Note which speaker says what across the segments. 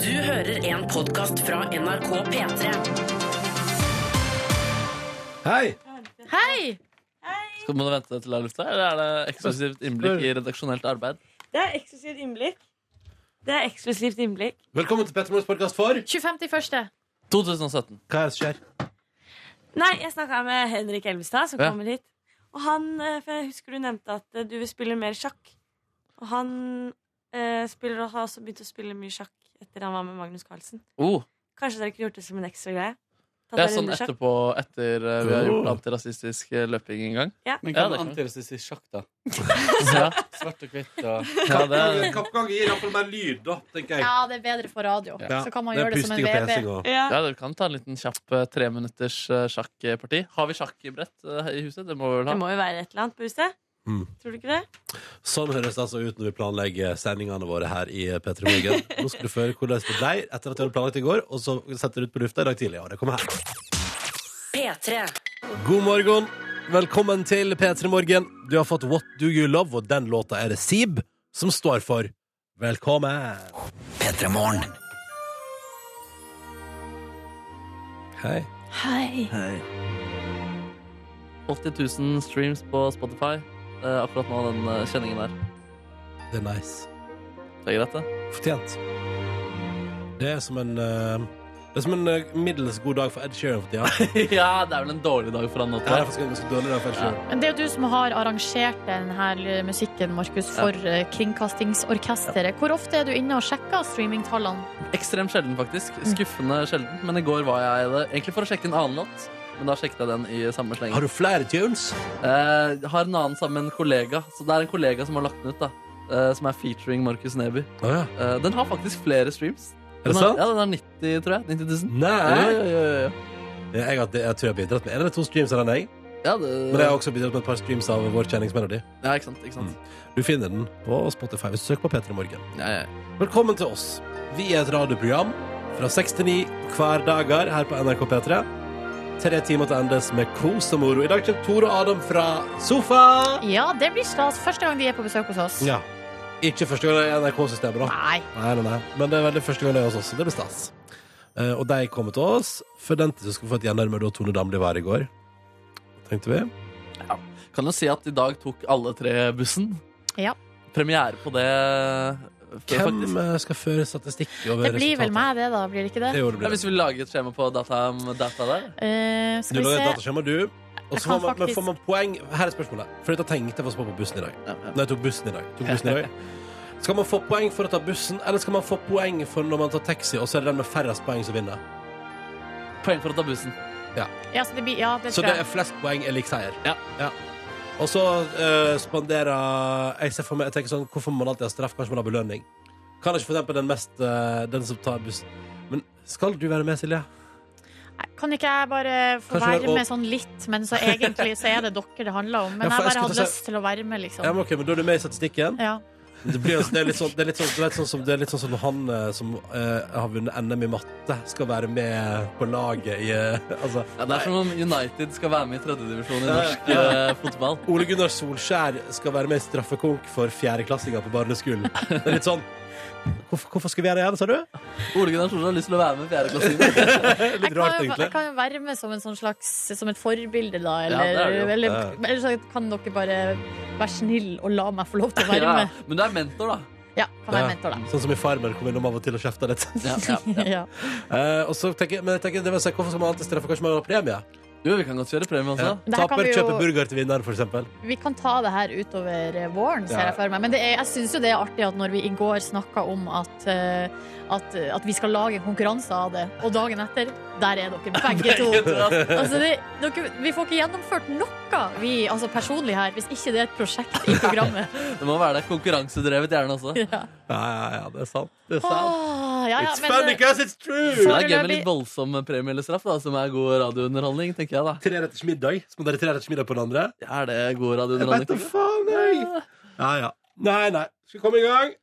Speaker 1: Du hører en podkast fra NRK P3.
Speaker 2: Hei!
Speaker 3: Hei!
Speaker 4: Skal man vente til det er lufta, eller er det eksklusivt innblikk i redaksjonelt arbeid?
Speaker 5: Det er eksklusivt innblikk. Det er eksklusivt innblikk.
Speaker 2: Velkommen til Petter Morgens podkast for
Speaker 3: 25.1.
Speaker 4: 2017.
Speaker 2: Hva er det som skjer?
Speaker 5: Nei, jeg snakka med Henrik Elvestad, som
Speaker 4: Ja.
Speaker 5: kommer hit. Og han eh, For jeg husker du nevnte at eh, du vil spille mer sjakk. Og han eh, spiller og har også begynt å spille mye sjakk etter han var med Magnus Carlsen.
Speaker 4: Oh,
Speaker 5: Kanskje dere kunne gjort det som en ekstra greie? Tatt
Speaker 4: det er
Speaker 5: en
Speaker 4: sånn
Speaker 5: runde sjakk?
Speaker 4: etterpå, etter eh, vi har
Speaker 2: Oh.
Speaker 4: gjort antirasistisk eh, løping en gang.
Speaker 6: Men
Speaker 4: Ja,
Speaker 6: hva
Speaker 4: det
Speaker 6: med
Speaker 4: kan
Speaker 6: antirasistisk sjakk, da?
Speaker 4: Ja,
Speaker 6: Svart og hvitt og
Speaker 4: ja, det er,
Speaker 2: Kappgang gir iallfall mer lyd, da, tenker jeg.
Speaker 3: Ja, det er bedre for radio.
Speaker 2: Ja,
Speaker 3: Så kan man
Speaker 2: det er
Speaker 3: gjøre det som en
Speaker 2: pusting og pesing
Speaker 3: VB.
Speaker 2: og-
Speaker 5: Ja.
Speaker 4: ja, du kan ta en liten kjapp eh, treminutters eh, sjakkparti. Har vi sjakkbrett eh, i huset? Det må vi vel
Speaker 5: Det
Speaker 4: ha?
Speaker 5: må jo være et eller annet på huset.
Speaker 2: Mm.
Speaker 5: Tror du ikke det?
Speaker 2: Sånn høres det altså ut når vi planlegger sendingene våre her i P3 Morgen. Nå skal du føre hvordan det ble etter at vi hadde planlagt i går, og så setter du ut på lufta i dag tidlig. Og det kommer her.
Speaker 1: P3.
Speaker 2: God morgen. Velkommen til P3 Morgen. Du har fått What Do You Love, og den låta er det Sib som står for. Velkommen. Hei.
Speaker 3: Hei.
Speaker 4: 80 000 streams på Spotify eh, akkurat nå, den eh, kjenningen der.
Speaker 2: Det er nice.
Speaker 4: Det er greit, det.
Speaker 2: Fortjent. Det er som en eh, Det er som en eh, middels god dag for Ed Sheeran for tida. Ja,
Speaker 4: Ja, det er vel en dårlig dag for han nå,
Speaker 2: Det er
Speaker 4: tror jeg.
Speaker 2: faktisk en ganske dårlig dag for Ed Sheeran.
Speaker 3: Men det er jo du som har arrangert denne musikken, Markus, for eh, Kringkastingsorkesteret. Hvor ofte er du inne og sjekker streamingtallene?
Speaker 4: Ekstremt sjelden, faktisk. Skuffende sjelden. Men i går var jeg det egentlig for å sjekke en annen låt. Men da sjekket jeg den i samme sleng.
Speaker 2: Har du flere tunes?
Speaker 4: Eh, har en annen sammen med en kollega. Så det er en kollega som har lagt den ut, da. Eh, som er featuring Markus Neby.
Speaker 2: Å ja.
Speaker 4: Eh, den har faktisk flere streams.
Speaker 2: Er det
Speaker 4: Den har-
Speaker 2: sant?
Speaker 4: Ja, den har 90, tror jeg. 90 000. Ja,
Speaker 2: Nei!
Speaker 4: ja, ja, ja.
Speaker 2: Jeg, har- det- jeg tror jeg har bidratt med en eller to streams av den, jeg.
Speaker 4: ja, det,
Speaker 2: Men jeg har også bidratt med et par streams av vår kjenningsmelodi.
Speaker 4: ja ikke sant. Ikke sant?
Speaker 2: Du finner den på Spotify hvis du søker på P3 Morgen.
Speaker 4: Ja, ja.
Speaker 2: Velkommen til oss. Vi er et radioprogram fra seks til ni hverdager her på NRK P3. Tre timer til endes med kos og moro. I dag kommer Tore og Adam fra sofa.
Speaker 3: Ja, det blir stas. Første gang de er på besøk hos oss.
Speaker 2: Ja. Ikke første gang det er NRK-systemet, da.
Speaker 3: Nei.
Speaker 2: Nei, nei, nei. Men det er veldig første gang det er hos oss. så Det blir stas. Eh, og de kommer til oss. Forventet du skulle få et gjennom med da Tone Damli var her i går. Tenkte vi.
Speaker 4: Kan jo si at i dag tok alle tre bussen.
Speaker 3: Ja.
Speaker 4: Premiere på det.
Speaker 2: Hvem
Speaker 4: Faktisk.
Speaker 2: eh, skal føre statistikk over
Speaker 3: Det blir vel
Speaker 2: resultatet?
Speaker 3: meg, det, da. Blir det ikke det?
Speaker 2: Det gjorde det
Speaker 4: Ja,
Speaker 2: blir.
Speaker 4: hvis vi lager et skjema på data, data der.
Speaker 3: Eh,
Speaker 2: Du
Speaker 3: skal vi
Speaker 2: lager et
Speaker 3: se.
Speaker 2: dataskjema, du. Og
Speaker 3: Jeg
Speaker 2: så får
Speaker 3: kan
Speaker 2: man, men
Speaker 3: faktisk-
Speaker 2: får man poeng. Her er spørsmålet. For dette tenkte jeg faktisk på på bussen i dag.
Speaker 4: Ja, ja.
Speaker 2: Nei, jeg tok bussen i dag. Tok bussen i dag. Skal man få poeng for å ta bussen, eller skal man få poeng for når man tar taxi, og så er det den med færrest poeng som vinner?
Speaker 4: Poeng for å ta bussen.
Speaker 3: Ja, så det blir, ja, det
Speaker 2: Så
Speaker 3: tror
Speaker 2: det er
Speaker 3: jeg.
Speaker 2: flest poeng er lik seier.
Speaker 4: Ja.
Speaker 2: Og så eh, spanderer Jeg ser for meg, jeg tenker sånn, hvorfor må man alltid ha straff? Kanskje man har belønning? Kan ikke for eksempel den mest eh, Den som tar bussen Men skal du være med, Silje?
Speaker 3: Nei, Kan ikke jeg bare få
Speaker 2: Kanskje det-
Speaker 3: være med sånn litt, men så egentlig så er det dere det handler om. Men
Speaker 2: Ja, for
Speaker 3: jeg bare
Speaker 2: jeg skulle
Speaker 3: hadde
Speaker 2: ta-
Speaker 3: lyst til å være med,
Speaker 2: Ja,
Speaker 3: liksom.
Speaker 2: men ok, men da er du med i statistikken.
Speaker 3: Ja.
Speaker 2: Det, blir, altså- det er litt sånn Det er litt sånn, du vet, sånn, som, det er litt sånn som han eh, som eh, har vunnet NM i matte, skal være med på laget i eh, Altså
Speaker 4: Ja, det er som om United skal være med i tredjedivisjon i
Speaker 2: Ja, ja.
Speaker 4: norsk eh, fotball.
Speaker 2: Ole Gunnar Solskjær skal være med i straffekonk for fjerdeklassinger på barneskolen. Det er litt sånn Hvorfor, hvorfor skal vi gjøre det, igjen, sa du?
Speaker 4: Ole Gunnar Solskjær har lyst til å være med i fjerdeklassingen.
Speaker 2: Litt
Speaker 3: jeg, kan
Speaker 2: rart,
Speaker 3: jo,
Speaker 2: egentlig.
Speaker 3: jeg kan jo være med som, en sånn slags, som et forbilde, da. Eller,
Speaker 4: det er det jo.
Speaker 3: eller,
Speaker 2: Ja, ja.
Speaker 3: eller så kan dere bare være snill og la meg få lov til å være
Speaker 4: Ja.
Speaker 3: med.
Speaker 4: Men du er mentor, da.
Speaker 3: Ja, kan
Speaker 2: Ja.
Speaker 3: være mentor, da.
Speaker 2: Sånn som i Farmen kom innom av og til og kjefta litt.
Speaker 4: Ja, ja, ja.
Speaker 3: Ja.
Speaker 2: Eh, og så tenker jeg, men jeg tenker, det vil si, hvorfor skal man alltid straffe? Kanskje man har premie?
Speaker 4: Jo, vi kan godt kjøre premie også.
Speaker 2: Ja.
Speaker 3: Det her kan
Speaker 2: Taper
Speaker 3: vi jo-
Speaker 2: kjøper burger til vinneren, for eksempel.
Speaker 3: Vi kan ta det her utover eh, våren, ser
Speaker 2: Ja.
Speaker 3: jeg for meg. Men det er, jeg syns jo det er artig at når vi i går snakka om at, eh, at, at vi skal lage en konkurranse av det, og dagen etter, der er dere begge to. Altså, det, dere, vi får ikke gjennomført noe, vi altså personlig her, hvis ikke det er et prosjekt i programmet.
Speaker 4: Det må være det konkurransedrevet gjerne også.
Speaker 3: Ja.
Speaker 2: Ja, ja, ja, det er sant. Det er sant.
Speaker 3: Åh, ja, ja,
Speaker 2: It's
Speaker 3: men,
Speaker 2: funny
Speaker 3: eh,
Speaker 2: because it's true!
Speaker 4: Men det er gøy med litt voldsom premie eller straff, da, som er god radiounderholdning, tenker jeg, da.
Speaker 2: Tre retters middag. Så må dere tre retters middag på den andre.
Speaker 4: Er det god
Speaker 2: Jeg vet da
Speaker 4: radiounderholdning?
Speaker 2: faen, nei! Ja, ja. Nei, nei. Skal vi komme i gang?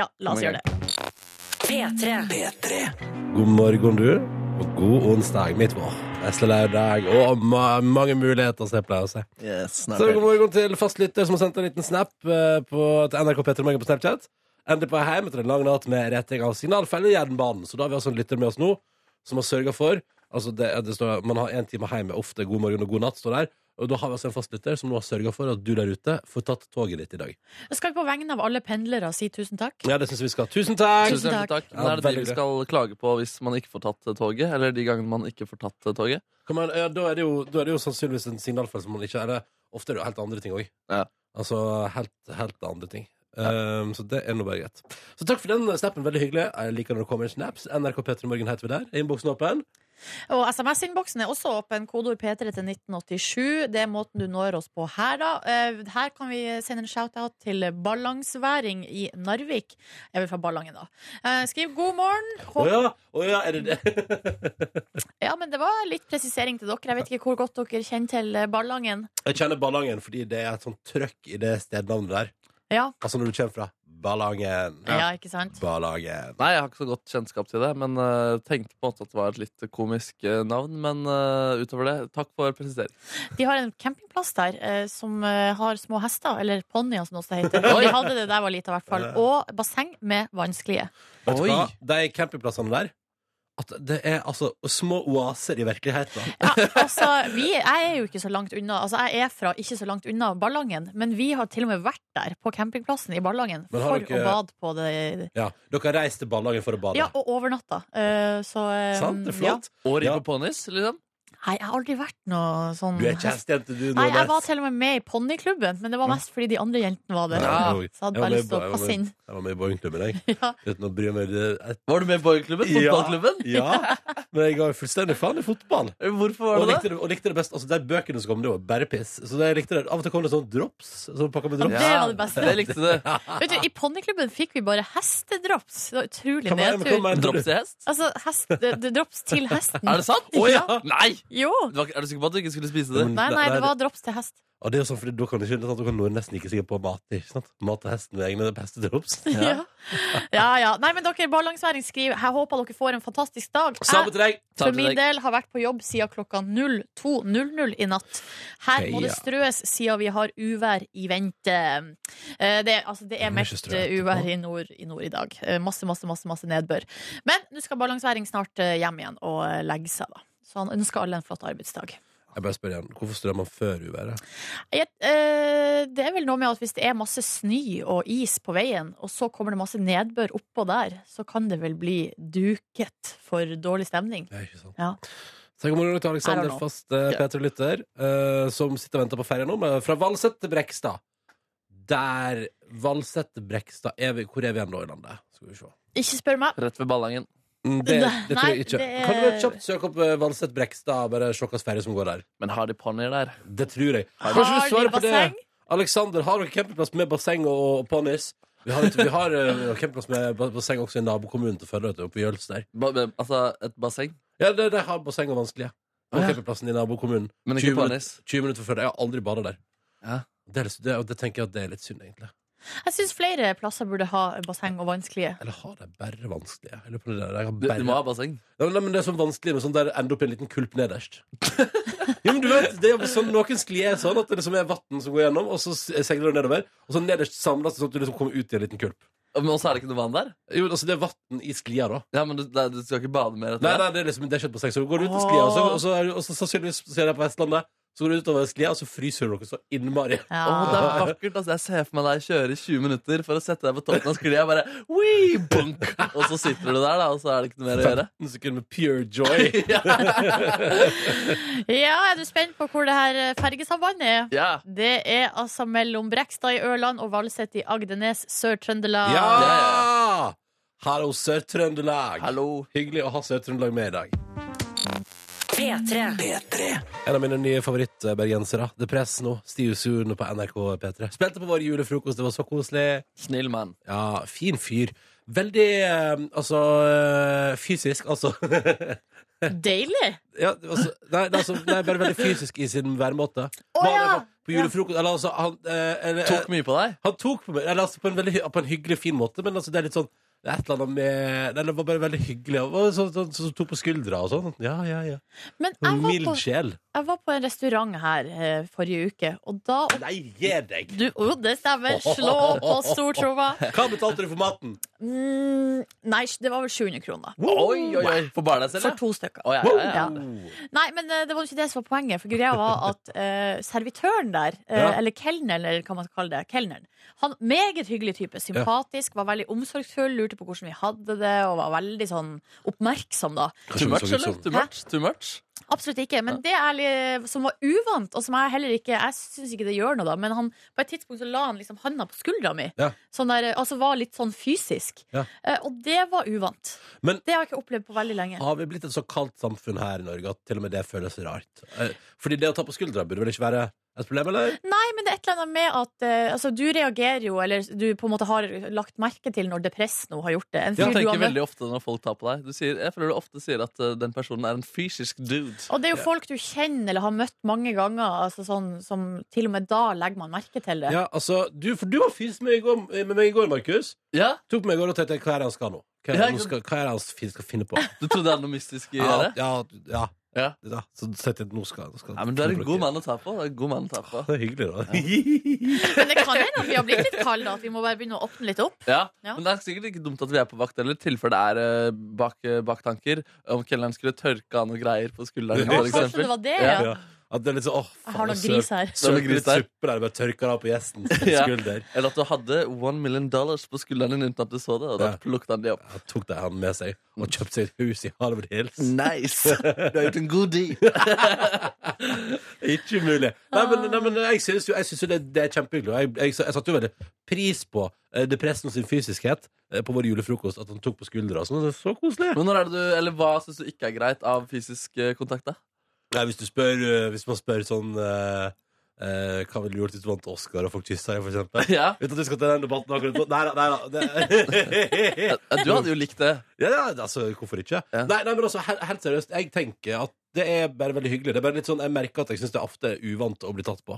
Speaker 3: ja, la oss gjøre det.
Speaker 1: P3.
Speaker 2: God morgen, du. Og god onsdag. Mitt vår. Vesle lørdag. Og ma mange muligheter, som jeg pleier å si.
Speaker 4: Yes,
Speaker 2: Så god morgen til fastlytter som har sendt en liten snap eh, på, til NRK Petter Morgen på Snapchat. endelig på vei hjem etter en lang natt med retting av signalfeller i jernbanen. Så da har vi altså en lytter med oss nå som har sørga for Altså, det, det står, man har én time hjemme, ofte god morgen og god natt, står der. Og da har vi altså en fastlytter som nå har sørga for at du der ute får tatt toget ditt i dag.
Speaker 3: Jeg skal på vegne av alle pendlere si tusen takk.
Speaker 2: Ja, det syns vi skal. Tusen takk!
Speaker 7: Tusen hjertelig takk.
Speaker 2: Ja,
Speaker 7: Da er det de
Speaker 2: veldig
Speaker 7: vi skal klage på hvis man ikke får tatt eh, toget. Eller de gangene man ikke får tatt eh, toget.
Speaker 2: Kan man, ja, da, er det jo, da er det jo sannsynligvis en signalfeil som man ikke Eller ofte er det jo helt andre ting òg.
Speaker 7: Ja.
Speaker 2: Altså helt, helt andre ting. Um, så det er nå bare greit. Så takk for den snappen. Veldig hyggelig. Jeg liker når det kommer snaps. NRK P3 Morgen heter vi der. Er innboksen åpen?
Speaker 3: Og SMS-innboksen er også åpen. Kodeord P3 til 1987. Det er måten du når oss på her, da. Eh, Her kan vi sende en shout-out til Ballangsværing i Narvik. Jeg vil fra Ballangen, da. Eh, Skriv 'god morgen'.
Speaker 2: Å
Speaker 3: Håp...
Speaker 2: ja! Å ja, er det det?
Speaker 3: Ja, men det var litt presisering til dere. Jeg vet ikke hvor godt dere kjenner til eh, Ballangen.
Speaker 2: Jeg kjenner Ballangen fordi det er et sånt trøkk i det stednavnet der.
Speaker 3: Ja,
Speaker 2: Altså når du kommer fra Ballangen.
Speaker 3: ja ikke sant?
Speaker 2: Ballangen.
Speaker 7: Nei, jeg har ikke så godt kjennskap til det, men eh, tenkte på en måte at det var et litt komisk eh, navn. Men eh, utover det, takk for presisering.
Speaker 3: De har en campingplass der eh, som eh, har små hester, eller ponnier som det også heter. De hadde det da jeg var lita, i hvert fall. Og basseng med vannsklie.
Speaker 2: Vet du
Speaker 7: Oi.
Speaker 2: hva? De campingplassene der at det er altså små oaser i virkeligheten.
Speaker 3: Ja, altså, vi, jeg er jo ikke så langt unna. Altså, jeg er fra ikke så langt unna Ballangen, men vi har til og med vært der, på campingplassen i Ballangen,
Speaker 2: Men
Speaker 3: for
Speaker 2: har dere-
Speaker 3: å bade på det.
Speaker 2: Ja, Dere har reist til Ballangen for å bade.
Speaker 3: Ja, og overnatta. Eh, så eh,
Speaker 2: Sant? Det er
Speaker 3: ja.
Speaker 2: flott.
Speaker 7: Og ri
Speaker 2: Ja.
Speaker 7: på pånis, liksom.
Speaker 3: Nei, jeg har aldri vært noe sånn
Speaker 2: Du er ikke hestejente, du.
Speaker 3: Nei, jeg
Speaker 2: Nordnes.
Speaker 3: var til og med med i ponniklubben, men det var mest fordi de andre jentene var der.
Speaker 2: Ja.
Speaker 3: Så jeg hadde
Speaker 2: Jeg var
Speaker 3: bare
Speaker 2: med i-
Speaker 3: lyst til å
Speaker 2: jeg var
Speaker 3: passe
Speaker 2: med-
Speaker 3: inn.
Speaker 2: Jeg var med i bowlingklubben, jeg.
Speaker 3: Ja.
Speaker 2: Uten å bry meg det-
Speaker 7: Var du med i boyklubben? Fotballklubben?
Speaker 2: Ja, men jeg ga jo fullstendig faen i fotball.
Speaker 7: Hvorfor
Speaker 2: Og
Speaker 7: var du
Speaker 2: likte,
Speaker 7: det?
Speaker 2: det, og likte det best. Altså, de bøkene som kom, det var bare piss. Så jeg likte det. Av og til kom det sånn drops. Sånn pakka med drops.
Speaker 3: Ja, det var det beste.
Speaker 7: Det likte du.
Speaker 3: Vet du, I ponniklubben fikk vi bare hestedrops. Det var utrolig
Speaker 2: Hva mener- hva
Speaker 3: nedtur.
Speaker 2: mener du?
Speaker 7: Drops i hest?
Speaker 3: Altså, hest, det, det drops til hesten.
Speaker 7: Er det sant?
Speaker 2: Å, ja.
Speaker 7: Nei!
Speaker 3: Jo!
Speaker 7: Du var, ikke- er du sikker på at du ikke skulle spise det?
Speaker 2: Mm.
Speaker 3: Nei, nei,
Speaker 2: Nei,
Speaker 3: det var drops til hest.
Speaker 2: Og det er jo sånn, fordi da kan du ikke, sant, da kan Nordnes snike seg inn på mat. Ikke sant? Mat og hesten med egne beste drops.
Speaker 3: Ja. ja, ja. Nei, men dere, Ballangsværing skriver Jeg håper dere får en fantastisk dag.
Speaker 2: Samme
Speaker 3: Jeg
Speaker 2: til deg!
Speaker 7: Ta
Speaker 3: for
Speaker 7: til
Speaker 3: min
Speaker 7: deg.
Speaker 3: del har vært på jobb siden klokka 02.00 i natt. Her må det
Speaker 2: Heia.
Speaker 3: strøs siden vi har uvær i vente. Eh, Det, er- altså, det er
Speaker 2: må ikke
Speaker 3: meldt
Speaker 2: strø
Speaker 3: eh,
Speaker 2: etterpå.
Speaker 3: uvær i nord, i nord i dag. Eh, Masse, masse, masse, masse nedbør. Men nå skal Ballangsværing snart eh, hjem igjen og eh, legge seg, da. Så han ønsker alle en flott arbeidsdag.
Speaker 2: Jeg bare spør igjen, hvorfor strør man før uværet?
Speaker 3: Jeg, eh, det er vel noe med at hvis det er masse snø og is på veien, og så kommer det masse nedbør oppå der, så kan det vel bli duket for dårlig stemning.
Speaker 2: Det er ikke sant.
Speaker 3: Ja.
Speaker 2: Så god morgen til
Speaker 3: I
Speaker 2: Alexander
Speaker 3: don't know.
Speaker 2: Fast, eh,
Speaker 7: Ja.
Speaker 2: Peter Lytter, eh, som sitter og venter på ferja nå. men Fra Valset til Brekstad. Der Valset til Brekstad er vi, Hvor er vi igjen nå i landet? Skal vi se.
Speaker 3: Ikke spør meg.
Speaker 7: Rett ved Ballangen.
Speaker 2: Mm, Det,
Speaker 3: Nei,
Speaker 2: det tror jeg ikke.
Speaker 3: det er-
Speaker 2: Kan du bare kjapt søke opp eh, Valset Brekstad og bare se hvilken ferje som går der?
Speaker 7: Men har de ponnier der?
Speaker 2: Det tror jeg.
Speaker 3: Har
Speaker 2: Kanskje du
Speaker 3: de
Speaker 2: svarer på det?
Speaker 3: basseng?
Speaker 2: Alexander, har dere campingplass med basseng og, og ponnis? Vi har, vi har eh, campingplass med ba- basseng også i nabokommunen til Førde, vet du, oppe i Jølster.
Speaker 7: Ba, ba- altså, et basseng?
Speaker 2: Ja, de, de har basseng og vanskelige. På
Speaker 7: Å, ja.
Speaker 2: campingplassen i nabokommunen.
Speaker 7: Men ikke
Speaker 2: 20 minutter-
Speaker 7: panis.
Speaker 2: 20 minutter før det. Jeg har aldri bada der.
Speaker 7: Ja.
Speaker 2: Det, er, litt- det, og det tenker jeg at det er litt synd, egentlig.
Speaker 3: Jeg syns flere plasser burde ha basseng og vannsklie.
Speaker 2: Eller har de bare vanskelige? Jeg lurer på det der. Jeg har
Speaker 7: Du,
Speaker 2: bare...
Speaker 7: du må ha basseng.
Speaker 2: Nei, men- nei, men det er sånn vanskelig med sånn der ender opp i en liten kulp nederst. jo, men du vet, det er jo sånn, Noen sklier er sånn at det liksom er vann som går gjennom, og så s- seiler det nedover. Og så nederst samles det sånn at du liksom kommer ut i en liten kulp.
Speaker 7: Men også er det ikke noe vann der?
Speaker 2: Jo, altså Det er vann i sklia, da.
Speaker 7: Ja, men du, nei, du skal ikke bade mer
Speaker 2: Nei,
Speaker 7: etter det?
Speaker 2: nei, det er liksom, det er ikke på seg, så du går ut i sklia, og så,
Speaker 7: Ah.
Speaker 2: og så, er du- og så sannsynligvis ser jeg på Vestlandet. Så går du utover sklia, og så fryser dere så innmari.
Speaker 3: Ja.
Speaker 7: Å, det er vakkert. altså Jeg ser for meg deg kjøre i 20 minutter for å sette deg på toppen av sklia. Bare, «Wii, bunk! Og så sitter du der, da, og så er det ikke noe mer å gjøre.
Speaker 2: 15 sekunder med pure joy.
Speaker 3: ja, er du spent på hvor det her fergesambandet er?
Speaker 7: Ja,
Speaker 3: Det er altså mellom Brekstad i Ørland og Valset i Agdenes, Sør-Trøndelag.
Speaker 2: Ja! Hallo, Sør-Trøndelag.
Speaker 7: hallo
Speaker 2: Hyggelig å ha Sør-Trøndelag med i dag.
Speaker 1: P3.
Speaker 2: En av mine nye favorittbergensere. The Press nå. Stiv Suren på NRK P3. Spilte på vår julefrokost, det var så koselig.
Speaker 7: Snill mann.
Speaker 2: Ja, fin fyr. Veldig eh, altså eh, fysisk, altså.
Speaker 3: Deilig!
Speaker 2: ja, altså nei, det er altså nei, bare veldig fysisk i sin væremåte.
Speaker 3: Å,
Speaker 2: Var det
Speaker 3: ja.
Speaker 2: på- På julefrokost Eller altså, han eh, eller,
Speaker 7: Tok mye på deg.
Speaker 2: Han tok på meg eller, altså, på, en veldig, hy- på en hyggelig, fin måte, men altså, det er litt sånn Det er et eller annet med Nei, Det var bare veldig hyggelig. Og sånn sånn- sånn som tok på skuldra og sånn. Ja, ja, ja.
Speaker 3: Men jeg var,
Speaker 2: Mild
Speaker 3: på,
Speaker 2: sjel.
Speaker 3: jeg var på en restaurant her eh, forrige uke, og da
Speaker 2: Nei, gi deg!
Speaker 3: du, Jo, det stemmer. Slå på stortromma.
Speaker 2: Hva betalte du for maten?
Speaker 3: Mm, nei, det var vel 700 kroner.
Speaker 7: Oi, oi, oi. For bare deg selv,
Speaker 3: For
Speaker 7: ja?
Speaker 3: to stykker.
Speaker 7: Å, ja, ja, ja.
Speaker 3: Ja. Nei, men eh, det var jo ikke det som var poenget. For greia var at eh, servitøren der, eh,
Speaker 2: Ja.
Speaker 3: eller kelneren, eller hva man skal kalle det, kelneren, han meget hyggelig type. Sympatisk, var veldig omsorgsfull, lurte på hvordan vi hadde det, og var veldig sånn oppmerksom, da.
Speaker 7: Too much,
Speaker 4: liksom-
Speaker 7: eller? Too
Speaker 3: Hæ?
Speaker 7: much? Too much?
Speaker 3: Absolutt ikke. Men det er litt, som var uvant, og som jeg heller ikke Jeg syns ikke det gjør noe, da, men han, på et tidspunkt så la han liksom handa på skuldra mi.
Speaker 2: Ja.
Speaker 3: Sånn der, altså var litt sånn fysisk.
Speaker 2: Ja.
Speaker 3: Eh, og det var uvant.
Speaker 2: Men-
Speaker 3: det har jeg ikke opplevd på veldig lenge.
Speaker 2: Har vi blitt et så kaldt samfunn her i Norge at til og med det føles rart? Eh, Fordi det å ta på skuldra burde vel ikke være et problem, eller?
Speaker 3: Nei, men det er et eller annet med at eh, altså, du reagerer jo, eller du på en måte har lagt merke til når Depress nå har gjort det. En
Speaker 7: Du
Speaker 3: fyr du har
Speaker 7: tenker
Speaker 3: møtt.
Speaker 7: veldig ofte når folk tar på deg. Du sier, jeg føler du ofte sier at eh, den personen er en fysisk dude.
Speaker 3: Og det er jo folk du kjenner eller har møtt mange ganger, altså sånn, som til og med da legger man merke til det.
Speaker 2: Ja, altså, du, for du var fys med, i går- med meg i går, Markus.
Speaker 7: Ja,
Speaker 2: Tok meg i går og tenkte hva er det han skal nå?
Speaker 7: Ja,
Speaker 2: Hva er det han
Speaker 7: ikke
Speaker 2: skal, hva er det han fin- skal finne på?
Speaker 7: Du trodde det hadde noe mystisk i
Speaker 2: Ja,
Speaker 7: det?
Speaker 2: ja, ja.
Speaker 7: Ja.
Speaker 2: Ja, Så tenkte jeg nå skal, nå skal
Speaker 7: Nei, men Du er en god mann å ta på. Du er en god mann å ta på
Speaker 2: Det er hyggelig, da.
Speaker 3: Men det kan hende at vi har blitt litt kalde, at vi må bare begynne å åpne litt opp.
Speaker 7: ja.
Speaker 3: Ja.
Speaker 7: Men det er sikkert ikke dumt at vi er på vakt heller, i tilfelle det er eh, bak, eh, baktanker. Om kelneren skulle tørke av noe greier på skulderen.
Speaker 2: Ja,
Speaker 7: For
Speaker 3: Kanskje det
Speaker 7: eksempel.
Speaker 3: var det,
Speaker 7: Ja.
Speaker 3: ja.
Speaker 2: Ja. At det er litt sånn, åh,
Speaker 3: Jeg har
Speaker 2: faen,
Speaker 3: noen gris her.
Speaker 7: Det er noen
Speaker 2: Søk litt
Speaker 7: gris der.
Speaker 2: suppe der, bare tørker det av på gjesten
Speaker 7: Ja.
Speaker 2: skulder.
Speaker 7: Eller at du hadde one million dollars på skulderen din uten at du så det. Og da
Speaker 2: Ja.
Speaker 7: plukket han de opp.
Speaker 2: Han tok det han med seg og
Speaker 7: Mm.
Speaker 2: kjøpte seg et hus i Harvard Hills.
Speaker 7: Nice! Du har gjort en god deed.
Speaker 2: Ikke mulig. Nei, men, nei, men jeg syns jo, jeg synes jo det, det er kjempehyggelig. og Jeg, jeg, jeg satte jo veldig pris på eh, depressen sin fysiskhet eh, på vår julefrokost, at han tok på skuldra og sånn. Det er så koselig.
Speaker 7: Men når er det du, eller hva syns du ikke er greit av fysisk eh, kontakt? da?
Speaker 2: Nei, hvis du spør eh, Hvis man spør sånn eh, eh, Hva ville du gjort hvis du vant Oscar og folk kyssa deg, for eksempel?
Speaker 7: Ja.
Speaker 2: Uten at vi skal til den debatten akkurat nå. Nei da. Nei, da. Det...
Speaker 7: Ja, Du hadde jo likt det.
Speaker 2: Ja, ja, altså, hvorfor ikke?
Speaker 7: Ja.
Speaker 2: Nei, nei, men altså, he- helt seriøst, jeg tenker at det er bare veldig hyggelig. Det er bare litt sånn, Jeg merker at jeg syns det er ofte er uvant å bli tatt på.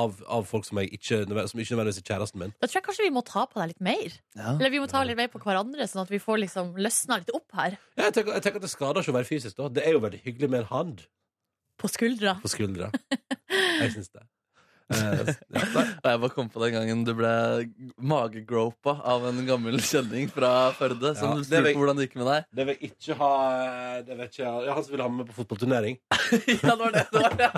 Speaker 2: Av, av folk som, jeg ikke, nødvendig- som ikke nødvendigvis er kjæresten min.
Speaker 3: Da tror jeg kanskje vi må ta på deg litt mer.
Speaker 7: Ja.
Speaker 3: Eller vi må ta litt mer på hverandre, sånn at vi får liksom løsna litt opp her.
Speaker 2: Ja, Jeg tenker, jeg tenker at Det skader ikke å være fysisk, da. Det er jo veldig hyggelig med en hand
Speaker 3: På skuldra.
Speaker 2: på skuldra. Jeg syns det. Eh, ja, nei.
Speaker 7: Og jeg bare kom på den gangen du ble magegropa av en gammel kjenning fra Førde. Som
Speaker 2: Ja,
Speaker 7: du
Speaker 2: det er
Speaker 7: spurte
Speaker 2: vei-
Speaker 7: på hvordan det gikk med deg.
Speaker 2: Det vil jeg ikke ha det vil jeg ikke, ha- ja, Han som ville ha meg med på fotballturnering.
Speaker 7: Ja, det var det, det var det.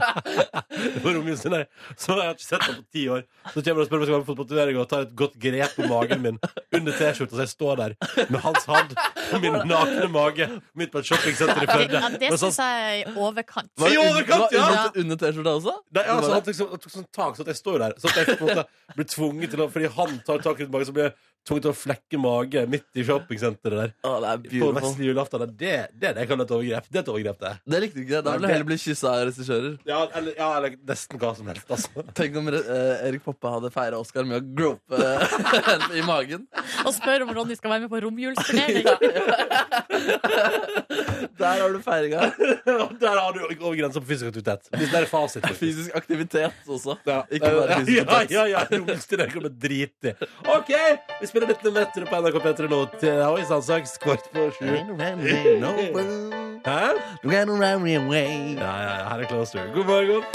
Speaker 2: på rommet sin der. Så jeg har ikke sett ham på ti år. Så kommer han og spør om jeg skal være med på fotballturnering og tar et godt grep på magen min under T-skjorta, så jeg står der med hans hand på min nakne mage midt på et shoppingsenter i
Speaker 3: Det,
Speaker 2: Førde.
Speaker 3: ja, det
Speaker 2: Men sånn- så-
Speaker 3: syns jeg er i overkant.
Speaker 2: Hva- I overkant, ja!
Speaker 7: Var det Under T-skjorta også?
Speaker 2: Nei,
Speaker 7: Det var det.
Speaker 2: altså, han tok, sånn- han tok sånn tak, så at jeg står der. Så at jeg på en måte blir tvunget til å Fordi han tar tak rundt magen, så blir jeg tvunget til å flekke mage midt i shoppingsenteret der.
Speaker 7: Å, det er
Speaker 2: På
Speaker 7: beautiful.
Speaker 2: vestlig julaften. Det, det, er det jeg kaller et overgrep. Det er et overgrep, det.
Speaker 7: Det likte du ikke. det. Da
Speaker 2: Nei,
Speaker 7: vil du
Speaker 2: det-
Speaker 7: heller bli kyssa av regissører.
Speaker 2: Ja, eller, ja, eller nesten hva som helst, altså.
Speaker 7: Tenk om eh, Erik Poppe hadde feira Oscar med å grope henne i magen.
Speaker 3: Og spør om Ronny skal være med på romjulsturnering.
Speaker 7: Der har du feiringa.
Speaker 2: Der har du over grensa på fysisk aktivitet. Hvis det er fasit. faktisk.
Speaker 7: Fysisk aktivitet også.
Speaker 2: Ja.
Speaker 7: Ikke bare fysisk
Speaker 2: ja,
Speaker 7: kontakt.
Speaker 2: ja, ja, romstil er kommet drit i. OK, vi spiller litt Metro på NRK P3 nå til Oi sannsaks kvart på sju. Hæ? Ja, ja, ja, her er Closer. God morgen.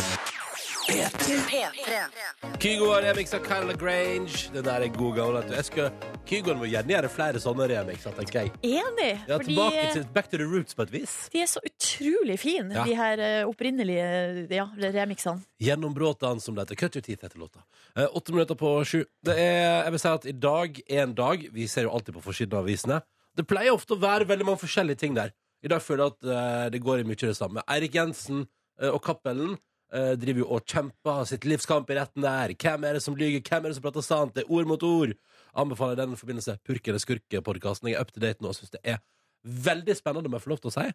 Speaker 2: Kygo har remiksa Kyle Grange. Den der er god gammel. vet du. Jeg skulle, Kygoen må gjerne gjøre flere sånne remikser, tenker jeg.
Speaker 3: Enig!
Speaker 2: Ja,
Speaker 3: Fordi eh,
Speaker 2: tilbake til Back to the roots på et vis.
Speaker 3: de er så utrolig fine,
Speaker 2: Ja.
Speaker 3: de her eh, opprinnelige ja, remixene.
Speaker 2: Gjennombråtene, som det heter. Cut your teeth heter låta. Eh, åtte minutter på sju. Det er, jeg vil si at i dag er en dag Vi ser jo alltid på forsiden av avisene. Det pleier ofte å være veldig mange forskjellige ting der. I dag føler jeg at eh, det går i mye det samme. Eirik Jensen eh, og Cappelen eh, driver jo og kjemper sitt livskamp i retten der. Hvem er det som lyver? Hvem er det som prater sant? Det er ord mot ord. Anbefaler i den forbindelse Purk eller skurke-podkasten. Jeg er up to date nå og syns det er veldig spennende, om jeg får lov til å si.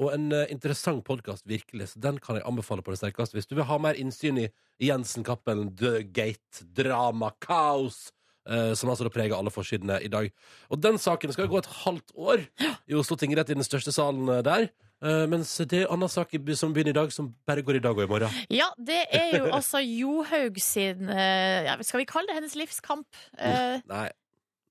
Speaker 2: Og en eh, interessant podkast, virkelig. Så den kan jeg anbefale på det sterkeste. Hvis du vil ha mer innsyn i Jensen-Cappelen, The Gate, drama, kaos, eh, som altså da preger alle forsidene i dag. Og den saken skal gå et halvt år i Oslo tingrett, i den største salen eh, der. Eh, mens det er en annen sak i by- som begynner i dag, som bare går i dag og i morgen.
Speaker 3: Ja, det er jo altså Johaug sin eh, ja, Skal vi kalle det hennes livskamp? Eh,
Speaker 2: Nei.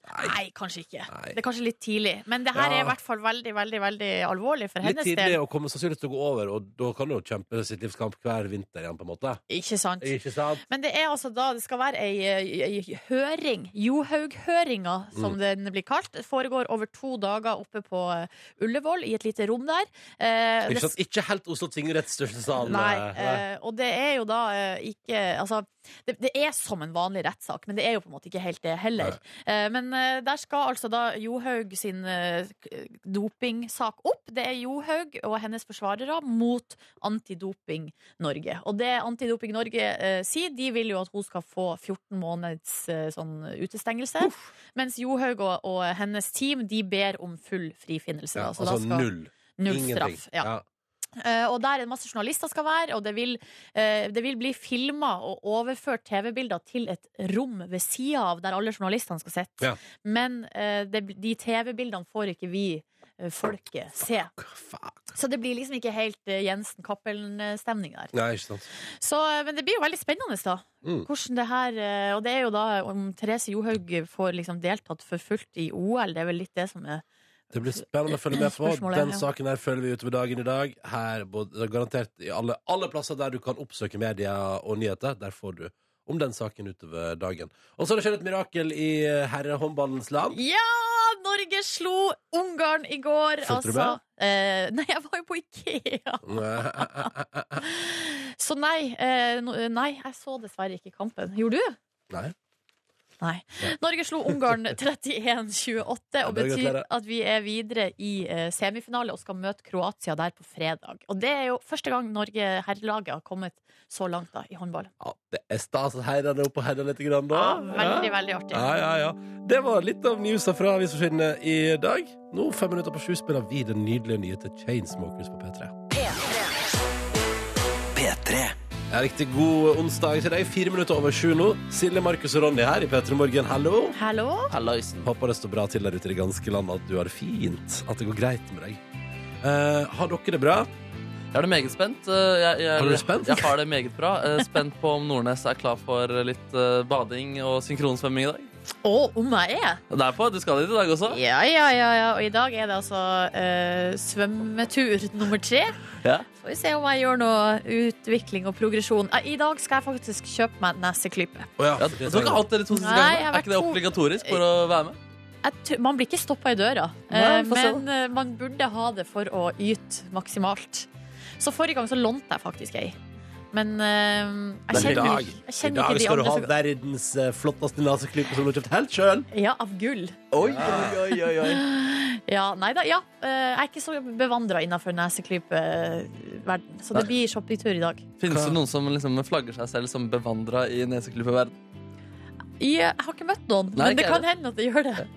Speaker 3: Nei, kanskje ikke.
Speaker 2: Nei.
Speaker 3: Det er kanskje litt tidlig. Men det her
Speaker 2: Ja.
Speaker 3: er i hvert fall veldig, veldig veldig alvorlig for
Speaker 2: Litt
Speaker 3: hennes
Speaker 2: tidlig
Speaker 3: del.
Speaker 2: å komme sannsynligvis til å gå over, og da kan du jo kjempe sitt livskamp hver vinter igjen, på en måte.
Speaker 3: Ikke sant?
Speaker 2: Ikke sant?
Speaker 3: Men det er altså da det skal være ei, ei, ei høring, Johaug-høringa,
Speaker 2: Mm.
Speaker 3: som den blir kalt. Det foregår over to dager oppe på eh, Ullevål, i et lite rom der. Eh,
Speaker 2: Ikke,
Speaker 3: det
Speaker 2: sant? ikke helt Oslo tingretts største sal.
Speaker 3: Nei,
Speaker 2: eh,
Speaker 3: eh, og det er jo da eh, ikke Altså, det, det er som en vanlig rettssak, men det er jo på en måte ikke helt det heller. Eh, men eh, der skal altså da Johaug sin eh, k- dopingsak opp. Det er Johaug og hennes forsvarere mot Antidoping Norge. Og det Antidoping Norge eh, sier, de vil jo at hun skal få 14 måneds eh, sånn utestengelse. Mens Johaug og, og hennes team, de ber om full frifinnelse.
Speaker 2: ja,
Speaker 3: da, så
Speaker 2: altså
Speaker 3: da skal
Speaker 2: null.
Speaker 3: null
Speaker 2: Ingenting.
Speaker 3: straff. Ja. Eh, og der er det masse journalister skal være, og det vil, eh, det vil bli filma og overført TV-bilder til et rom ved sida av der alle journalistene skal sitte.
Speaker 2: Ja.
Speaker 3: Men eh, det, de TV-bildene får ikke vi, eh, folket, se.
Speaker 2: Fuck.
Speaker 3: Så det blir liksom ikke helt eh, Jensen-Cappelen-stemning der.
Speaker 2: Nei, ikke sant.
Speaker 3: Så, eh, men det blir jo veldig spennende, da.
Speaker 2: Mm.
Speaker 3: Hvordan det her eh, Og det er jo da om Therese Johaug får liksom deltatt for fullt i OL, det er vel litt det som er
Speaker 2: Det blir spennende å følge med på.
Speaker 3: Spørsmålet,
Speaker 2: Den
Speaker 3: ja.
Speaker 2: saken her følger vi utover dagen i dag. Her, både, garantert i alle, alle plasser der du kan oppsøke media og nyheter. Der får du om den saken utover dagen. Og så har det skjedd et mirakel i eh, herrehåndballens land.
Speaker 3: Ja! Norge slo Ungarn i går.
Speaker 2: Fulgte du med?
Speaker 3: eh, nei, jeg var jo på Ikea. Så nei, eh, no- nei, jeg så dessverre ikke kampen. Gjorde du? Nei.
Speaker 2: Nei.
Speaker 3: Norge slo Ungarn 31-28 og
Speaker 2: Ja, det er
Speaker 3: betyr
Speaker 2: gratulerer.
Speaker 3: at vi er videre i eh, semifinale og skal møte Kroatia der på fredag. Og det er jo første gang Norge herrelaget har kommet så langt da i håndball.
Speaker 2: Ja, det er stas at heierne er oppe og heier litt grann, da.
Speaker 3: Ja, veldig, veldig artig.
Speaker 2: Ah, Ja, ja, ja. Det var litt av newsa fra avisforsidene i dag. Nå, fem minutter på sju, spiller vi den nydelige nye til Chainsmokers på P3. Ja, riktig god onsdag til deg. Fire minutter over sju nå. Silje, Markus og Ronny her i P3 Morgen. Hallo!
Speaker 3: Hallo?
Speaker 7: Halloisen.
Speaker 2: Håper det står bra til der ute i det ganske landet, at du har det fint. At det går greit med deg. Eh, har dere det bra?
Speaker 7: Jeg er det meget spent. Eh, Jeg, jeg,
Speaker 2: Er du spent?
Speaker 7: Jeg har det meget bra. Eh, Spent på om Nordnes er klar for litt eh, bading og synkronsvømming i dag.
Speaker 3: Å, om jeg er?
Speaker 7: Derfor, du skal dit i dag også?
Speaker 3: Ja, ja, ja, ja. Og i dag er det altså eh, svømmetur nummer tre.
Speaker 7: Ja.
Speaker 3: Får vi se om jeg gjør noe utvikling og progresjon. Eh, I dag skal jeg faktisk kjøpe meg neseklype.
Speaker 2: Å ja,
Speaker 7: Ja,
Speaker 2: det
Speaker 7: du har ikke
Speaker 2: trenger jeg.
Speaker 7: hatt dere to siste
Speaker 3: Nei, jeg
Speaker 7: gangene?
Speaker 3: har
Speaker 7: Er ikke det
Speaker 3: vært to-
Speaker 7: obligatorisk for å være med?
Speaker 3: Jeg tr- Man blir ikke stoppa i døra,
Speaker 7: Nei,
Speaker 3: Eh,
Speaker 7: få se
Speaker 3: men eh, man burde ha det for å yte maksimalt. Så forrige gang så lånte jeg faktisk ei. Men eh, jeg
Speaker 2: Men i
Speaker 3: kjenner,
Speaker 2: dag,
Speaker 3: ikke- jeg
Speaker 2: i
Speaker 3: kjenner
Speaker 2: dag
Speaker 3: ikke de
Speaker 2: skal du
Speaker 3: andre
Speaker 2: ha
Speaker 3: så godt.
Speaker 2: verdens eh, flotteste naseklype som du har kjøpt helt sjøl.
Speaker 3: Ja, av gull.
Speaker 2: Oi, oi, oi, oi, oi.
Speaker 3: Ja, nei da, ja. Eh, Jeg er ikke så bevandra innafor neseklypeverden, eh, så det blir shoppingtur i dag.
Speaker 7: Finnes det noen som liksom flagger seg selv som bevandra i neseklypeverden?
Speaker 3: I, eh, jeg har ikke møtt noen,
Speaker 7: Nei,
Speaker 3: men det
Speaker 7: ikke
Speaker 3: kan hende at det gjør det.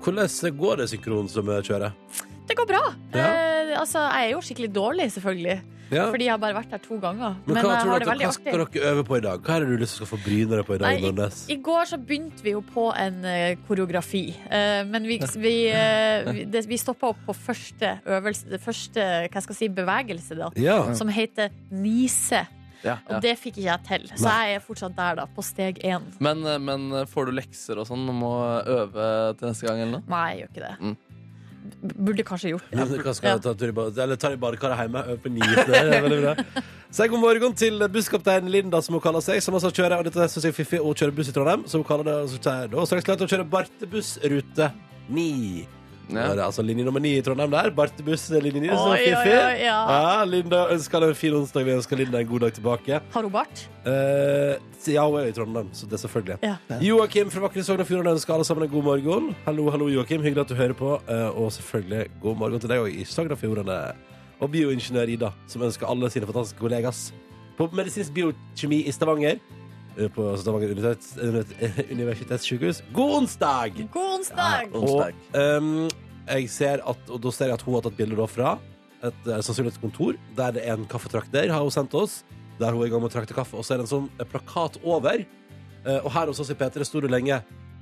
Speaker 2: Hvordan går det synkronsvømmekjøret?
Speaker 3: Det går bra.
Speaker 2: Ja.
Speaker 3: Eh, altså, jeg er jo skikkelig dårlig, selvfølgelig,
Speaker 2: Ja.
Speaker 3: fordi jeg har bare vært der to ganger.
Speaker 2: Men,
Speaker 3: Men,
Speaker 2: hva,
Speaker 3: jeg
Speaker 2: tror
Speaker 3: har det
Speaker 2: dere,
Speaker 3: veldig
Speaker 2: hva
Speaker 3: artig.
Speaker 2: skal dere øve på i dag? Hva er det du lyst til å få bryne deg på i dag?
Speaker 3: Nei, i-
Speaker 2: Nordnes?
Speaker 3: I går så begynte vi jo på en eh, koreografi, eh, men vi, vi, eh, vi, det- vi stoppa opp på første øvelse, det første hva skal jeg si, bevegelse, da,
Speaker 2: Ja.
Speaker 3: som heter nise.
Speaker 7: Ja,
Speaker 3: Og det fikk ikke jeg til, så
Speaker 2: Nei.
Speaker 3: jeg er fortsatt der, da, på steg én.
Speaker 7: Men, eh, men får du lekser og sånn om å øve til neste gang eller noe?
Speaker 3: Nei, jeg gjør ikke det.
Speaker 7: Mm.
Speaker 3: B- Burde kanskje gjort det.
Speaker 2: Men Hva skal jeg ta, tur i bad- eller ta i badekaret hjemme? Øve på niende. det er veldig bra. Si god morgen til busskaptein Linda, som hun kaller seg. Som altså kjører, og dette synes jeg er fiffig, hun kjører buss i Trondheim. Så hun kaller det og så sier hun, «Nå er straks klart å kjøre Bartebuss rute 9. Nå er det altså linje nummer 9 i Trondheim der. Bartebuss linje 9, så
Speaker 3: Oi, oi,
Speaker 2: fiffig.
Speaker 3: oi, ja.
Speaker 2: Ja, Linda ønsker deg en fin onsdag. Vi ønsker Linda en god dag tilbake.
Speaker 3: Har hun bart?
Speaker 2: Eh, ja, hun er i Trondheim, så det er selvfølgelig.
Speaker 3: Ja.
Speaker 2: Joakim fra vakre Sogn og Fjordane ønsker alle sammen en god morgen. Hallo, hallo, Joakim. Hyggelig at du hører på. Eh, og selvfølgelig god morgen til deg òg i Sogn og Fjordane. Og bioingeniør Ida, som ønsker alle sine fantastiske kollegas på medisinsk biokjemi i Stavanger. eh, På Stavanger universitets, univers- universitetssykehus. God onsdag!
Speaker 3: God onsdag!
Speaker 2: Og ehm, jeg ser at, og da ser jeg at hun har tatt bilde da fra et, eh, sannsynlig et kontor der det er en kaffetrakter, har hun sendt oss. Der hun er i gang med å trakte kaffe. Og så er det en sånn eh, plakat over. Eh, og her hos oss i P3 sto det lenge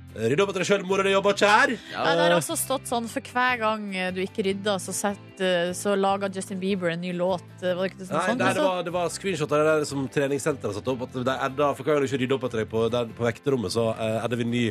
Speaker 2: Rydd opp etter deg sjøl, mora di jobber ikke her.
Speaker 3: Nei,
Speaker 7: Eh,
Speaker 3: det har også stått sånn For hver gang eh, du ikke rydder, så, sett, eh, så lager Justin Bieber en ny låt. Eh, Var det ikke
Speaker 2: Nei,
Speaker 3: sånn?
Speaker 2: nei, det
Speaker 3: Altså,
Speaker 2: var, det var screenshot av det der som treningssenteret har satt opp. At de edda, for hver gang du ikke rydder opp etter deg på, der, på vekterommet, så eh, edder vi ny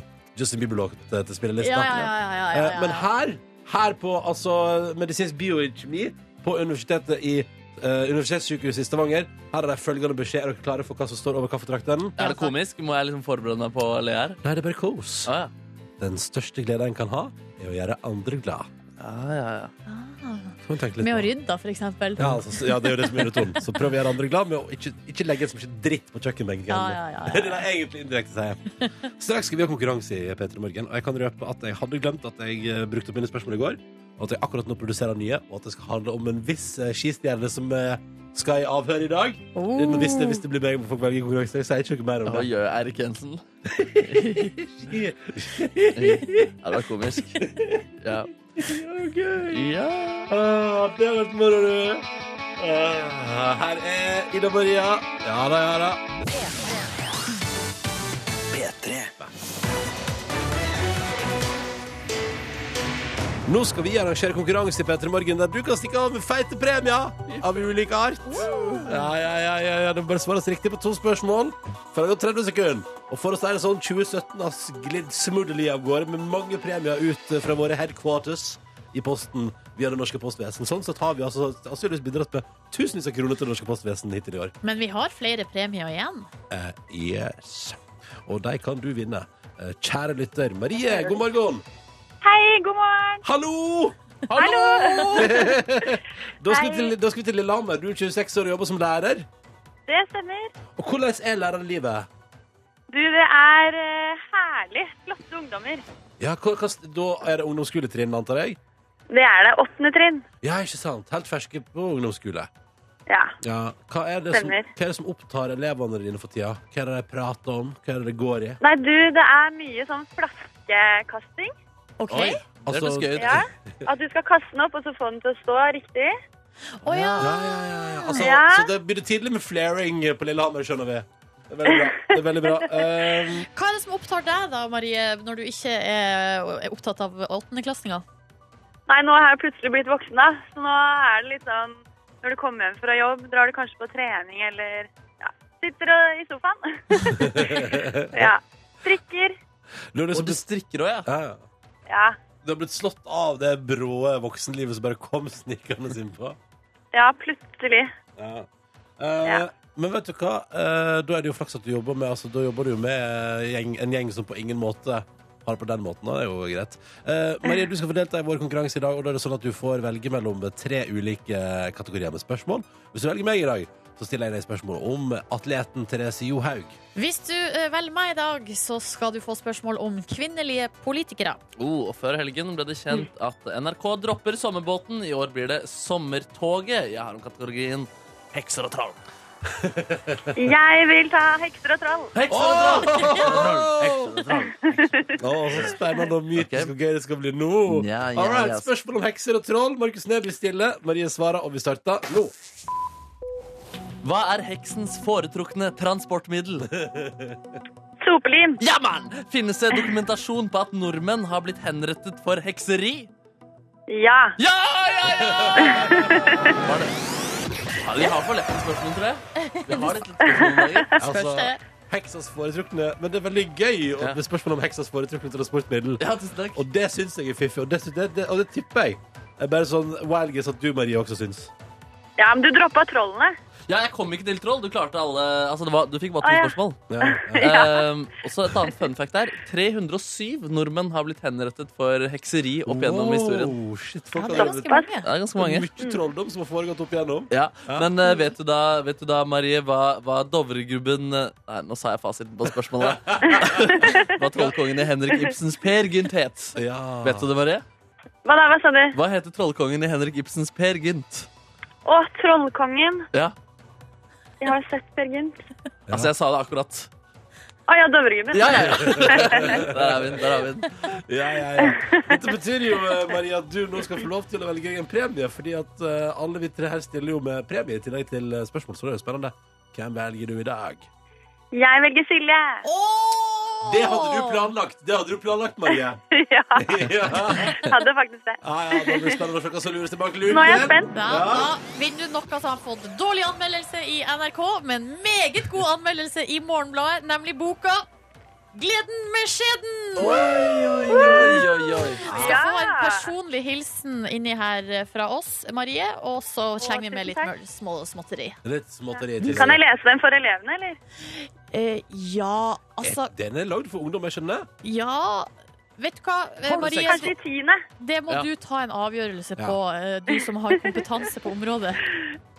Speaker 2: Justin Bieber-låt eh, til, til spillelisten.
Speaker 3: ja, ja, ja, ja, ja, ja,
Speaker 2: Eh,
Speaker 3: ja.
Speaker 2: Men her, her på altså, medisinsk biokjemi på universitetet i eh, Universitetssykehuset i Stavanger Her er det følgende beskjed. Er dere klare for hva som står over kaffetrakten?
Speaker 4: Er det komisk? Må jeg liksom forberede meg på å le her?
Speaker 2: Nei, det er bare kos.
Speaker 4: Ah, ja.
Speaker 2: Den største gleden en kan ha, er å gjøre andre glad.
Speaker 4: Ja, ja, ja.
Speaker 3: Ah,
Speaker 2: Kan du tenke litt
Speaker 3: Med å
Speaker 2: på?
Speaker 3: rydde, for eksempel.
Speaker 2: Ja, altså, så- ja, det er jo det som er undertonen. Så prøv å gjøre andre glad med å ikke, ikke legge så mye dritt på kjøkkenbenken.
Speaker 3: Ja, ja, ja, ja.
Speaker 2: Det er det jeg egentlig indirekte sier. Straks skal vi ha konkurranse i P3 Morgen, og jeg kan røpe at jeg hadde glemt at jeg eh, brukte opp mine spørsmål i går, og at jeg akkurat nå produserer nye, og at det skal handle om en viss eh, skistjerne som eh, skal i avhør i dag.
Speaker 3: Oh.
Speaker 2: Men Hvis, det, hvis det blir meg, må folk velge konkurranse. Jeg sier ikke noe mer om
Speaker 4: Hva
Speaker 2: det.
Speaker 4: gjør Erik Jensen?
Speaker 2: Ja,
Speaker 4: Ja, det var komisk. Ja.
Speaker 2: gøy.
Speaker 4: ja.
Speaker 2: Ah, det har vært moro, du. Ah, her er Ida Maria. Ja da, ja da. Nå skal vi arrangere konkurranse i P3 Morgen der du kan stikke av med feite premier av ulik art. Ja, ja, ja, ja, ja. Det må bare svares riktig på to spørsmål. For det har gått 30 sekunder. Og for å si det sånn, 2017 har glidd smoothly av gårde med mange premier ut eh, fra våre headquarters i posten via det norske postvesen. Sånn sett har vi altså sannsynligvis bidratt med tusenvis av kroner til det norske postvesen hittil i år.
Speaker 3: Men vi har flere premier igjen.
Speaker 2: Eh, yes. Og de kan du vinne. Eh, Kjære lytter, Marie, god morgen.
Speaker 8: Hei, god morgen.
Speaker 2: Hallo!
Speaker 8: Hallo!
Speaker 2: Da skal, vi
Speaker 8: Hei.
Speaker 2: til, da skal vi til Lillehammer. Du er 26 år og jobber som lærer.
Speaker 8: Det stemmer.
Speaker 2: Og hvordan er lærerlivet?
Speaker 8: Du, det er eh, herlig. Flotte ungdommer.
Speaker 2: Ja, hva, hva, da er det ungdomsskoletrinn, antar jeg?
Speaker 8: Det er det. Åttende trinn.
Speaker 2: Ja, ikke sant? Helt ferske på ungdomsskole.
Speaker 8: Ja.
Speaker 2: Ja. Hva, er det som,
Speaker 8: Stemmer.
Speaker 2: hva er det som opptar elevene dine for tida? Hva er det de prater om? Hva er det det går i?
Speaker 8: Nei, du, det er mye sånn flaskekasting.
Speaker 3: OK?
Speaker 4: Oi, det
Speaker 2: Altså-
Speaker 4: høres gøy ut.
Speaker 8: Ja. At du skal kaste den opp, og så få den til å stå riktig.
Speaker 3: Å ja.
Speaker 2: Ja, ja, ja, ja. Altså,
Speaker 8: Ja.
Speaker 2: Så det begynner tidlig med flaring på Lillehammer, skjønner vi. Det er veldig bra. Det er veldig bra. Um,
Speaker 3: Hva er det som opptar deg, da, Marie, når du ikke er er opptatt av åttendeklassinger?
Speaker 8: Nei, nå har jeg plutselig blitt voksen, da. Så nå er det litt sånn når du kommer hjem fra jobb, drar du kanskje på trening eller ja, sitter og, i sofaen. ja. Strikker.
Speaker 2: nå er det
Speaker 4: Og
Speaker 2: så
Speaker 4: du
Speaker 2: blitt,
Speaker 4: strikker òg, ja.
Speaker 2: ja, ja.
Speaker 8: Ja.
Speaker 2: Du har blitt slått av det brå voksenlivet som bare kom snikende innpå.
Speaker 8: Ja, plutselig.
Speaker 2: Ja. Eh,
Speaker 8: Ja.
Speaker 2: Men vet du hva? Eh, da er det jo flaks at du jobber med altså, Da jobber du jo med eh, gjeng, en gjeng som på ingen måte har det på den måten. Da. Det er jo greit. Eh, Marie, du skal få delta i vår konkurranse i dag, og da er det sånn at du får velge mellom tre ulike eh, kategorier med spørsmål. Hvis du velger meg i dag, så stiller jeg deg spørsmål om atleten Therese Johaug.
Speaker 3: Hvis du eh, velger meg i dag, så skal du få spørsmål om kvinnelige politikere.
Speaker 4: Oh, og før helgen ble det kjent at NRK dropper sommerbåten. I år blir det Sommertoget. Jeg har om kategorien hekser og troll.
Speaker 8: Jeg vil ta hekser og troll.
Speaker 4: Hekser og troll! Hekser og troll! Hekser og troll.
Speaker 2: Å, så spennende og mytisk
Speaker 4: Ok.
Speaker 2: og gøy det skal bli nå.
Speaker 4: Ja, ja,
Speaker 2: Alright,
Speaker 4: ja.
Speaker 2: Spørsmål om hekser og troll. Markus Neby stiller. Marie svarer, og vi starter nå.
Speaker 4: Hva er heksens foretrukne transportmiddel?
Speaker 8: Sopelin.
Speaker 4: Ja, mann! Finnes det dokumentasjon på at nordmenn har blitt henrettet for hekseri?
Speaker 8: Ja.
Speaker 4: Ja, ja, ja! Var det? Ja, vi har for lette spørsmål, tror jeg. Vi har litt lette spørsmål i dag.
Speaker 2: Altså,
Speaker 3: Spørs det.
Speaker 2: heksas foretrukne Men det er veldig gøy å-
Speaker 4: Ja.
Speaker 2: med spørsmål om heksas foretrukne transportmiddel.
Speaker 4: Ja, tusen takk.
Speaker 2: Og det syns jeg er fiffig, og det, syns- det, det, og det tipper jeg. Det er bare sånn wild guess at du, Marie, også syns.
Speaker 8: Ja, men du droppa trollene.
Speaker 4: Ja, jeg kom ikke til troll. Du klarte alle Altså, det var, du fikk
Speaker 8: Å,
Speaker 4: bare to
Speaker 8: ja.
Speaker 4: spørsmål.
Speaker 2: Ja, ja.
Speaker 4: Ehm, og så et annet fun fact der. 307 nordmenn har blitt henrettet for hekseri opp gjennom historien.
Speaker 2: Wow, shit, folk
Speaker 3: Ja, det
Speaker 2: har
Speaker 3: er ganske mange.
Speaker 4: Det er ganske
Speaker 2: mye
Speaker 4: mange.
Speaker 2: trolldom som har foregått opp igjennom.
Speaker 4: Ja,
Speaker 2: Ja.
Speaker 4: Men eh, vet, du da, vet du da, Marie, hva, hva Dovregubben eh, Nei, nå sa jeg fasiten på spørsmålet. hva trollkongen i Henrik Ibsens Per Gynt het.
Speaker 2: Ja.
Speaker 4: Vet du det, Marie?
Speaker 8: Hva da, hva sa du?
Speaker 4: Hva heter trollkongen i Henrik Ibsens Per Gynt?
Speaker 8: Å, Trollkongen.
Speaker 4: Ja,
Speaker 8: Jeg har sett Per Gynt.
Speaker 4: altså jeg sa det akkurat.
Speaker 8: Å ja, Dovregubben.
Speaker 4: Ja, ja, ja. Der er vi den. der er vi den.
Speaker 2: Ja, ja, ja. Dette betyr jo eh, Maria, at du nå skal få lov til å velge en premie. Fordi at eh, alle vi tre her stiller jo med premie i tillegg til eh, spørsmål, så det er jo spennende. Hvem velger du i dag?
Speaker 8: Jeg velger Silje.
Speaker 3: Åh,
Speaker 2: Det hadde du planlagt, det hadde du planlagt, Marie.
Speaker 8: ja,
Speaker 2: ja.
Speaker 8: hadde faktisk det.
Speaker 2: Ja, ja, da blir det spennende å se hva som lurer tilbake luken.
Speaker 8: Nå er jeg spent.
Speaker 3: Da, da vinner du noe som har fått dårlig anmeldelse i NRK, men meget god anmeldelse i Morgenbladet, nemlig boka 'Gleden med skjeden'.
Speaker 7: Oi, oi, oi, oi.
Speaker 3: Du skal få en personlig hilsen inni her eh, fra oss, Marie, og så slenger vi med litt
Speaker 8: tusen
Speaker 3: mør- små småtteri.
Speaker 2: Litt småtteri til.
Speaker 8: Kan jeg lese den for elevene, eller?
Speaker 3: Eh, ja, altså
Speaker 2: Den er lagd for ungdom, jeg skjønner.
Speaker 3: Ja. Vet du hva, eh, Marie?
Speaker 8: Kanskje i tiende?
Speaker 3: Det må
Speaker 7: Ja.
Speaker 3: du ta en avgjørelse
Speaker 2: Ja.
Speaker 3: på, eh, du som har kompetanse på området.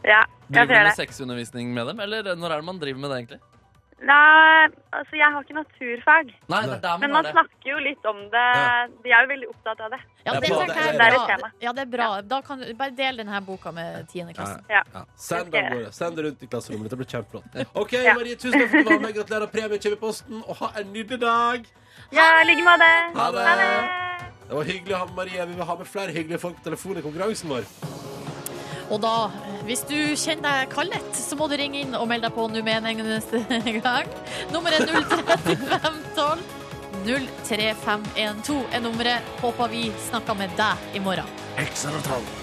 Speaker 8: Ja, jeg
Speaker 7: Driver du
Speaker 8: ser
Speaker 7: med
Speaker 8: det.
Speaker 7: sexundervisning med dem, eller når er det man driver med det, egentlig?
Speaker 8: Nei, altså, jeg har ikke naturfag,
Speaker 7: Nei, det er der man
Speaker 8: men man
Speaker 7: har det.
Speaker 8: snakker jo litt om det. De er jo veldig opptatt av det.
Speaker 3: Ja,
Speaker 2: Det er
Speaker 3: det
Speaker 2: bra,
Speaker 3: tenker jeg
Speaker 2: det
Speaker 8: er
Speaker 3: er
Speaker 8: et
Speaker 3: bra.
Speaker 8: tema.
Speaker 3: Ja, det er bra. Da kan du bare del denne boka med tiendeklassen.
Speaker 8: Ja.
Speaker 2: Ja. Send den
Speaker 8: Ok.
Speaker 2: våre. Send det rundt i klasserommet. Dette blir kjempeflott. OK,
Speaker 8: Ja.
Speaker 2: Marie, tusen takk for at du var med. Gratulerer. Premie kommer i posten. Og ha en nydelig dag.
Speaker 8: Ja, i like måte.
Speaker 2: Ha det.
Speaker 8: Ha det.
Speaker 2: Det var hyggelig å ha med Marie. Vi vil ha med flere hyggelige folk på telefon i konkurransen vår.
Speaker 3: Og da, hvis du kjenner deg kallet, så må du ringe inn og melde deg på nå med en eneste gang. Nummeret er 03512. 03512 er nummeret. Håper vi snakker med deg i morgen.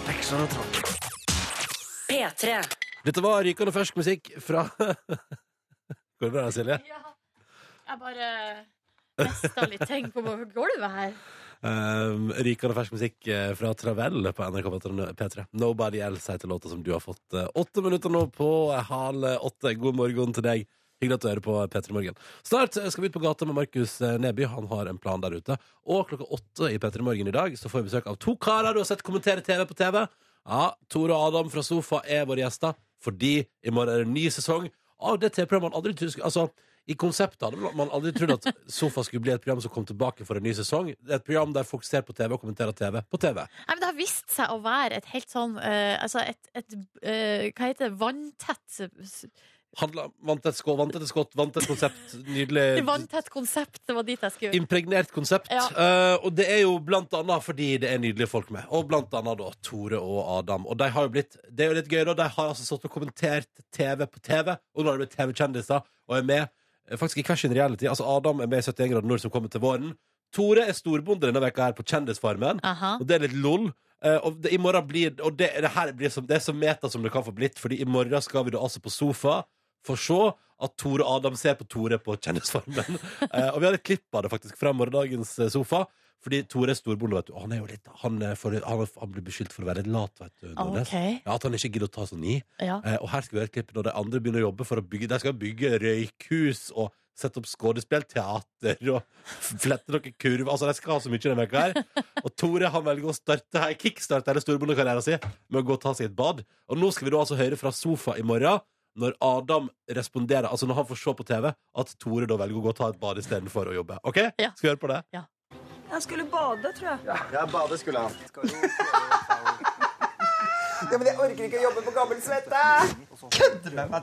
Speaker 1: P3.
Speaker 2: Dette var rykende fersk musikk fra Går det bra, Silje?
Speaker 3: Jeg bare mista litt ting på gulvet her.
Speaker 2: Um, rykende fersk musikk eh, fra Travell på NRK P3. Nobody Else heter låta som du har fått. eh, Åtte minutter nå på halv åtte. God morgen til deg. Hyggelig at du hører på P3 Morgen. Snart eh, skal vi ut på gata med Markus eh, Neby. Han har en plan der ute. Og klokka åtte i P3 Morgen i dag så får vi besøk av to karer du har sett kommentere TV på TV. Ja, Tore og Adam fra Sofa er våre gjester, fordi i morgen er det en ny sesong av det TV-programmet man aldri trodde skulle- Altså, i konseptet hadde man aldri trodd at Sofa skulle bli et program som kom tilbake for en ny sesong. Det er Et program der folk ser på TV og kommenterer TV på TV.
Speaker 3: Nei, men det har vist seg å være et helt sånn eh, Altså et, et eh, Hva heter det? Vanntett
Speaker 2: Handla, vant et skå, vant et skott, vant et konsept. Nydelig.
Speaker 3: Vanntett konsept. Det var dit jeg skulle.
Speaker 2: Impregnert konsept.
Speaker 3: Ja.
Speaker 2: Eh, og det er jo blant annet fordi det er nydelige folk med. Og blant annet da Tore og Adam. Og de har jo blitt, det er jo litt gøy, da. De har altså stått og kommentert TV på TV, og nå har de blitt TV-kjendiser og er med eh, faktisk i hver sin reality. Altså Adam er med i 71 grader nord som kommer til våren. Tore er storbonde denne veka her på Kjendisfarmen.
Speaker 3: Aha.
Speaker 2: Og det er litt lol. Eh, og det, i morgen blir, og det, det her blir som, det er så meta som det kan få blitt, Fordi i morgen skal vi da altså på sofa for se at Tore Adam ser på Tore på Kjendisfarmen. Eh, og vi har et klipp av det faktisk fra morgendagens eh, sofa. Fordi Tore er storbonde, vet du. Og Han, er jo litt, han, er for, han, er- han blir beskyldt for å være litt lat, vet du.
Speaker 3: Ah,
Speaker 2: Nordnes.
Speaker 3: OK.
Speaker 2: Ja, at han ikke gidder å ta sånn i.
Speaker 3: Ja.
Speaker 2: Eh, og her skal vi høre et klipp når de andre begynner å jobbe for å bygge De skal bygge røykhus og sette opp skuespill, teater og flette noen kurver. Altså, de skal ha så mye denne veka her. Og Tore han velger å starte her, kickstarte hele storbondekarrieren sin med å gå og ta seg et bad. Og nå skal vi da altså høre fra sofa i morgen. Når Adam responderer, altså når han får se på TV, at Tore da velger å gå og ta et bad istedenfor å jobbe. OK?
Speaker 3: Ja.
Speaker 2: Skal vi høre på det?
Speaker 9: Jeg skulle bade, tror jeg.
Speaker 10: Ja, bade skulle han. ja, men jeg orker ikke å jobbe på gammel svette!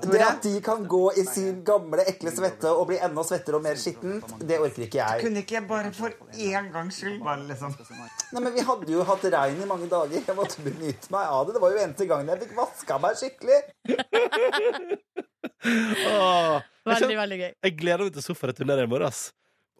Speaker 10: Det at de kan gå i sin gamle, ekle svette og bli enda svettere og mer skittent, det orker ikke jeg.
Speaker 9: Kunne ikke jeg bare for én gangs skyld bare liksom
Speaker 10: Nei, men Vi hadde jo hatt regn i mange dager. Jeg måtte benytte meg av det. Det var jo eneste gangen jeg fikk vaska meg skikkelig.
Speaker 2: Åh, jeg kjenner-
Speaker 3: Veldig, veldig gøy.
Speaker 2: Jeg gleder meg til sofareturnet i morgen. ass.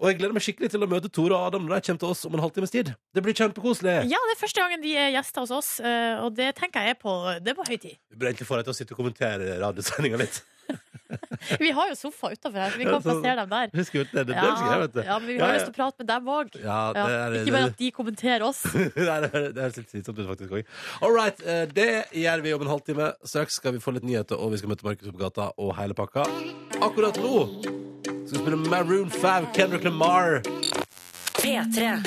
Speaker 2: Og jeg gleder meg skikkelig til å møte Tore og Adam når de kommer til oss om en halvtimes tid. Det blir kjempekoselig.
Speaker 3: Ja, det er første gangen de er gjester hos oss, eh, og det tenker jeg er på Det er på høy tid.
Speaker 2: Vi burde egentlig få deg til å sitte og kommentere radiosendinga litt.
Speaker 3: Vi har jo sofa utafor her, så vi
Speaker 2: Ja,
Speaker 3: kan
Speaker 2: så-
Speaker 3: plassere dem der.
Speaker 2: Husker du det? Det er det som er,
Speaker 3: Ja,
Speaker 2: vet du.
Speaker 3: ja, men vi har
Speaker 2: Ja, ja.
Speaker 3: lyst til å prate med dem òg.
Speaker 2: Ja, det
Speaker 3: Ja.
Speaker 2: er,
Speaker 3: Ikke bare at de kommenterer oss.
Speaker 2: Nei, det høres- det høres litt slitsomt ut, faktisk. også. All right, eh, det gjør vi om en halvtime. Straks skal vi få litt nyheter, og vi skal møte Markus på gata og hele pakka. Akkurat nå skal vi spille Maroon 5, Kendrick Lamar.
Speaker 1: P3.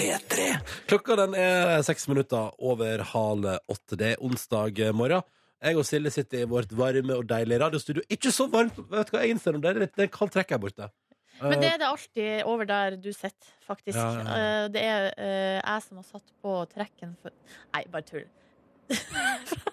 Speaker 2: Klokka den er seks minutter over halv åtte. Det er onsdag morgen. Jeg og Silje sitter i vårt varme og deilige radiostudio. Ikke så varmt! Vet du hva jeg innser om det? Det er litt- Det er en kald trekk her borte.
Speaker 3: Men det er det alltid over der du sitter, faktisk.
Speaker 2: Ja, ja,
Speaker 3: Eh, Det er eh, jeg som har satt på trekken for Nei, bare tull.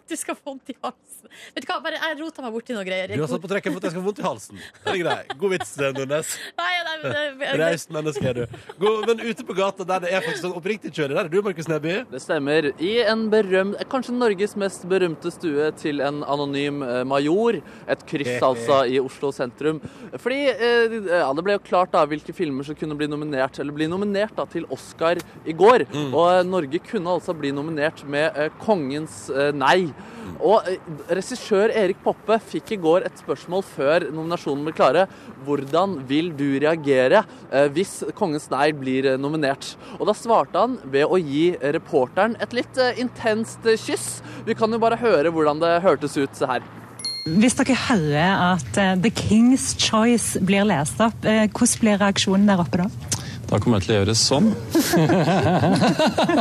Speaker 3: Du skal få vondt i halsen. Vet du hva, bare, jeg rota meg borti noe greier.
Speaker 2: Eh, Du har satt på trekken for at jeg skal få vondt i halsen. Det er grei. God vits, eh, Nordnes.
Speaker 3: Nei, nei, men det-
Speaker 2: Raust menneske er du. God, men ute på gata der det er faktisk sånn oppriktig kjøre, der er du, Markus Neby.
Speaker 4: Det stemmer. I en berømt, kanskje Norges mest berømte stue til en anonym eh, major. Et kryss, altså, i Oslo sentrum. Fordi eh, ja, det ble jo klart da hvilke filmer som kunne bli nominert eller bli nominert da, til Oscar i går. Og eh, Norge kunne altså bli nominert med eh, 'Kongens eh, nei'. Og eh, regissør Erik Poppe fikk i går et spørsmål før nominasjonen ble klare. Hvordan vil du reagere eh, hvis Kongens nei blir eh, nominert? Og da svarte han ved å gi reporteren et litt eh, intenst eh, kyss. Vi kan jo bare høre hvordan det hørtes ut se her.
Speaker 11: Hvis dere hører at eh, The King's Choice blir lest opp, eh, hvordan blir reaksjonen der oppe da?
Speaker 12: Da kommer jeg til å gjøre sånn.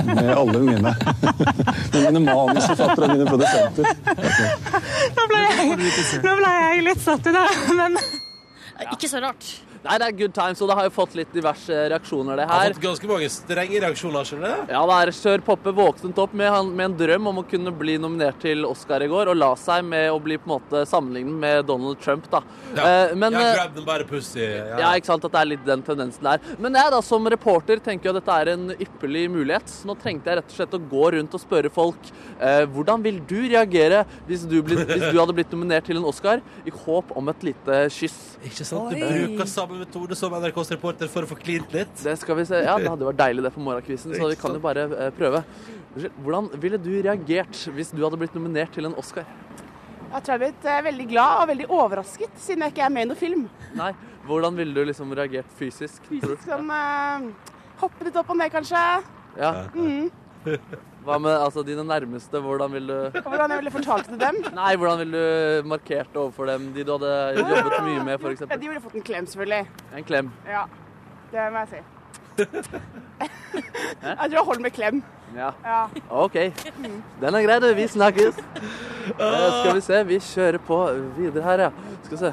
Speaker 12: Med alle mine. Med mine manusforfattere og mine produsenter.
Speaker 11: Nå ble jeg, nå ble jeg litt satt ut der, men
Speaker 3: Ikke så rart.
Speaker 4: Nei, det er good times, og det har jo fått litt diverse reaksjoner, det
Speaker 2: Har
Speaker 4: her.
Speaker 2: fått ganske mange strenge reaksjoner, skjønner du?
Speaker 4: Ja, da er Sør Poppe våknet opp med, han- med en drøm om å kunne bli nominert til Oscar i går, og la seg med å bli på en måte sammenlignet med Donald Trump, da. Eh, men,
Speaker 2: ja,
Speaker 4: eh,
Speaker 2: grab them by the pussy. Ja.
Speaker 4: ja, ikke sant, at det er litt den tendensen der. Men jeg da, som reporter tenker jo at dette er en ypperlig mulighet. Så nå trengte jeg rett og slett å gå rundt og spørre folk eh, hvordan vil du reagere hvis du, blir- hvis du hadde blitt nominert til en Oscar, i håp om et lite kyss.
Speaker 2: Ikke sant? Du bruker samme metode som NRKs reporter for å få klint litt.
Speaker 4: Det skal vi se. Ja, det hadde vært deilig det på morgenkvisten, så vi kan jo bare eh, prøve. Unnskyld, Hvordan ville du reagert hvis du hadde blitt nominert til en Oscar?
Speaker 13: Jeg tror jeg ble eh, veldig glad og veldig overrasket, siden jeg ikke er med i noen film.
Speaker 4: Nei, hvordan ville du liksom reagert fysisk? tror du?
Speaker 13: Som eh, hoppe litt opp og ned, kanskje.
Speaker 4: Ja.
Speaker 13: Mm.
Speaker 4: Hva med altså, dine nærmeste? Hvordan vil du
Speaker 13: Og hvordan jeg ville fortalt det til dem.
Speaker 4: Nei, hvordan ville du markert overfor dem? De du hadde jobbet mye med,
Speaker 13: Ja, de
Speaker 4: f.eks.
Speaker 13: ville fått en klem, selvfølgelig.
Speaker 4: En klem.
Speaker 13: Ja, det må jeg si. jeg tror jeg holder med klem.
Speaker 4: Ja.
Speaker 13: Ja.
Speaker 4: OK. Den er grei, du. Vi snakkes. Eh, skal vi se. Vi kjører på videre her, ja. Skal vi se.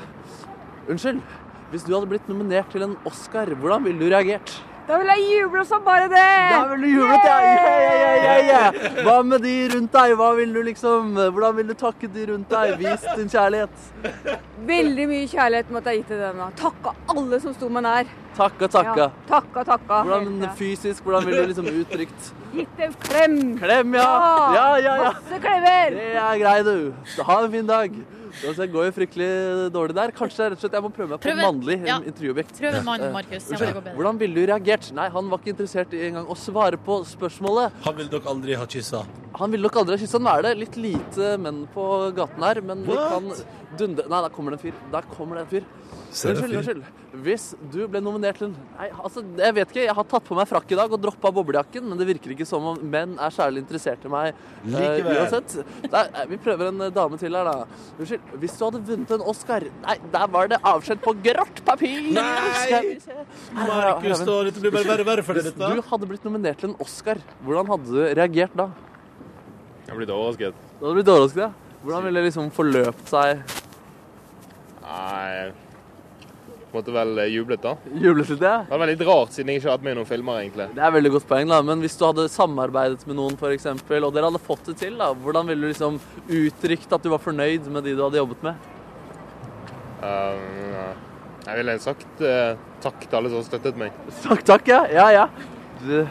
Speaker 4: Unnskyld. Hvis du hadde blitt nominert til en Oscar, hvordan ville du reagert?
Speaker 13: Da vil jeg juble som bare det!
Speaker 4: Da ville du jublet, ja. Yeah, yeah, yeah, yeah, yeah. Hva med de rundt deg? Hva vil du liksom, hvordan vil du takke de rundt deg? Vis din kjærlighet.
Speaker 8: Veldig mye kjærlighet måtte jeg gi til dem. da. Takka alle som sto meg nær.
Speaker 4: Takka, takka.
Speaker 8: Ja, takka, takka.
Speaker 4: Hvordan
Speaker 8: Helt, ja.
Speaker 4: fysisk, hvordan ville du liksom uttrykt
Speaker 8: Gitt dem klem.
Speaker 4: Klem, ja! Ja, ja, ja.
Speaker 8: Masse klemmer.
Speaker 4: Det er grei, du. Så Ha en fin dag. Altså, Det går jo fryktelig dårlig der. Kanskje rett og slett jeg må prøve meg på
Speaker 3: Prøv
Speaker 4: en
Speaker 3: en-
Speaker 4: mannlig
Speaker 3: ja.
Speaker 4: intervjuobjekt.
Speaker 3: Prøv en mann,
Speaker 4: Eh,
Speaker 3: Markus. Ja,
Speaker 4: unnskyld,
Speaker 3: det går bedre.
Speaker 4: Hvordan ville du reagert? Nei, han var ikke interessert i engang å svare på spørsmålet.
Speaker 2: Han vil nok aldri ha kyssa.
Speaker 4: Han ville nok aldri ha kyssa. Nå er det litt lite menn på gaten her, men vi
Speaker 2: What?
Speaker 4: kan dundre Nei, der kommer det en fyr. Der kommer det en fyr.
Speaker 2: Ser du
Speaker 4: Unnskyld,
Speaker 2: fyr?
Speaker 4: unnskyld. Hvis du ble nominert til en Nei, altså, jeg vet ikke. Jeg har tatt på meg frakk i dag og droppa boblejakken, men det virker ikke som om menn er særlig interessert i meg eh,
Speaker 2: Likevel.
Speaker 4: uansett. Nei, nei, vi prøver en eh, dame til her, da. Unnskyld. Hvis du hadde vunnet en Oscar Nei, der var det avskjed på grått papir! Skal vi se. Her, her, her,
Speaker 2: Markus,
Speaker 4: her.
Speaker 2: da, dette blir bare verre og verre for deg,
Speaker 4: Hvis
Speaker 2: dette.
Speaker 4: du hadde blitt nominert til en Oscar, hvordan hadde du reagert da?
Speaker 14: Jeg blir overrasket.
Speaker 4: Du hadde blitt overrasket, ja. Hvordan ville det liksom forløpt seg?
Speaker 14: Nei Måtte vel eh, jublet, da.
Speaker 4: Jublet litt, ja?
Speaker 14: Det var litt rart, siden jeg ikke har hatt med i noen filmer, egentlig.
Speaker 4: Det er veldig godt poeng, da. Men hvis du hadde samarbeidet med noen, f.eks., og dere hadde fått det til, da, hvordan ville du liksom uttrykt at du var fornøyd med de du hadde jobbet med?
Speaker 14: Um, jeg ville sagt eh, takk til alle som har støttet meg.
Speaker 4: Takk, takk, ja. Ja, ja. Du...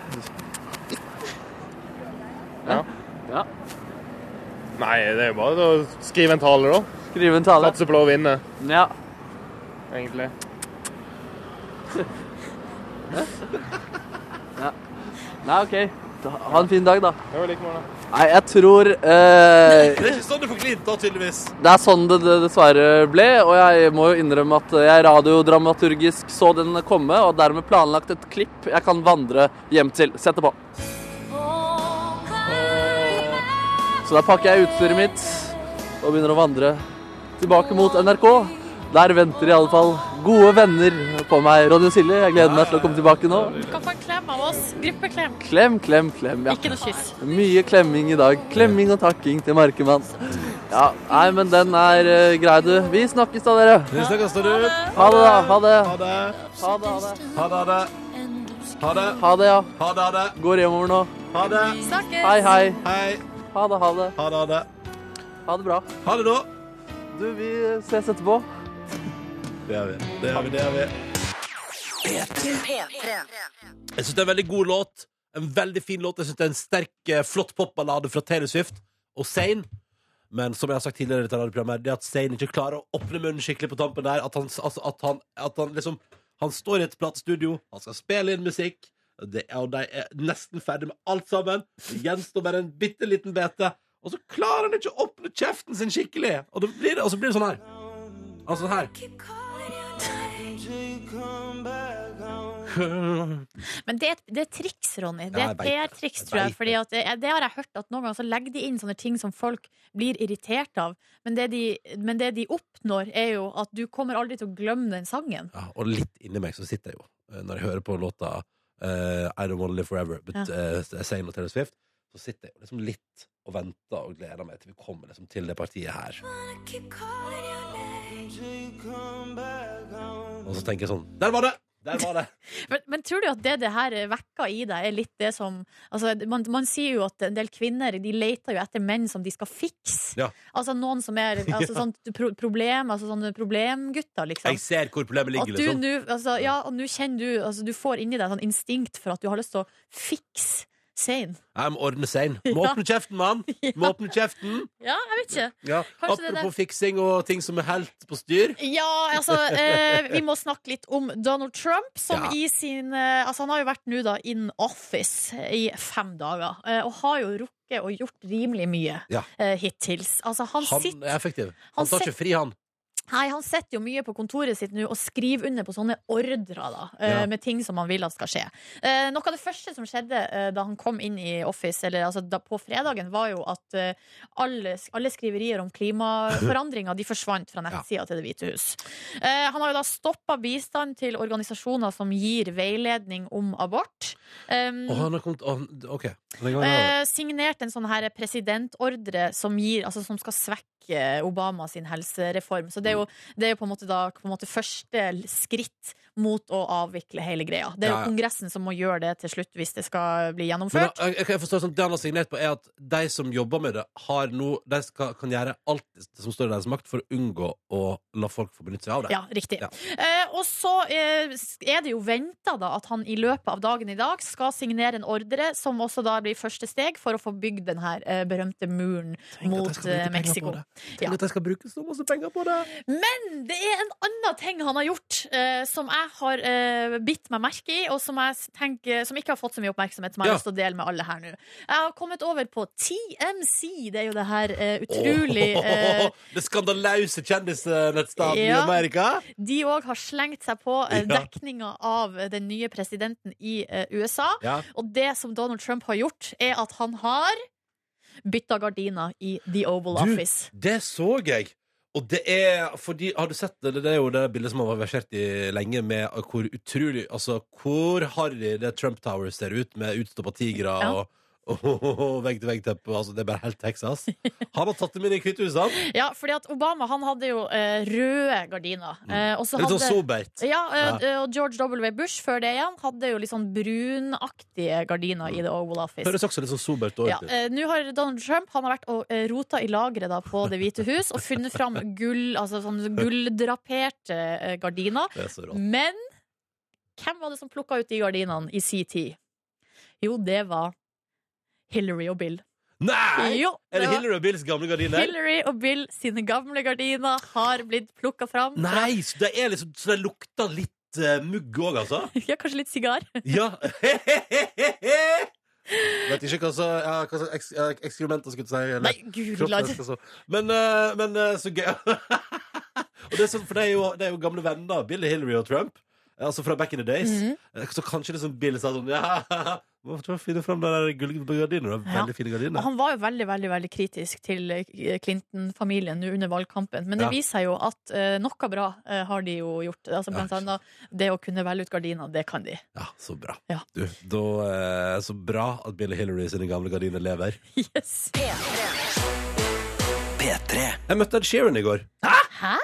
Speaker 14: Ja.
Speaker 4: Ja.
Speaker 14: Nei, det er jo bare å skrive en tale, da.
Speaker 4: Skrive en tale.
Speaker 14: Satse på å vinne,
Speaker 4: Ja.
Speaker 14: egentlig.
Speaker 4: ja. Nei, OK. Da, ha en fin dag, da.
Speaker 14: Det var like måte.
Speaker 4: Nei, jeg tror
Speaker 2: Det
Speaker 4: eh,
Speaker 2: er ikke sånn du får klint, da, tydeligvis.
Speaker 4: Det er sånn det det dessverre ble, og jeg må jo innrømme at jeg radiodramaturgisk så den komme, og dermed planlagt et klipp jeg kan vandre hjem til. Sett det på. Så da pakker jeg utstyret mitt og begynner å vandre tilbake mot NRK. Der venter i alle fall gode venner på meg. Ronny og Silje, jeg gleder meg til å komme tilbake nå.
Speaker 3: Du kan få en klem av oss. Gruppeklem.
Speaker 4: Klem, klem, klem. Ja.
Speaker 3: Ikke noe kyss.
Speaker 4: Mye klemming i dag. Klemming og takking til Markemann. Ja, nei, men den er eh, grei, du. Vi snakkes da, dere.
Speaker 2: Vi snakkes da, du.
Speaker 4: Ha det, da. Ha det.
Speaker 2: Ha
Speaker 4: Ha
Speaker 2: det.
Speaker 4: det, ha det.
Speaker 2: Ha det, ha det. Ha det.
Speaker 4: Ha det, ja.
Speaker 2: Ha det, ha det.
Speaker 4: Går hjemover nå.
Speaker 2: Ha det.
Speaker 3: Snakkes.
Speaker 4: Hei, hei.
Speaker 2: Hei.
Speaker 7: Ha det, ha det.
Speaker 2: Ha det, ha det.
Speaker 7: bra.
Speaker 2: Ha det, da.
Speaker 7: Du, vi ses etterpå.
Speaker 2: Det gjør vi. Det gjør vi, det gjør vi.
Speaker 1: P3.
Speaker 2: Jeg synes det er en veldig god låt. En veldig fin låt. Jeg synes det er en sterk, eh, flott popballade fra Taylor Swift og Zayn. Men som jeg har sagt tidligere, i dette radioprogrammet, det at Zayn ikke klarer å åpne munnen skikkelig på tampen der. At han, altså, at han, at han liksom Han står i et platestudio, han skal spille inn musikk, det, er- og de er nesten ferdig med alt sammen. Det gjenstår bare en bitte liten bete, og så klarer han ikke å åpne kjeften sin skikkelig! Og, det blir, og så blir det sånn her. Altså sånn her.
Speaker 3: Men det er, et- det er triks, Ronny. Det
Speaker 2: Ja,
Speaker 3: er
Speaker 2: jeg
Speaker 3: et
Speaker 2: vet det.
Speaker 3: PR-triks,
Speaker 2: Jeg
Speaker 3: tror jeg.
Speaker 2: vet
Speaker 3: Fordi at det, det har jeg hørt at noen ganger så legger de inn sånne ting som folk blir irritert av. Men det de, men det de oppnår, er jo at du kommer aldri til å glemme den sangen.
Speaker 2: Ja, og litt inni meg så sitter jeg jo, eh, når jeg hører på låta eh, I Don't Wanna Live Forever, but
Speaker 3: Ja.
Speaker 2: eh, Zayn og Taylor Swift, så sitter jeg jo liksom litt og venter og gleder meg til vi kommer liksom til det partiet her. Og så tenker jeg sånn Der var det! Der var det!
Speaker 3: Men, men tror du at det det her vekker i deg, er litt det som altså, man, man sier jo at en del kvinner de leter jo etter menn som de skal fikse.
Speaker 2: Ja.
Speaker 3: Altså noen som er altså,
Speaker 2: Ja.
Speaker 3: sånn pro problem, altså sånne problemgutter, liksom.
Speaker 2: Jeg ser hvor problemet
Speaker 3: At du
Speaker 2: ligger, liksom.
Speaker 3: nå altså, ja, og nå kjenner du altså, Du får inni deg sånn instinkt for at du har lyst til å fikse Zain.
Speaker 2: Jeg må ordne Zayn. Må
Speaker 3: Ja.
Speaker 2: åpne kjeften, mann! Må åpne kjeften!
Speaker 3: Ja, jeg vet ikke.
Speaker 2: Ja.
Speaker 3: Kanskje det er
Speaker 2: Apropos fiksing og ting som er helt på styr.
Speaker 3: Ja, altså, eh, vi må snakke litt om Donald Trump, som
Speaker 2: Ja.
Speaker 3: i sin eh, Altså, han har jo vært nå, da, in office i fem dager, eh, og har jo rukket og gjort rimelig mye
Speaker 2: Ja.
Speaker 3: eh, hittils. Altså, han,
Speaker 2: Han
Speaker 3: sitter
Speaker 2: er effektiv.
Speaker 3: Han
Speaker 2: Han tar ikke
Speaker 3: sitter-
Speaker 2: fri, han.
Speaker 3: Nei, han sitter jo mye på kontoret sitt nå og skriver under på sånne ordrer da, eh,
Speaker 2: Ja.
Speaker 3: med ting som han vil at skal skje. Eh, Noe av det første som skjedde eh, da han kom inn i Office, eller altså da, på fredagen, var jo at eh, alle, alle skriverier om klimaforandringer de forsvant fra nettsida til Det hvite hus. Eh, Han har jo da stoppa bistand til organisasjoner som gir veiledning om abort. Um,
Speaker 2: Og han har kommet å, OK. Den gangen
Speaker 3: Eh,
Speaker 2: han-
Speaker 3: signert en sånn her presidentordre som, gir, altså, som skal svekke eh, Obama sin helsereform. Så det er jo, det er jo på en måte da på en måte første skritt mot å avvikle hele greia. Det er jo
Speaker 2: Ja, ja.
Speaker 3: Kongressen som må gjøre det til slutt hvis det skal bli
Speaker 2: Men
Speaker 3: gjennomført.
Speaker 2: jeg, jeg, jeg forstår det sånn, Det han har signert på, er at de som jobber med det, har nå, de skal, kan gjøre alt det som står i deres makt for å unngå å la folk få benytte seg av det.
Speaker 3: Ja, riktig.
Speaker 2: Ja.
Speaker 3: Eh, og så eh, er det jo venta da at han i løpet av dagen i dag skal signere en ordre som også da blir første steg for å få bygd den her eh, berømte muren mot eh, Mexico.
Speaker 2: Tenk at de skal bruke så masse penger på det!
Speaker 3: Men det er en annen ting han har gjort eh, som jeg har eh, bitt meg merke i, og som jeg s- tenker, som ikke har fått så mye oppmerksomhet, som jeg
Speaker 2: Ja.
Speaker 3: har lyst til å dele med alle her nå. Jeg har kommet over på TMC, det er jo det her eh, utrolig eh,
Speaker 2: det skandaløse kjendisnettstedet i
Speaker 3: Ja.
Speaker 2: Amerika!
Speaker 3: De òg har slengt seg på eh,
Speaker 2: Ja.
Speaker 3: dekninga av den nye presidenten i eh, USA.
Speaker 2: Ja.
Speaker 3: Og det som Donald Trump har gjort, er at han har bytta gardiner i The Oval
Speaker 2: Du,
Speaker 3: Office.
Speaker 2: det så jeg! Og det er fordi Har du sett det? Det er jo det bildet som har vært versert i lenge, med hvor utrolig Altså, hvor harry det Trump Tower ser ut, med utstoppa tigre
Speaker 3: Ja.
Speaker 2: og og vegg-til-vegg-teppe. Altså, det er bare helt Texas. Han har tatt dem inn i Hvithuset. han.
Speaker 3: Ja, fordi at Obama han hadde jo eh, røde gardiner. Eh, og så
Speaker 2: Litt sånn
Speaker 3: hadde-
Speaker 2: sobert.
Speaker 3: Ja, eh,
Speaker 2: Ja.
Speaker 3: og George W. Bush før det igjen hadde jo litt sånn brunaktige gardiner i The Oval Office.
Speaker 2: Høres også litt sånn sobert og
Speaker 3: Ja,
Speaker 2: ordentlig ut.
Speaker 3: eh, Nå har Donald Trump han har vært og eh, rota i lageret da på Det hvite hus og funnet fram gull, altså sånn gulldraperte eh, gardiner.
Speaker 2: Det er så rått.
Speaker 3: Men hvem var det som plukka ut de gardinene i sin tid? Jo, det var Hillary og Bill.
Speaker 2: Nei!
Speaker 3: Jo,
Speaker 2: er det
Speaker 3: det var-
Speaker 2: Hillary og Bills gamle gardiner?
Speaker 3: Hillary og Bill sine gamle gardiner har blitt plukka fram.
Speaker 2: Nei, så det, er liksom, så det lukter litt eh, mugg òg, altså?
Speaker 3: Ja, kanskje litt sigar.
Speaker 2: Ja. Vet ikke hva så, ja, hva så eks, ja, ekskrementer skulle jeg si. eller
Speaker 3: Nei, gud, la det-
Speaker 2: kroppsvæsker, så. Men, eh, men eh, så gøy. og det er sånn, for det er, jo, det er jo gamle venner, da. Bill, Hillary og Trump. Eh, Altså fra back in the days.
Speaker 3: Mhm.
Speaker 2: Eh, Så kanskje liksom Bill sa sånn Ja, må få finne fram de der gullgardinene.
Speaker 3: Ja.
Speaker 2: Veldig
Speaker 3: Og
Speaker 2: fine gardiner.
Speaker 3: han var jo veldig veldig, veldig kritisk til eh, Clinton-familien nå under valgkampen. Men det
Speaker 2: Ja.
Speaker 3: viser seg jo at eh, noe bra eh, har de jo gjort. Altså, blant annet det å kunne velge ut gardiner. Det kan de.
Speaker 2: Ja, så bra. Du, da, eh, så bra at Bill og Hillary sine gamle gardiner lever.
Speaker 3: Yes.
Speaker 2: Jeg møtte Ed Sheeran i går.
Speaker 3: Hæ?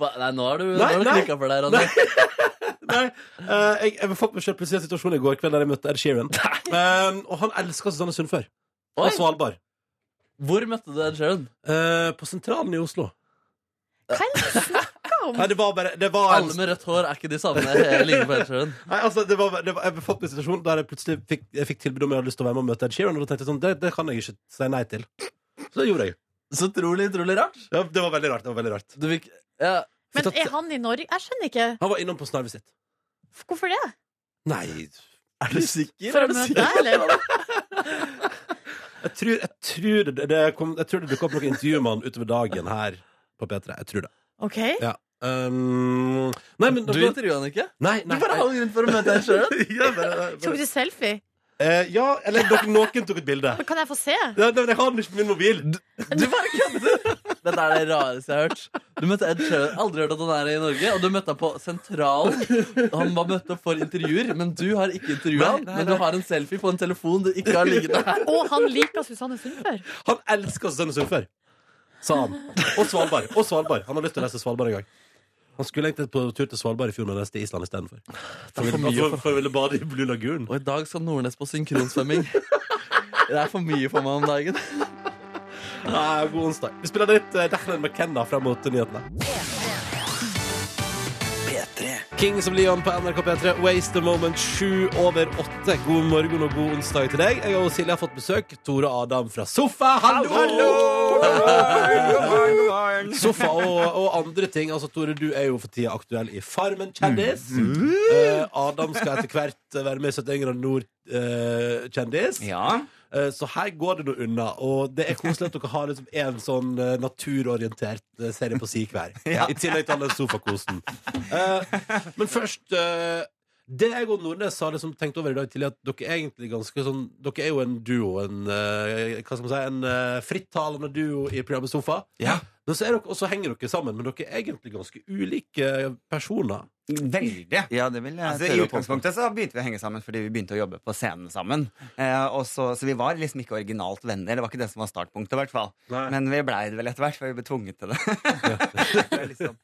Speaker 7: Hva- Nei, nå har du, nå
Speaker 2: Nei,
Speaker 7: har du
Speaker 2: nei.
Speaker 7: klikka for deg, Ronny.
Speaker 2: Eh, jeg, jeg fant meg selv plutselig i en situasjon i går kveld der jeg møtte Ed Sheeran. Eh, og han elsker Susanne Sundfør. På Svalbard.
Speaker 7: Hvor møtte du Ed Sheeran?
Speaker 2: Eh, på Sentralen i Oslo.
Speaker 3: Hva
Speaker 2: Nei, det var bare det var
Speaker 7: Alle med rødt hår er ikke de samme. Jeg ligner på Ed Sheeran.
Speaker 2: Nei, altså, det var, det var, jeg befant meg i en situasjon der jeg plutselig fikk, jeg fikk tilbud om jeg hadde lyst til å være med og møte Ed Sheeran. Og da tenkte jeg sånn, det, det kan jeg ikke si nei til. Så det gjorde jeg.
Speaker 7: Så utrolig, utrolig rart.
Speaker 2: Ja, det var veldig rart. Det var veldig rart.
Speaker 7: Du fikk, ja.
Speaker 3: Men er han i Norge? Jeg skjønner ikke.
Speaker 2: Han var innom på snarvet sitt.
Speaker 3: Hvorfor det?
Speaker 2: Nei Er du sikker?
Speaker 3: For å møte deg, eller?
Speaker 2: Jeg tror, jeg tror det, det kom, jeg tror det dukket opp noen intervjuer med han utover dagen her på P3. Jeg tror det.
Speaker 3: OK.
Speaker 2: Ja. Um, nei, men,
Speaker 7: Du intervjua han ikke?
Speaker 2: Nei, nei,
Speaker 7: Du bare har grunn for å møte Ed Sheeran.
Speaker 2: ja, bare, bare-
Speaker 3: Tok du selfie?
Speaker 2: Eh, ja, eller dere- noen tok et bilde.
Speaker 3: Men Kan jeg få se?
Speaker 2: Ja, nei, men jeg har den ikke på min mobil.
Speaker 7: Dette er det rareste jeg har hørt. Du møtte Ed Sheeran. Aldri hørt at han er i Norge. Og du møtte han på Sentralen. Han var møtt opp for intervjuer, men du har ikke intervjua han. Men du har en selfie på en telefon du ikke har liggende her.
Speaker 3: Og han liker Susanne Sundfør.
Speaker 2: Han elsker Susanne Sundfør. Sa han. Og Svalbard. Og Svalbard. Han har lyst til å reise til Svalbard en gang. Han skulle egentlig på tur til Svalbard i fjor, men reiste til Island istedenfor. For,
Speaker 7: for mye
Speaker 2: for,
Speaker 7: for-
Speaker 2: for å ville bade i Blue Lagoon.
Speaker 7: Og i dag skal Nordnes på synkronsvømming. Det er for mye for meg om dagen.
Speaker 2: Nei, god onsdag. Vi spiller litt uh, Declan McKenna frem mot nyhetene. Kings of Leon på NRK P3. Waste the moment sju over åtte. God morgen og god onsdag til deg. Jeg og Silje har fått besøk. Tore Adam fra Sofa. Hallo! Sofa og, og andre ting. Altså, Tore, du er jo for tida aktuell i Farmen kjendis. Eh, Adam skal etter hvert være med i 71 grader nord-kjendis. Eh, Så her går det noe unna, og det er koselig at dere har liksom en sånn eh, naturorientert eh, serie på si hver.
Speaker 15: Ja.
Speaker 2: I tillegg til all den sofakosen. Eh, Men først eh, Det jeg og Nordnes har liksom tenkt over i dag tidlig, at dere er egentlig ganske sånn Dere er jo en duo, en, eh, hva skal man si, en eh, frittalende duo i programmet Sofa. Men så er dere, og så henger dere sammen, men dere er egentlig ganske ulike personer.
Speaker 15: Veldig.
Speaker 2: Ja, det vil
Speaker 15: Altså, I utgangspunktet så begynte vi å henge sammen fordi vi begynte å jobbe på scenen sammen. Eh, og så, så vi var liksom ikke originalt venner. Det var ikke det som var startpunktet. i hvert fall Men vi blei det vel etter hvert, for vi ble tvunget til det. Det er liksom.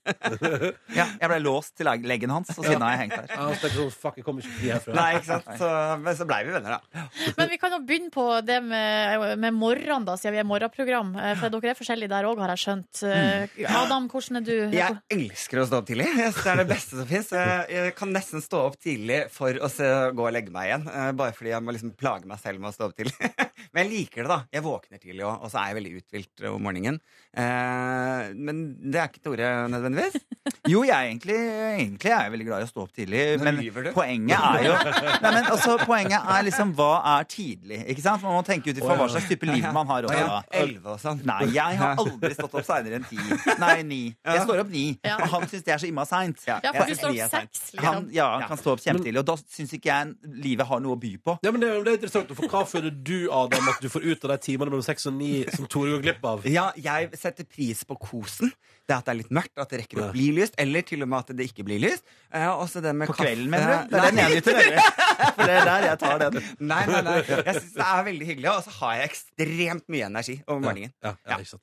Speaker 15: ja, jeg blei låst til leg- leggen hans, og siden har jeg hengt der.
Speaker 2: Ja, så tenker jeg sånn, fuck, jeg kommer ikke fri herfra.
Speaker 15: Nei, ikke sant? Så, men så blei vi venner, da.
Speaker 3: Men vi kan jo begynne på det med, med morgenen, da, siden vi er morgenprogram. Eh, For dere er forskjellige der òg, har jeg skjønt. Eh, Adam, hvordan er du?
Speaker 15: Jeg elsker å stå opp tidlig. Jeg synes Det er det beste som fins. Jeg kan nesten stå opp tidlig for å se, gå og legge meg igjen. eh, Bare fordi jeg må liksom plage meg selv med å stå opp tidlig. Men jeg liker det, da. Jeg våkner tidlig òg, og så er jeg veldig uthvilt om morgenen. Eh, Men det er ikke Tore nødvendigvis.
Speaker 16: Jo, jeg er egentlig, egentlig er jeg veldig glad i å stå opp tidlig.
Speaker 15: Nå
Speaker 16: Men
Speaker 15: lyver du.
Speaker 16: poenget er jo nei, men altså, Poenget er liksom hva er tidlig? Ikke sant? Man må tenke ut ifra hva slags type liv man har også. da.
Speaker 15: Elleve og sånn.
Speaker 16: Nei, jeg har aldri stått opp seinere enn ti. Nei, ni. Jeg står opp ni.
Speaker 15: Ja.
Speaker 16: Og han syns det er så imma seint.
Speaker 15: Ja, for du står opp seks, liksom.
Speaker 16: Han ja,
Speaker 15: Ja.
Speaker 16: kan stå opp kjempetidlig. Og da syns ikke jeg livet har noe å by på.
Speaker 2: Ja, men det, er jo- det er interessant, for Hva føler du, Adam, at du får ut av de timene mellom seks og ni som Tore går glipp av?
Speaker 15: Ja, jeg setter pris på kosen. Det at det er litt mørkt, at det rekker å bli lyst. Eller til og med at det ikke blir lyst. Eh, også det med
Speaker 16: På kvelden,
Speaker 15: kaffe.
Speaker 16: mener du? Det er den
Speaker 15: Nei.
Speaker 16: jeg nyter, dere. For det er der jeg tar den.
Speaker 15: Nei, nei, nei. Jeg syns det er veldig hyggelig, og så har jeg ekstremt mye energi om morgenen.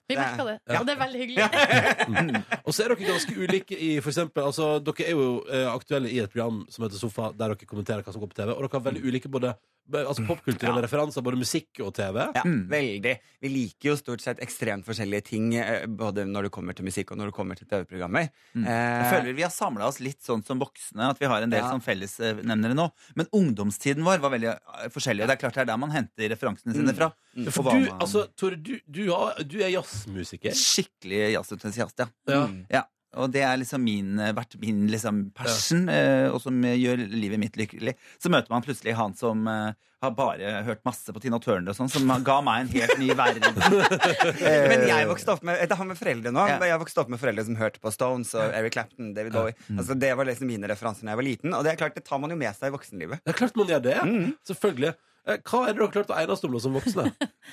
Speaker 3: Vi merka det.
Speaker 2: Ja.
Speaker 3: Og det er veldig hyggelig.
Speaker 2: Og så er dere ganske ulike i for eksempel, altså, Dere er jo eh, aktuelle i et program som heter Sofa, der dere kommenterer hva som går på TV. Og dere har veldig ulike både be- altså, popkulturelle referanser, både musikk og TV.
Speaker 15: Ja,
Speaker 16: Mm.
Speaker 15: veldig. Vi liker jo stort sett ekstremt forskjellige ting, eh, både når det kommer til musikk og når det kommer til TV-programmer. Eh,
Speaker 16: Mm. Jeg føler vi har samla oss litt sånn som voksne, at vi har en del
Speaker 15: Ja.
Speaker 16: sånn fellesnevnere nå. Men ungdomstiden vår var veldig eh, forskjellig, og det er klart det er der man henter referansene sine fra.
Speaker 2: Mm.
Speaker 16: Og
Speaker 2: For
Speaker 16: hva
Speaker 2: du,
Speaker 16: man-
Speaker 2: altså, Tore, du, du, har, du er jazzmusiker.
Speaker 16: Skikkelig jazzentusiast, ja.
Speaker 2: Ja.
Speaker 16: ja. Og det er liksom min, eh, vært min liksom passion, eh, og som gjør livet mitt lykkelig. Så møter man plutselig han som eh, har bare hørt masse på Tina Turner og sånn, som ga meg en helt ny verden. Eh,
Speaker 15: Men jeg vokste opp med Det har med foreldre nå. men Jeg vokste opp med foreldre som hørte på Stones og Eric Clapton, David Bowie.
Speaker 16: Mm.
Speaker 15: Altså, det var liksom mine referanser da jeg var liten, og det er klart, det tar man jo med seg i voksenlivet.
Speaker 2: Det er klart man gjør det. Selvfølgelig. Eh, Hva er det dere har klart å enes om nå som voksne?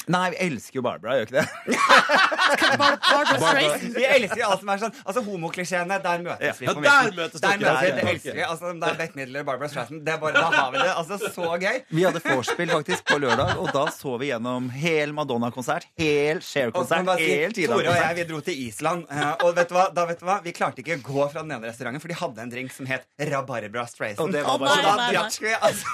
Speaker 16: Nei, vi elsker jo Barbara, gjør ikke det?
Speaker 2: Streisand.
Speaker 15: Vi elsker jo alt som er sånn. Altså Homoklisjeene, der møtes vi.
Speaker 2: Ja,
Speaker 15: på
Speaker 2: der
Speaker 15: midten.
Speaker 2: møtes
Speaker 15: der
Speaker 2: dere.
Speaker 15: møtes vi,
Speaker 2: Ok.
Speaker 15: det elsker vi. Altså, om det er Bette Midler, Barbara Streisand, det er bare, da har vi det. Altså, så gøy.
Speaker 16: Vi hadde vorspiel faktisk på lørdag, og da så vi gjennom hel Madonna-konsert, hel
Speaker 15: Og så må jeg
Speaker 16: Cher-konsert,
Speaker 15: bare si,
Speaker 16: hel
Speaker 15: Tore og jeg
Speaker 16: Tida-konsert.
Speaker 15: vi dro til Island, eh, og vet du hva? da vet du hva? Vi klarte ikke å gå fra den ene restauranten, for de hadde en drink som het Rabarbra Streisand.
Speaker 16: Og det
Speaker 15: Så
Speaker 16: var bare-
Speaker 15: da
Speaker 16: Å, nei, nei, nei.
Speaker 15: drakk vi, altså.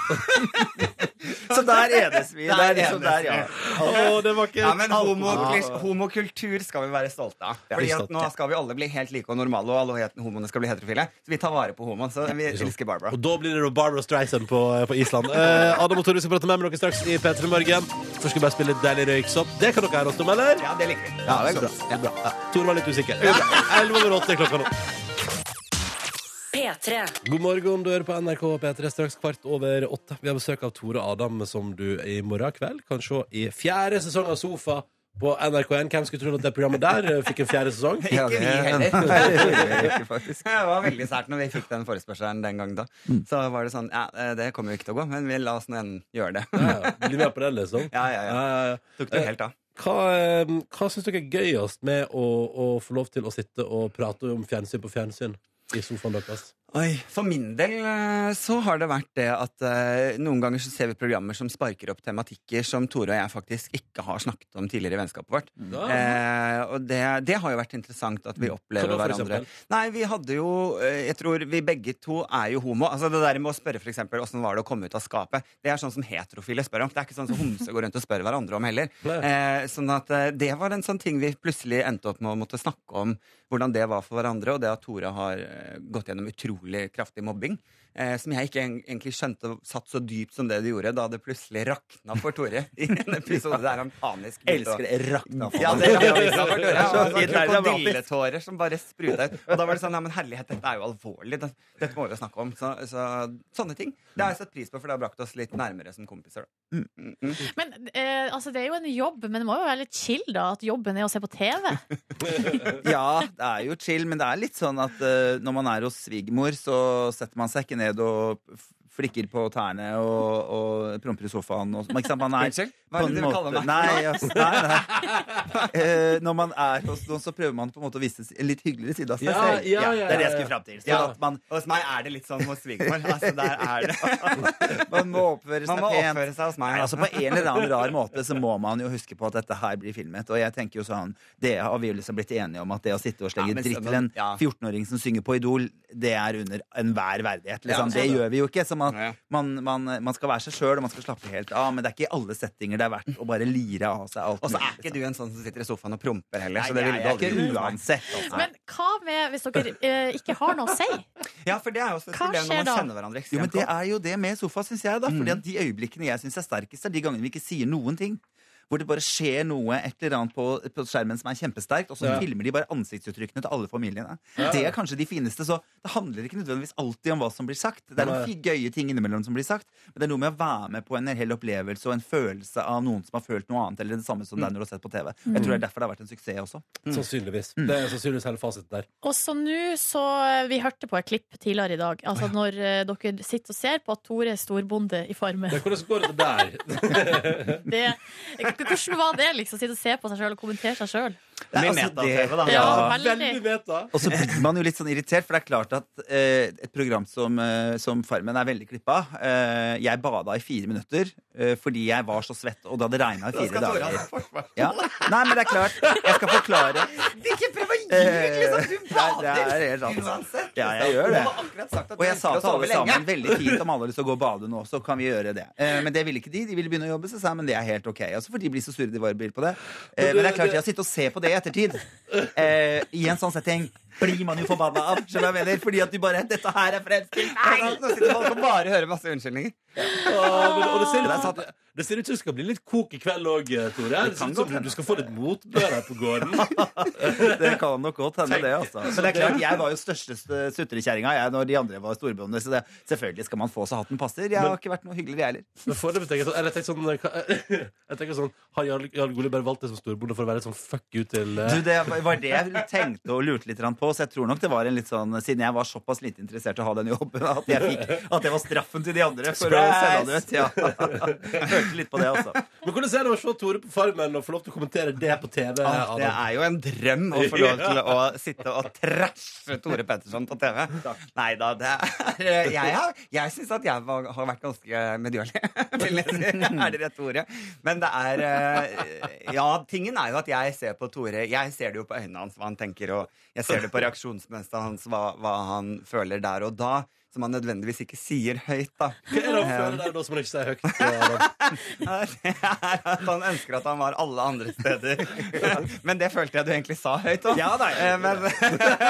Speaker 10: Så der enes vi.
Speaker 15: Der
Speaker 10: Der, liksom,
Speaker 15: enes
Speaker 10: der, ja.
Speaker 15: vi.
Speaker 10: Å, det var ikke Ah.
Speaker 15: Ja, men
Speaker 10: alt.
Speaker 15: homokul- homokultur skal vi være stolte av.
Speaker 10: Ja,
Speaker 15: Fordi
Speaker 10: stolt,
Speaker 15: at nå
Speaker 10: ja.
Speaker 15: skal vi alle bli helt like og normale, og alle het- homoene skal bli heterofile. Så vi tar vare på homoen. Så vi elsker Barbara.
Speaker 2: Og da blir det Barbara Streisand på, på Island. Eh, Adam og Tore skal prate mer med dere straks i P3 Morgen. Først skal vi bare spille litt deilig røyksopp. Det kan dere høre oss om, eller?
Speaker 15: Ja, det liker vi.
Speaker 2: Ja, det er godt. Bra. bra. Ja. Tore var litt usikker. Det går bra. 11 over 8 er klokka nå.
Speaker 1: P3.
Speaker 2: God morgen, du hører på NRK P3 straks kvart over åtte. Vi har besøk av Tore Adam, som du i morgen kveld kan se i fjerde sesong av Sofa på NRK1. Hvem skulle tro at det programmet der eh, fikk en fjerde sesong?
Speaker 15: Ikke vi heller. Det var veldig sært når vi fikk den forespørselen den gangen da. Så var det sånn Ja, eh, det kommer jo ikke til å gå, men vi la oss nå igjen gjøre det.
Speaker 2: Bli med på den, liksom.
Speaker 15: Ja, ja, ja. Tok det helt av.
Speaker 2: Hva, eh, hva syns dere er gøyest med å, å få lov til å sitte og prate om fjernsyn på fjernsyn i sofaen deres?
Speaker 15: Oi, For min del eh, så har det vært det at eh, noen ganger så ser vi programmer som sparker opp tematikker som Tore og jeg faktisk ikke har snakket om tidligere i vennskapet vårt.
Speaker 10: Ja.
Speaker 15: Eh, og det, det har jo vært interessant at vi opplever
Speaker 10: Hva da, for
Speaker 15: hverandre.
Speaker 10: eksempel?
Speaker 15: Nei, vi hadde jo eh, Jeg tror vi begge to er jo homo. Altså Det der med å spørre for eksempel, åssen var det å komme ut av skapet, det er sånn som heterofile spør om. Det er ikke sånn som homse går rundt og spør hverandre om heller. Eh, sånn at eh, Det var en sånn ting vi plutselig endte opp med å måtte snakke om hvordan det var for hverandre, og det at Tore har eh, gått gjennom utrolig kraftig mobbing. Eh, som jeg ikke en- egentlig skjønte satt så dypt som det det gjorde da det plutselig rakna for Tore. I en episode der han panisk begynte å-
Speaker 10: Elsker det, rakna for
Speaker 15: Ja,
Speaker 10: meg.
Speaker 15: det rakna litt for Tore. Ja,
Speaker 10: Så fint, det er
Speaker 15: altså,
Speaker 10: dramatisk.
Speaker 15: krokodilletårer som bare spruta ut. Og da var det sånn, ja, men herlighet, dette er jo alvorlig. Det- Dette må vi jo snakke om. Så, så, sånne ting. Det har jeg satt pris på, for det har brakt oss litt nærmere som kompiser. Da. Mm, mm.
Speaker 3: Men eh, altså, det er jo en jobb, men det må jo være litt chill, da, at jobben er å se på TV.
Speaker 16: Ja, det er jo chill, men det er litt sånn at eh, når man er hos svigermor, så setter man seg ikke ned og f- flikker på tærne og, og promper i sofaen. Og, ikke sant? Man er,
Speaker 15: Unnskyld? Hva er
Speaker 16: på
Speaker 15: det
Speaker 16: en
Speaker 15: du kaller meg?
Speaker 16: Nei, ass, nei, nei. Eh, når man er hos noen, så prøver man på en måte å vise en litt hyggeligere side av seg
Speaker 15: Ja,
Speaker 16: selv.
Speaker 15: ja, ja,
Speaker 16: det er det jeg
Speaker 15: ja, ja.
Speaker 16: skulle fram til. Sånn
Speaker 15: Ja.
Speaker 16: at man,
Speaker 15: Hos meg er det litt sånn hos svigermor. Altså, der er det
Speaker 16: man må oppføre seg
Speaker 15: Man må
Speaker 16: pent.
Speaker 15: oppføre seg hos meg.
Speaker 16: Nei, altså På en eller annen rar måte så må man jo huske på at dette her blir filmet. Og jeg tenker jo sånn Det har vi jo liksom blitt enige om at det å sitte og
Speaker 15: Ja,
Speaker 16: slenge
Speaker 15: men
Speaker 16: dritt
Speaker 15: så-
Speaker 16: til en
Speaker 15: ja.
Speaker 16: 14-åring som synger på Idol, det er under enhver verdighet.
Speaker 15: Ja,
Speaker 16: Liksom.
Speaker 15: så-
Speaker 16: Det gjør vi jo ikke. Så man,
Speaker 15: Ja.
Speaker 16: man, man, man skal være seg sjøl, og man skal slappe helt av. Men det er ikke i alle settinger det er verdt å bare lire av seg alt
Speaker 15: Og så
Speaker 16: mulig. liksom.
Speaker 15: er ikke du en sånn som sitter i sofaen og promper heller.
Speaker 16: Nei,
Speaker 15: så det
Speaker 16: jeg
Speaker 15: ville
Speaker 16: er
Speaker 15: du aldri
Speaker 16: ikke
Speaker 15: gjort.
Speaker 16: uansett, altså.
Speaker 3: Men hva med hvis dere eh, ikke har noe å si?
Speaker 15: Ja, for det er jo også et
Speaker 3: Hva
Speaker 15: problem når
Speaker 3: skjer
Speaker 15: man
Speaker 3: da?
Speaker 15: kjenner hverandre Mm.
Speaker 16: Jo, men
Speaker 15: ekstremt
Speaker 16: det
Speaker 15: godt.
Speaker 16: er jo det med sofa, syns jeg. da Fordi at de øyeblikkene jeg syns er sterkest, er de gangene vi ikke sier noen ting. Hvor det bare skjer noe et eller annet på, på skjermen som er kjempesterkt, og så
Speaker 10: Ja.
Speaker 16: filmer de bare ansiktsuttrykkene til alle familiene.
Speaker 10: Ja.
Speaker 16: Det er kanskje de fineste, så det handler ikke nødvendigvis alltid om hva som blir sagt. Det er noen
Speaker 10: Nei.
Speaker 16: fi- gøye ting innimellom som blir sagt, men det er noe med å være med på en hel opplevelse og en følelse av noen som har følt noe annet, eller det samme
Speaker 15: Mm.
Speaker 16: som deg når du har sett på TV. Jeg tror det er derfor det har vært en suksess også.
Speaker 2: Mm. Sannsynligvis. Det er sannsynligvis hele fasiten der.
Speaker 3: Og så nå så eh, Vi hørte på et klipp tidligere i dag. Altså Når eh, dere sitter og ser på at Tore er storbonde i Farmen.
Speaker 2: Men hvordan går det der?
Speaker 3: Det, hvordan var det liksom å sitte og se på seg sjøl og kommentere seg sjøl?
Speaker 16: Nei, altså, det-
Speaker 3: Ja, veldig.
Speaker 16: Og så blir man jo litt sånn irritert, for det er klart at eh, et program som, eh, som Farmen er veldig klippa. Eh, jeg bada i fire minutter eh, fordi jeg var så svett, og det hadde regna i
Speaker 10: Da skal
Speaker 16: fire
Speaker 10: Tora ha
Speaker 16: dager. Ja. Nei, men det er klart. Jeg skal forklare.
Speaker 10: Ikke prøv å
Speaker 16: Eh,
Speaker 10: ljuge, liksom! Du
Speaker 16: nei, det er helt
Speaker 10: bader!
Speaker 16: sant.
Speaker 10: Uansett. liksom.
Speaker 16: Ja, jeg gjør
Speaker 10: Du har
Speaker 16: det.
Speaker 10: akkurat sagt at
Speaker 16: Og
Speaker 10: du
Speaker 16: jeg sa
Speaker 10: ønsker å
Speaker 16: til
Speaker 10: sove
Speaker 16: alle
Speaker 10: lenge.
Speaker 16: sammen veldig fint om alle har lyst til å gå og bade nå, så kan vi gjøre det. Eh, Men det ville ikke de. De ville begynne å jobbe, så sa jeg men det er helt ok. Og så får de bli så sure de var på det. Eh, Men det er klart, jeg har sittet og sett på det i ettertid. Eh, I en sånn setting blir man jo forbanna av, skjønner du hva jeg mener? Fordi at de bare Dette her er forelsket!
Speaker 15: Nå sitter folk og bare hører masse unnskyldninger.
Speaker 2: Ja, men- og det ser ut det, det ser ut som det skal bli litt kok i kveld òg, Tore. Det ser ut som du skal få litt motbør her på gården.
Speaker 16: Det kan nok godt hende, det. altså
Speaker 2: Tenk.
Speaker 16: Men det er klart, jeg var jo største sutrekjerringa jeg, når de andre var storbønder, så det, selvfølgelig skal man få så hatten passer. Jeg har
Speaker 2: Men-
Speaker 16: ikke vært noe hyggeligere, jeg heller.
Speaker 2: Men foreløpig tenker jeg sånn, eller jeg tenker sånn, hva- jeg tenker sånn Har Jarl Jarl Goli bare valgt det som storbonde for å være litt sånn fuck you til eh,
Speaker 16: Du, det var det jeg tenkte og lurte litt grann på, så jeg tror nok det var en litt sånn Siden jeg var såpass lite interessert i å ha den jobben, at, jeg fikk, at det var straffen til de andre for å sende han ut. Ja. Jeg hørte litt på det, altså.
Speaker 2: Men hvordan er det å se Tore på Farmen og få lov til å kommentere det på TV?
Speaker 15: Ah, det er jo en drøm å få lov til å sitte og trashe Tore Petterson på TV. Nei da, det er Jeg, har- jeg syns at jeg var, har vært ganske medgjørlig, vil jeg si. Er det rette ordet? Men det er eh, Ja, tingen er jo at jeg ser på Tore Jeg ser det jo på øynene hans hva han tenker, og jeg ser det på reaksjonsmønsteret hans hva, hva han føler der og da, som han nødvendigvis ikke sier høyt, da.
Speaker 2: Hva er det han
Speaker 15: Eh,
Speaker 2: føler der da som han ikke sier høyt? Adam?
Speaker 15: er at han ønsker at han var alle andre steder. Men det følte jeg du egentlig sa høyt òg.
Speaker 16: Ja, nei,
Speaker 15: men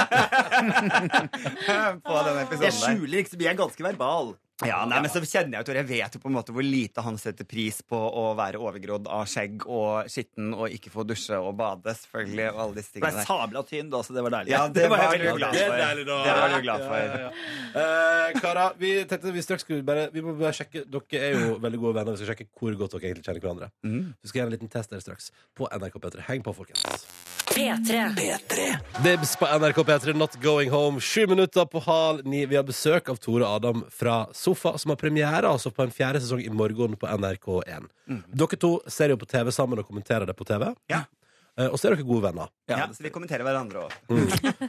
Speaker 15: På den episoden
Speaker 16: Jeg skjuler ikke så mye, jeg er ganske verbal.
Speaker 15: Ja, nei, men så kjenner jeg jo, Tor, jeg vet jo på en måte hvor lite han setter pris på å være overgrodd av skjegg og skitten og ikke få dusje og bade, selvfølgelig, og alle disse
Speaker 16: Jeg ble
Speaker 15: tingene der.
Speaker 16: sabla tynn, da, så det var deilig.
Speaker 15: Ja, det
Speaker 16: jeg
Speaker 15: var
Speaker 16: veldig
Speaker 15: du glad for.
Speaker 16: i.
Speaker 2: Det er deilig, da.
Speaker 15: Det var du glad for.
Speaker 2: Ja, ja, ja. Eh, Kara, vi tenkte vi straks skulle bare Vi må bare sjekke Dere er jo veldig gode venner. Vi skal sjekke hvor godt dere egentlig kjenner hverandre.
Speaker 15: Mhm.
Speaker 2: Vi skal gjøre en liten test der straks på NRK P3. Heng på, folkens.
Speaker 1: P3.
Speaker 2: Dibs på NRK P3, Not Going Home. Sju minutter på hal ni. Vi har besøk av Tore Adam fra Sofa, som har premiere altså på en fjerde sesong i morgen på NRK1.
Speaker 15: Mhm.
Speaker 2: Dere to ser jo på TV sammen og kommenterer det på TV. Eh, Og så er dere gode venner.
Speaker 15: Ja, så vi kommenterer hverandre òg.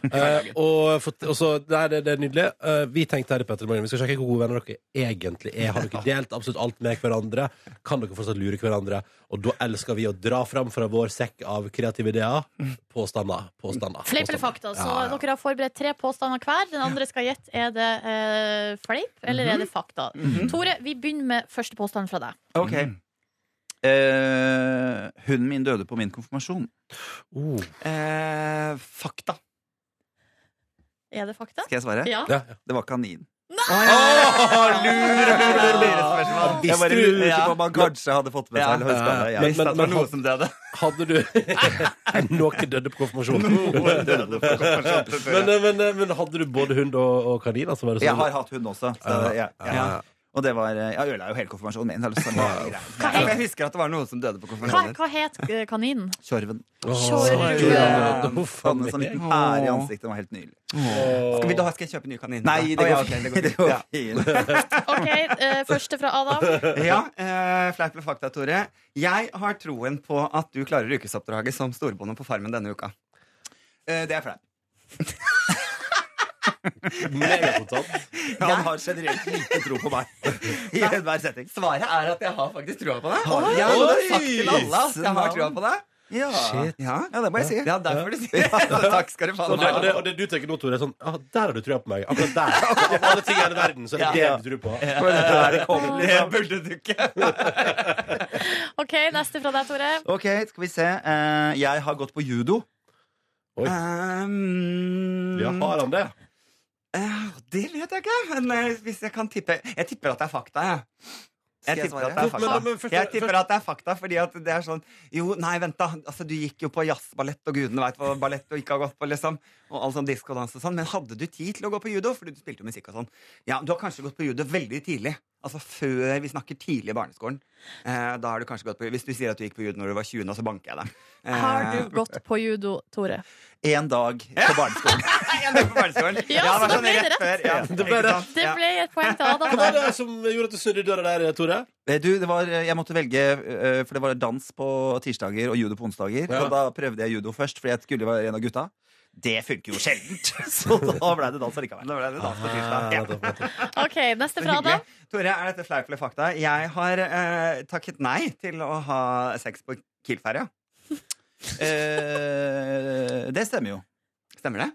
Speaker 2: Eh, og, for, og så, nei, det, det er nydelig. Eh, vi tenkte her i Petter Morgen, vi skal sjekke hvor gode venner dere egentlig er. Har dere delt absolutt alt med hverandre? Kan dere fortsatt lure hverandre? Og da elsker vi å dra fram fra vår sekk av kreative ideer. Påstander. påstander
Speaker 3: Fleip eller fakta. Så
Speaker 2: Ja, ja.
Speaker 3: dere har forberedt tre påstander hver. Den andre skal gjette. Er det eh, fleip, eller er det fakta?
Speaker 16: Mhm.
Speaker 3: Tore, vi begynner med første påstand fra deg.
Speaker 16: Ok. Eh, hunden min døde på min konfirmasjon.
Speaker 2: Uh,
Speaker 15: Eh, fakta.
Speaker 3: Er det fakta?
Speaker 16: Skal jeg svare?
Speaker 3: Ja.
Speaker 16: Det var kanin.
Speaker 15: Åh, lure, lure, lure spørsmål.
Speaker 16: Jeg bare lurte
Speaker 15: Ja.
Speaker 16: på om han kanskje hadde fått med seg eller høyskade.
Speaker 2: Ja.
Speaker 16: Ja.
Speaker 2: Men-
Speaker 15: Hvis det
Speaker 2: men-
Speaker 15: var
Speaker 2: men
Speaker 15: noe
Speaker 2: had-
Speaker 15: som døde.
Speaker 2: Hadde du Noen døde på konfirmasjonen.
Speaker 16: Noen døde på konfirmasjonen,
Speaker 2: men, eh, men, eh, men hadde du både hund og, og kanin? Altså, var det sånn-
Speaker 16: Jeg har hatt hund også. Så,
Speaker 2: Ja,
Speaker 16: ja,
Speaker 2: ja,
Speaker 16: ja.
Speaker 2: ja.
Speaker 16: Og det var eh, Jeg ødela jo hele konfirmasjonen min. eller sånn.
Speaker 3: Hva
Speaker 15: Ja,
Speaker 3: het,
Speaker 15: men Jeg husker at det var noen som døde på
Speaker 3: hva,
Speaker 15: konfirmasjonen.
Speaker 3: hva het eh, kaninen?
Speaker 16: Tjorven.
Speaker 3: Tjorven.
Speaker 16: Tjorven.
Speaker 2: Huff a
Speaker 16: Han med sånn
Speaker 2: meg.
Speaker 16: liten ære i ansiktet. Det var helt nydelig.
Speaker 15: Skal, vi, da skal jeg kjøpe nye kaniner?
Speaker 16: Nei, det
Speaker 15: Å, ja,
Speaker 16: går
Speaker 15: ok,
Speaker 16: fint.
Speaker 15: det
Speaker 16: Det
Speaker 15: går
Speaker 16: går
Speaker 15: fint.
Speaker 16: fint.
Speaker 3: OK, eh, første fra Adam.
Speaker 15: Ja, eh, Fleip eller fakta, Tore. Jeg har troen på at du klarer ukesoppdraget som storbonde på Farmen denne uka. Eh, det er fleip.
Speaker 16: Han har generelt lite tro på meg. I enhver setting.
Speaker 15: Svaret er at jeg har faktisk trua på deg.
Speaker 16: Oi!
Speaker 15: Jeg har sagt til alle at jeg har trua på deg.
Speaker 16: Ja.
Speaker 2: Shit.
Speaker 15: Ja,
Speaker 16: ja, det må jeg si.
Speaker 15: Ja, derfor du sier det. Takk skal du
Speaker 2: Og
Speaker 15: faen
Speaker 2: det, og, det,
Speaker 15: meg ha.
Speaker 2: og det du tenker nå, Tore, er sånn ja, Der har du trua på meg. Akkurat der. Av alle ting i hele verden, så er det
Speaker 15: Ja.
Speaker 2: det du tror på.
Speaker 15: For dette er det kommer, liksom. Det burde du ikke.
Speaker 3: OK, neste fra deg, Tore.
Speaker 16: Ok, skal vi se. Eh, jeg har gått på judo.
Speaker 2: Oi. Ja, har han det?
Speaker 15: Ehm, Eh, Det vet jeg ikke, men eh, hvis jeg kan tippe Jeg tipper at det er fakta, jeg.
Speaker 16: Skal jeg
Speaker 15: Jeg tipper
Speaker 16: svare?
Speaker 15: at det er fakta.
Speaker 2: Men- men først-
Speaker 15: Jeg tipper at det er fakta, fordi at det er sånn Jo, nei, vent, da. Altså, du gikk jo på jazzballett, og gudene veit hva ballett du ikke har gått på, liksom. Og all sånn diskodans og sånn. Men hadde du tid til å gå på judo? Fordi du spilte jo musikk og sånn. Ja, du har kanskje gått på judo veldig tidlig. Altså før vi snakker tidlig i barneskolen. Eh, da har du kanskje gått på Hvis du sier at du gikk på judo når du var 20, nå, så banker jeg deg. Eh,
Speaker 3: Har du gått på judo, Tore?
Speaker 16: Én Eh, dag på barneskolen.
Speaker 15: Jeg gikk på barneskolen.
Speaker 3: Ja,
Speaker 15: det
Speaker 3: så
Speaker 15: var
Speaker 3: da
Speaker 15: sånn
Speaker 3: ble det
Speaker 15: rett
Speaker 3: rett.
Speaker 15: før, ja.
Speaker 2: Det ble
Speaker 15: Ikke
Speaker 2: rett.
Speaker 15: sant?
Speaker 3: Det
Speaker 15: Ja.
Speaker 3: ble et poeng til Adam.
Speaker 2: Hva var
Speaker 3: Der.
Speaker 2: det som gjorde at du snudde i døra der, Tore?
Speaker 16: Eh, Du, det var, jeg måtte velge, eh, for det var dans på tirsdager og judo på onsdager.
Speaker 2: Ja.
Speaker 16: Og da prøvde jeg judo først, fordi jeg skulle være en av gutta. Det funker jo sjeldent! Så da ble det dans allikevel.
Speaker 15: Da ble det dans på tirsdag.
Speaker 2: Ah,
Speaker 15: Ja.
Speaker 2: nettopp, nettopp.
Speaker 3: OK, neste fra
Speaker 15: Hyggelig.
Speaker 3: Adam.
Speaker 15: Tore, er dette fleip eller fakta? Jeg har eh, takket nei til å ha sex på Kiel-ferja.
Speaker 16: Eh, det stemmer jo.
Speaker 15: Stemmer det?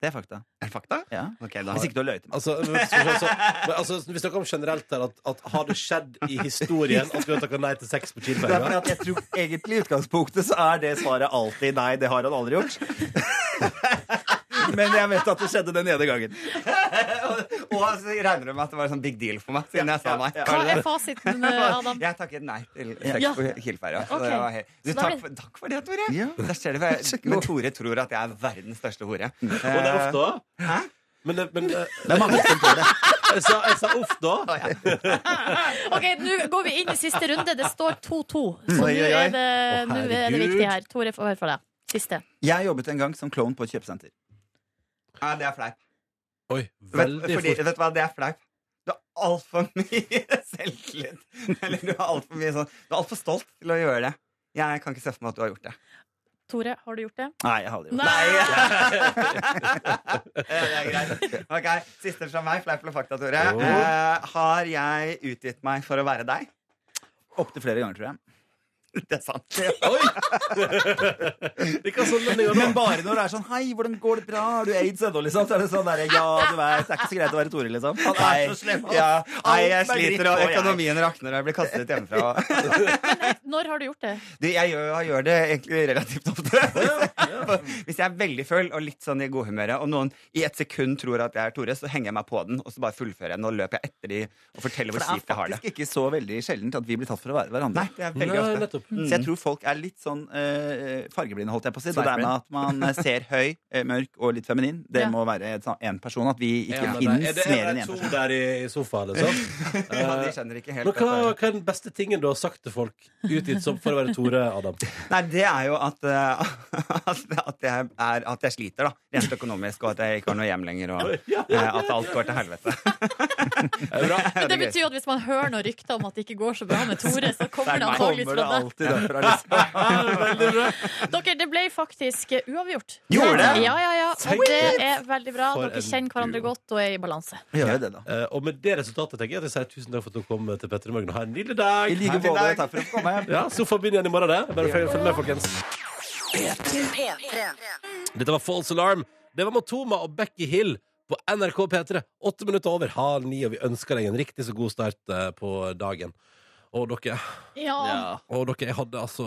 Speaker 16: Det er fakta.
Speaker 15: Er det fakta?
Speaker 16: Ja.
Speaker 15: Ok, da.
Speaker 16: Hvis ikke du har løyet til meg.
Speaker 2: Altså, men skal vi se, altså, men altså, vi snakker om generelt her at, at har det skjedd i historien at vi har takket nei til sex på
Speaker 16: Det er fordi
Speaker 2: Kielferga?
Speaker 16: at jeg tror egentlig i utgangspunktet så er det svaret alltid nei, det har han aldri gjort. Men jeg vet at det skjedde den ene gangen.
Speaker 15: Og så regner du med at det var en sånn big deal for meg, siden jeg sa nei.
Speaker 3: Hva er fasiten, eh, Adam?
Speaker 15: Jeg takket nei til sex
Speaker 3: Ja.
Speaker 15: på Kiel-ferja. så
Speaker 3: Ok.
Speaker 15: det var helt- Du,
Speaker 3: Så da
Speaker 15: takk,
Speaker 3: blir-
Speaker 15: for, takk for det, Tore.
Speaker 16: Ja.
Speaker 15: Der ser du hva jeg, men Tore tror at jeg er verdens største hore.
Speaker 2: Og det er ofte da?
Speaker 15: Hæ?
Speaker 2: Men, det- men eh,
Speaker 16: Det er mange som tror det.
Speaker 2: jeg sa, jeg sa ofte da.
Speaker 3: Ok, Nå går vi inn i siste runde. Det står 2-2. Så nå
Speaker 16: Oi, oi, oi.
Speaker 3: er, det,
Speaker 2: Å,
Speaker 3: nå er det
Speaker 2: herregud.
Speaker 3: viktig her. Tore, få høre fra deg. Siste.
Speaker 15: Eh,
Speaker 16: Jeg jobbet en gang som klovn på et kjøpesenter.
Speaker 15: Nei, det er fleip.
Speaker 2: Oi,
Speaker 15: Vet,
Speaker 2: veldig
Speaker 15: fordi,
Speaker 2: fort.
Speaker 15: vet du hva, det er flaut. Du har altfor mye selvtillit. Eller du er altfor mye sånn Du er altfor stolt til å gjøre det. Jeg kan ikke se for meg at du har gjort det.
Speaker 3: Tore, har du gjort det?
Speaker 16: Nei, jeg har aldri gjort det.
Speaker 15: Eh, Det er greit. Ok, Siste fra meg, fleip eller fakta, Tore.
Speaker 2: Jo.
Speaker 15: Eh, har jeg utgitt meg for å være deg?
Speaker 16: Opptil flere ganger, tror jeg.
Speaker 15: Det er sant.
Speaker 16: Men bare når det er sånn 'Hei, hvordan går det bra? Har du aids ennå?' liksom. Så er det sånn der, 'Ja, du vet, det er ikke så greit å være Tore', liksom.
Speaker 15: Nei, ja. Nei, jeg sliter, og økonomien rakner, og jeg blir kastet ut hjemmefra.
Speaker 3: Når har du gjort det?
Speaker 15: Du, jeg gjør, jeg gjør det egentlig relativt ofte. Hvis jeg er veldig full og litt sånn i godhumøret, og noen i et sekund tror at jeg er Tore, så henger jeg meg på den, og så bare fullfører jeg den, og løper jeg etter de og forteller
Speaker 16: For
Speaker 15: hvor
Speaker 16: det er
Speaker 15: kjipt jeg har det.
Speaker 16: faktisk ikke så veldig sjeldent at vi blir tatt for å være hverandre.
Speaker 15: Nei, det er veldig Nei, ofte. Mm. nettopp.
Speaker 16: Så jeg tror folk er litt sånn eh, fargeblinde, holdt jeg på å si. Så det er med
Speaker 15: Sveipeblinde.
Speaker 16: at man eh, ser høy, eh, mørk og litt feminin. Det må være én person. At vi ikke
Speaker 2: Ja, men er
Speaker 16: finnes
Speaker 2: det-
Speaker 16: mer
Speaker 2: er
Speaker 16: enn
Speaker 2: det
Speaker 16: én
Speaker 2: to
Speaker 16: person.
Speaker 2: der i, i sofaen, liksom?
Speaker 15: Ja, de skjønner ikke helt
Speaker 2: Men hva,
Speaker 15: dette
Speaker 2: hva er den beste tingen du har sagt til folk utgitt som for å være Tore, Adam?
Speaker 15: Nei, det er jo at, eh, at, at, jeg, er, at jeg sliter, da. Rent økonomisk, og at jeg ikke har noe hjem lenger, og eh, at alt går til helvete.
Speaker 3: Men det betyr jo at hvis man hører noen rykter om at det ikke går så bra med Tore, så kommer det antakeligvis fra deg.
Speaker 15: alltid derfra, liksom.
Speaker 3: Dere, det ble faktisk eh, uavgjort.
Speaker 2: Gjorde det?
Speaker 3: Ja, ja, ja. Og
Speaker 2: Tenk
Speaker 3: det
Speaker 2: det.
Speaker 3: er veldig bra.
Speaker 2: For
Speaker 3: Dere
Speaker 2: en
Speaker 3: kjenner hverandre godt og er i balanse.
Speaker 2: Eh, og med det resultatet tenker jeg at jeg sier tusen takk for at du kom til Petter i morgen. Ha en nydelig dag!
Speaker 16: I like
Speaker 2: Ha en fin
Speaker 16: måte.
Speaker 2: dag.
Speaker 16: Takk for at du kom hjem.
Speaker 2: Ja, sofaen begynner igjen i morgen, det. Bare følg følg med, folkens. Dette var False Alarm. Det var Matoma og Becky Hill på NRK P3. Åtte minutter over halv ni, og vi ønsker deg en riktig så god start eh, på dagen. Og dere,
Speaker 3: Ja.
Speaker 2: og dere jeg hadde altså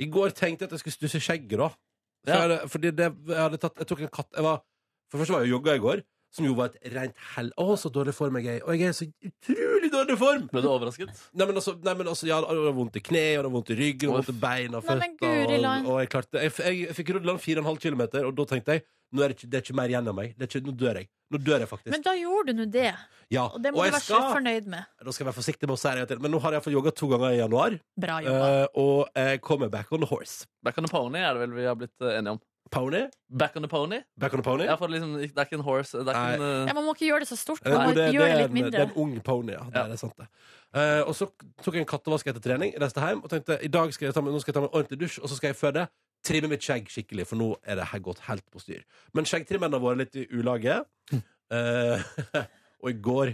Speaker 2: I går tenkte jeg at jeg skulle stusse skjegget, da. For
Speaker 4: Ja.
Speaker 2: jeg, hadde- fordi det, jeg hadde tatt Jeg tok en katt jeg var, For det første var jeg og jogga i går, som jo var et rent hell. Å, så dårlig form jeg er i. Og jeg er i så utrolig dårlig form!
Speaker 4: Ble du overrasket?
Speaker 2: Nei, men altså, nei, men altså Jeg hadde- jeg hadde vondt i kne, jeg hadde vondt i ryggen, jeg hadde vondt i beina og
Speaker 3: Nei, men
Speaker 2: føttene,
Speaker 3: Guri land.
Speaker 2: Og, og jeg klarte Jeg, jeg, jeg fikk rulla den 4,5 km, og da tenkte jeg nå er det, ikke, det er ikke mer igjen av meg. Det er ikke, nå dør jeg. Nå dør jeg faktisk.
Speaker 3: Men da gjorde du nå det.
Speaker 2: ja.
Speaker 3: Og det må
Speaker 2: og
Speaker 3: du
Speaker 2: jeg
Speaker 3: være så fornøyd med.
Speaker 2: da skal jeg være forsiktig med å si det til, men nå har jeg iallfall jogga to ganger i januar.
Speaker 3: Bra
Speaker 2: eh, og jeg kommer back on the horse.
Speaker 4: Back on the pony er det vel vi har blitt eh, enige om.
Speaker 2: Pony?
Speaker 4: Back on the pony?
Speaker 2: Back on the pony?
Speaker 4: Ja, for liksom, det er ikke en horse. Det er ikke en,
Speaker 3: Ja,
Speaker 4: eh,
Speaker 3: man må ikke gjøre det så stort.
Speaker 2: Eh,
Speaker 3: Man
Speaker 2: jo,
Speaker 3: må
Speaker 2: det, det,
Speaker 3: gjøre det
Speaker 2: er
Speaker 3: litt
Speaker 2: en, det
Speaker 3: mindre.
Speaker 2: er en ung pony, ja. Det er sant, det. Eh, og så tok jeg en kattevask etter trening, reiste hjem og tenkte i dag skal jeg ta meg, nå skal jeg ta meg en ordentlig dusj, og så skal jeg før det trimme mitt skjegg skikkelig, for nå er det her gått helt på styr. Men skjeggtrimmen har vært litt i ulage, eh, og i går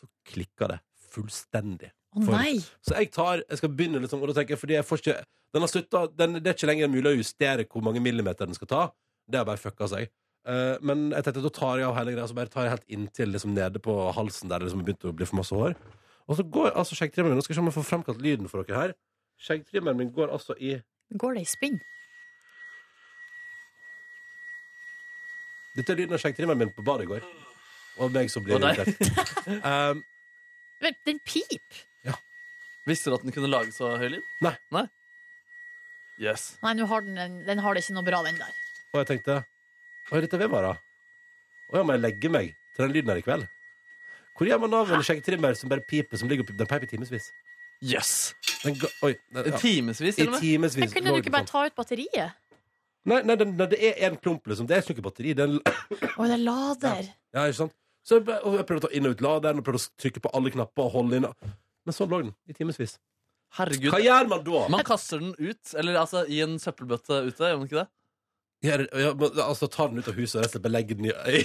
Speaker 2: så klikka det fullstendig.
Speaker 3: Å,
Speaker 2: For-
Speaker 3: nei.
Speaker 2: Så jeg tar, jeg skal begynne liksom, og da tenker jeg, fordi jeg får ikke, den har sluttet, den, det er ikke lenger mulig å justere hvor mange millimeter den skal ta. Det har bare fucka seg. Eh, men jeg tenkte, da tar jeg av hele greia, så bare tar jeg helt inntil liksom nede på halsen der det liksom har begynt å bli for masse hår. Og så går altså skjeggtrimmeren min, nå skal jeg se om jeg får fremkalt lyden for dere her. Skjeggtrimmeren min går altså i,
Speaker 3: Går det i spinn?
Speaker 2: dette er lyden av skjeggtrimmeren min på badet i går. Og meg som blir
Speaker 4: Å, nei.
Speaker 2: irritert. Eh,
Speaker 3: Vent, Den pip!
Speaker 4: Visste du at den kunne lage så høy lyd?
Speaker 2: Nei.
Speaker 4: Yes.
Speaker 3: Nei, nå har den, den- den har det ikke noe bra, den der.
Speaker 2: og jeg tenkte, hva er dette ved meg da? Å ja, må jeg legge meg til den lyden her i kveld? Hvor gjør man av en skjeggtrimmer som bare piper, som ligger og piper? Den piper i timevis.
Speaker 4: Yes.
Speaker 2: Den ga, oi, den,
Speaker 4: I timevis, til og
Speaker 2: I
Speaker 4: med?
Speaker 2: timevis.
Speaker 3: Men kunne
Speaker 2: lå
Speaker 3: du
Speaker 2: den
Speaker 3: ikke bare
Speaker 2: sånn.
Speaker 3: ta ut batteriet?
Speaker 2: Nei, nei, den- nei, det er én klump, liksom. Det er ikke noe batteri. Det er, en-
Speaker 3: Å, det er lader.
Speaker 2: ja, ikke sant? Så jeg, bare- og jeg prøvde å ta inn og ut laderen, og prøvde å trykke på alle knapper og holde inn. Men sånn lå den i timevis.
Speaker 4: Herregud.
Speaker 2: Hva gjør man da?
Speaker 4: Man kaster den ut, eller altså i en søppelbøtte ute, gjør man ikke det?
Speaker 2: Gjør- ja, men, altså, ta den ut av huset og rett og slett bare legge den i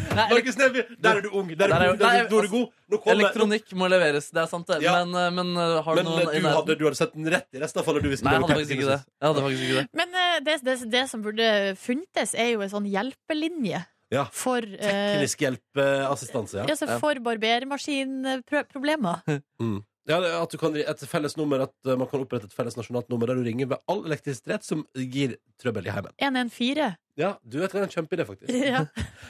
Speaker 2: Markus Neby, der er du ung. Der er
Speaker 4: Der er jo-
Speaker 2: du, god, der er
Speaker 4: nei, altså,
Speaker 2: du, der er du god. Nå kommer
Speaker 4: Elektronikk må leveres, det er sant, det.
Speaker 2: Ja.
Speaker 4: Men, eh, men eh, har du
Speaker 2: Men
Speaker 4: noen
Speaker 2: eh,
Speaker 4: i
Speaker 2: du
Speaker 4: nærheten?
Speaker 2: hadde, du hadde sett den rett i resten av fallet, du, hvis den
Speaker 4: Nei, jeg
Speaker 2: lå
Speaker 4: hadde
Speaker 2: i
Speaker 4: faktisk ikke det.
Speaker 2: timevis.
Speaker 4: Jeg hadde faktisk ikke det.
Speaker 3: Men eh, det, det, det som burde funtes, er jo en sånn hjelpelinje.
Speaker 2: Ja.
Speaker 3: For, eh,
Speaker 2: Teknisk hjelpeassistanse, ja.
Speaker 3: ja, så for barbermaskinproblemer.
Speaker 2: Mm. Ja, det- at du kan et felles nummer At uh, man kan opprette et felles nasjonalt nummer der du ringer ved all elektrisitet som gir trøbbel i heimen.
Speaker 3: 114.
Speaker 2: Ja, du vet hva, det er en kjempeidé, faktisk.
Speaker 3: Ja.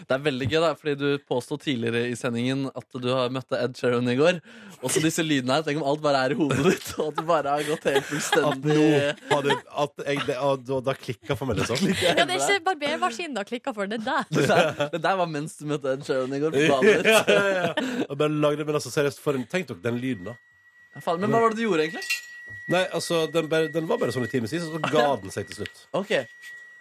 Speaker 4: Det er veldig gøy, da, fordi du påsto tidligere i sendingen at du har møtte Ed Sheeran i går. Og så disse lydene her. Tenk om alt bare er i hodet ditt, og at det bare har gått helt
Speaker 2: At
Speaker 4: fullstendig
Speaker 2: nå har du At jeg det, ah, da, da klikka for meg, liksom.
Speaker 3: Ja, det er ikke barbermaskinen da klikka for, det er
Speaker 4: det
Speaker 3: deg.
Speaker 4: der, det der var mens du møtte Ed Sheeran i går. på
Speaker 2: ja,
Speaker 4: badet
Speaker 2: ja,
Speaker 4: ditt.
Speaker 2: ja. Og bare lagde Men altså, seriøst, for en, tenk dere den lyden, da.
Speaker 4: Faen, men hva var det du gjorde, egentlig?
Speaker 2: Nei, altså, den, bare, den var bare sånn i timevis, og så ga den seg til slutt.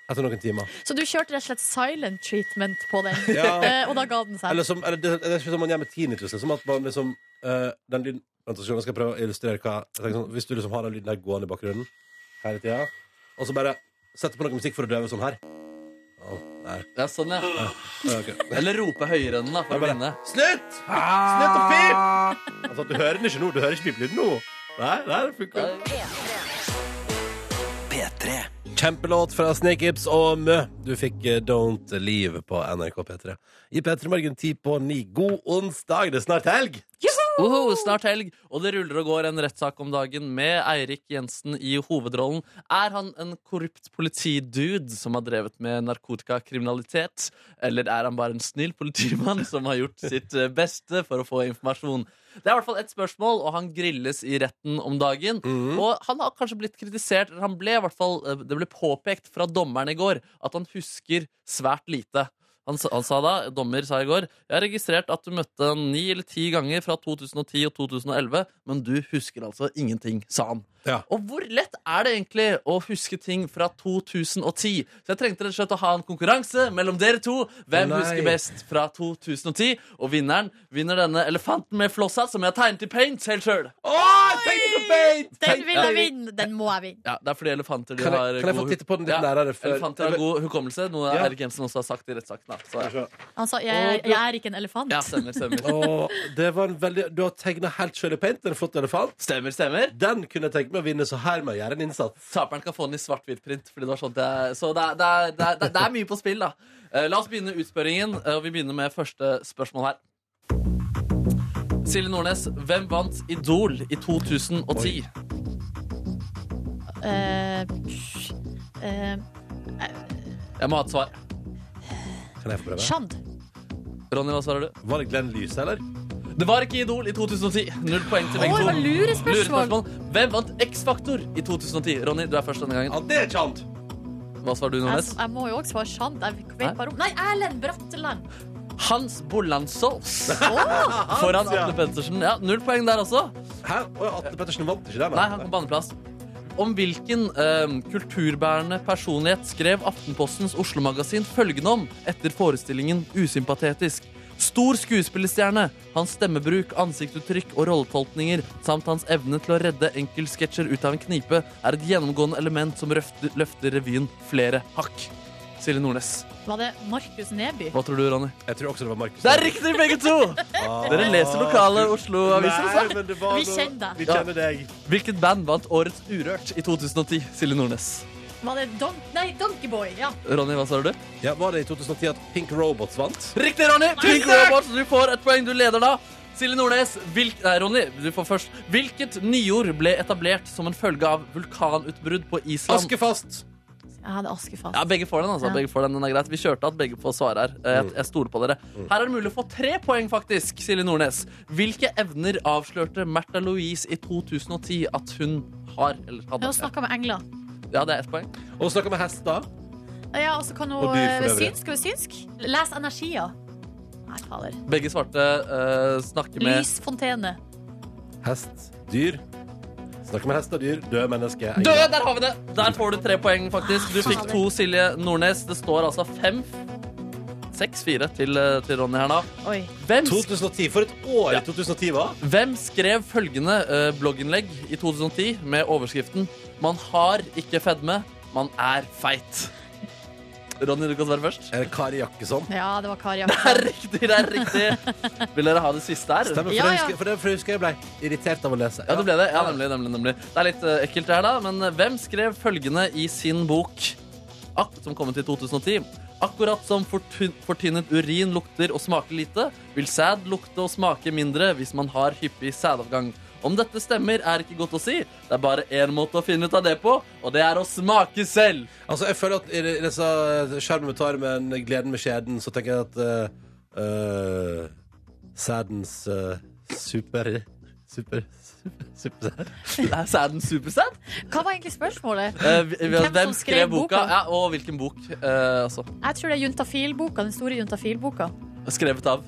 Speaker 2: Etter noen timer.
Speaker 3: Så du kjørte rett og slett silent treatment på den,
Speaker 2: Ja.
Speaker 3: Eh, og da ga den seg.
Speaker 2: Eller som, eller det, det er ikke som man gjør med tinnitus. Som at man liksom eh, Den lyden Vent, så skal jeg- jeg skal prøve å illustrere hva jeg tenker sånn, Hvis du liksom har den lyden der gående i bakgrunnen hele tida, og så bare setter på noe musikk for å døve sånn her Å, nei.
Speaker 4: Ja, sånn, ja.
Speaker 2: Ja, ok.
Speaker 4: Eller rope høyere enn den, da, for å vinne.
Speaker 2: Ah. Slutt! Slutt å pipe! Altså, du hører den ikke nå. Du hører ikke pipelyden nå. Nei, nei, det funker. Kjempelåt fra Snake Ips og Mø. Du fikk eh, Don't Leave på NRK P3. I P3 Morgen 10 på 9. God onsdag, det er snart helg!
Speaker 4: Uhu, snart helg, og det ruller og går en rettssak om dagen med Eirik Jensen i hovedrollen. Er han en korrupt politidude som har drevet med narkotikakriminalitet, eller er han bare en snill politimann som har gjort sitt eh, beste for å få informasjon? Det er i hvert fall ett spørsmål, og han grilles i retten om dagen. Og han har kanskje blitt kritisert, eller han ble i hvert fall, eh, det ble påpekt fra dommeren i går at han husker svært lite. Han, sa- han sa da, dommer sa i går Jeg har registrert at du møtte han ni eller ti ganger fra 2010 og 2011, men du husker altså ingenting, sa han. Og hvor lett er det egentlig å huske ting fra 2010? Så jeg trengte rett og slett å ha en konkurranse mellom dere to. Hvem
Speaker 2: Nei.
Speaker 4: husker best fra 2010? Og vinneren vinner denne elefanten med flossa som jeg har tegnet i paint helt sjøl.
Speaker 3: Den vil jeg vinne! Den må jeg vinne.
Speaker 4: Ja, det er fordi elefanter de
Speaker 2: Kan jeg-
Speaker 4: har
Speaker 2: kan jeg få
Speaker 4: god-
Speaker 2: titte på den litt nærere før-
Speaker 4: Elefanter har god hukommelse, noe
Speaker 2: Ja.
Speaker 4: Erik Jensen også har sagt i rettssaken. da. Så, ja.
Speaker 3: Han sa Altså, jeg, 'jeg er ikke en elefant'.
Speaker 4: Ja, stemmer, stemmer.
Speaker 2: Og det var en veldig, du har tegna helt sjøl i paint. En flott elefant.
Speaker 4: Stemmer, stemmer.
Speaker 2: Den kunne jeg tenkt meg å vinne, så her må jeg gjøre en innsats.
Speaker 4: Taperen kan få den i svart-hvitt-print. Fordi det var sånn det er, så det er, det, er, det, er, det er mye på spill, da. Eh, La oss begynne utspørringen, eh, og vi begynner med første spørsmål her. Silje Nordnes, hvem vant Idol i 2010?
Speaker 3: Eh, pff, eh,
Speaker 4: Jeg må ha et svar.
Speaker 2: Kan jeg få prøve?
Speaker 3: Shand.
Speaker 4: Ronny, hva svarer du?
Speaker 2: Var det Glenn Lyse, eller?
Speaker 4: Det var ikke Idol i 2010. Null poeng til begge
Speaker 3: Åh,
Speaker 4: to.
Speaker 3: det var lurespørsmål.
Speaker 4: Lurespørsmål. Hvem vant X-Faktor i 2010? Ronny, du er først denne gangen.
Speaker 2: Ja, det er sant.
Speaker 4: Hva svarer du,
Speaker 3: Jeg,
Speaker 4: Nordnes?
Speaker 3: jeg må jo også svare Shand. Jeg vet bare om Nei, Erlend Bratteland!
Speaker 4: Hans Bolland Souls.
Speaker 3: Hans,
Speaker 4: Foran
Speaker 2: ja.
Speaker 4: Atle Pettersen. Ja, null poeng der også.
Speaker 2: Hæ? Atle Pettersen vant ikke den?
Speaker 4: Nei, han kom på andreplass. Om hvilken eh, kulturbærende personlighet skrev Aftenpostens Oslo-magasin følgende om etter forestillingen Usympatetisk? Stor skuespillerstjerne, hans stemmebruk, ansiktsuttrykk og rolletolkninger samt hans evne til å redde enkeltsketsjer ut av en knipe er et gjennomgående element som røfter, løfter revyen flere hakk. Silje Nordnes.
Speaker 3: Var det Markus Neby?
Speaker 4: Hva tror du, Ronny?
Speaker 2: Jeg tror også det var Markus.
Speaker 4: Det er riktig, begge to! Dere leser lokale Oslo-aviser.
Speaker 2: Nei,
Speaker 4: altså.
Speaker 2: men det var Vi noe- kjenner deg. vi kjenner deg.
Speaker 4: Hvilket band vant Årets Urørt i 2010? Silje Nordnes.
Speaker 3: Var det Don Nei, Donkeyboy. Ja.
Speaker 4: Ronny, hva svarer du?
Speaker 2: Ja, Var det i 2010 at Pink Robots vant?
Speaker 4: Riktig, Ronny! Pink
Speaker 2: takk!
Speaker 4: Robots, du får et poeng. Du leder da. Silje Nordnes, hvilk, nei, Ronny, du får først. Hvilket nyord ble etablert som en følge av vulkanutbrudd på Island?
Speaker 2: Askefast.
Speaker 3: Jeg hadde Askefast.
Speaker 4: Ja, begge får den, altså.
Speaker 3: Ja.
Speaker 4: Begge får den, den er greit. Vi kjørte at begge får svare her. Eh, Jeg,
Speaker 2: Mm.
Speaker 4: jeg stoler på dere. Her er det mulig å få tre poeng, faktisk, Silje Nordnes. Hvilke evner avslørte Märtha Louise i 2010 at hun har, eller
Speaker 3: Hun
Speaker 4: hadde?
Speaker 3: snakka med engler.
Speaker 4: Ja, det er ett poeng.
Speaker 2: Og hun snakka med hester.
Speaker 3: Ja, og så kan hun
Speaker 4: Og dyr
Speaker 3: eh,
Speaker 4: for øvrig.
Speaker 3: synsk. Skal hun synsk? Les energier. Nei, fader.
Speaker 4: Begge svarte eh, snakke med
Speaker 3: Lysfontene.
Speaker 2: Hest. Dyr. Snakker med hester, dyr, døde mennesker.
Speaker 4: Død, der har vi det! Der får du tre poeng, faktisk. Du fikk to, Silje Nordnes. Det står altså fem Seks-fire til, eh, til Ronny her nå.
Speaker 3: Oi.
Speaker 2: 2010, For et år 2010 var!
Speaker 4: Hvem skrev følgende eh, blogginnlegg i 2010 med overskriften 'Man har ikke fedme, man er feit'? Ronny, du kan svare først.
Speaker 2: Er det Kari Jakkesson?
Speaker 3: Ja, det var Kari Jakkesson.
Speaker 4: Riktig, det er riktig. Vil dere ha det siste her?
Speaker 2: Stemmer, for,
Speaker 4: Ja,
Speaker 2: det
Speaker 4: ja.
Speaker 2: husker, for, det, for det husker jeg ble irritert av å lese.
Speaker 4: Ja, det ble det. Ja, nemlig, nemlig, nemlig. Det er litt eh, ekkelt det her, da. Men eh, hvem skrev følgende i sin bok, ak som kom ut i 2010? Akkurat som fortun- fortynnet urin lukter og smaker lite, vil sæd lukte og smake mindre hvis man har hyppig sædavgang. Om dette stemmer, er ikke godt å si. Det er bare én måte å finne ut av det på, og det er å smake selv.
Speaker 2: Altså, jeg føler at i det- i disse eh, skjermen med tarmen, gleden med skjeden, så tenker jeg at eh, eh, Sædens eh, super... Super... Super... Supersæd.
Speaker 4: Er sæden supersæd?
Speaker 3: Hva var egentlig spørsmålet?
Speaker 4: Eh, vi- vi- hvem skrev boka? Ja, og hvilken bok, eh, altså.
Speaker 3: Jeg tror det er Juntafil-boka, den store Juntafil-boka.
Speaker 4: Skrevet av.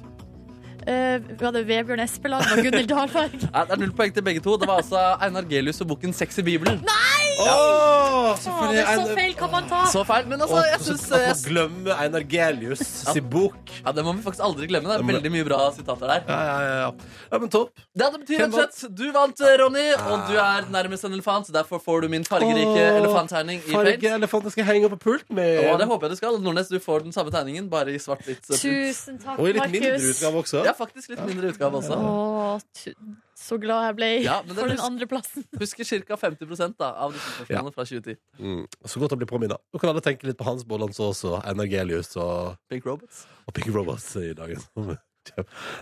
Speaker 3: Eh, vi hadde Vebjørn Espeland og Gunhild Dahlberg.
Speaker 4: Nei, det er null poeng til begge to. Det var altså Einar Gelius og boken Sex i Bibelen.
Speaker 3: Nei!
Speaker 2: Åh,
Speaker 3: Faen, det er så feil kan man ta!
Speaker 4: Så feil, men altså,
Speaker 2: Og
Speaker 4: jeg
Speaker 2: så-
Speaker 4: synes-
Speaker 2: At man glemmer Einar Gelius sin bok.
Speaker 4: Ja, Det må vi faktisk aldri glemme. Det er veldig mye bra sitater der.
Speaker 2: Ja, ja, ja, ja. ja men topp.
Speaker 4: Ja, det betyr
Speaker 2: Hvem
Speaker 4: rett og slett Du vant, eh, Ronny, og du er nærmest en elefant. så Derfor får du min fargerike
Speaker 2: Åh,
Speaker 4: elefanttegning i paint.
Speaker 2: Fargeelefanten skal henge opp på pulten min.
Speaker 4: Å, det håper jeg du skal. Nordnes, du får den samme tegningen, bare i svart-hvitt. eh, print.
Speaker 3: Tusen takk,
Speaker 2: Og i litt mindre
Speaker 3: Markus.
Speaker 2: utgave også.
Speaker 4: Ja, faktisk litt mindre utgave også.
Speaker 3: Åh, tu Så glad jeg ble
Speaker 4: Ja, men det
Speaker 3: for den
Speaker 4: husk-
Speaker 3: andre plassen.
Speaker 4: Husker ca. 50 da, av disse spørsmålene fra 2010.
Speaker 2: Mm. Så godt å bli påminna. Nå kan alle tenke litt på Hans Bolland så også, Energelius og
Speaker 4: Pink Robots.
Speaker 2: Og Pink Robots i dagen.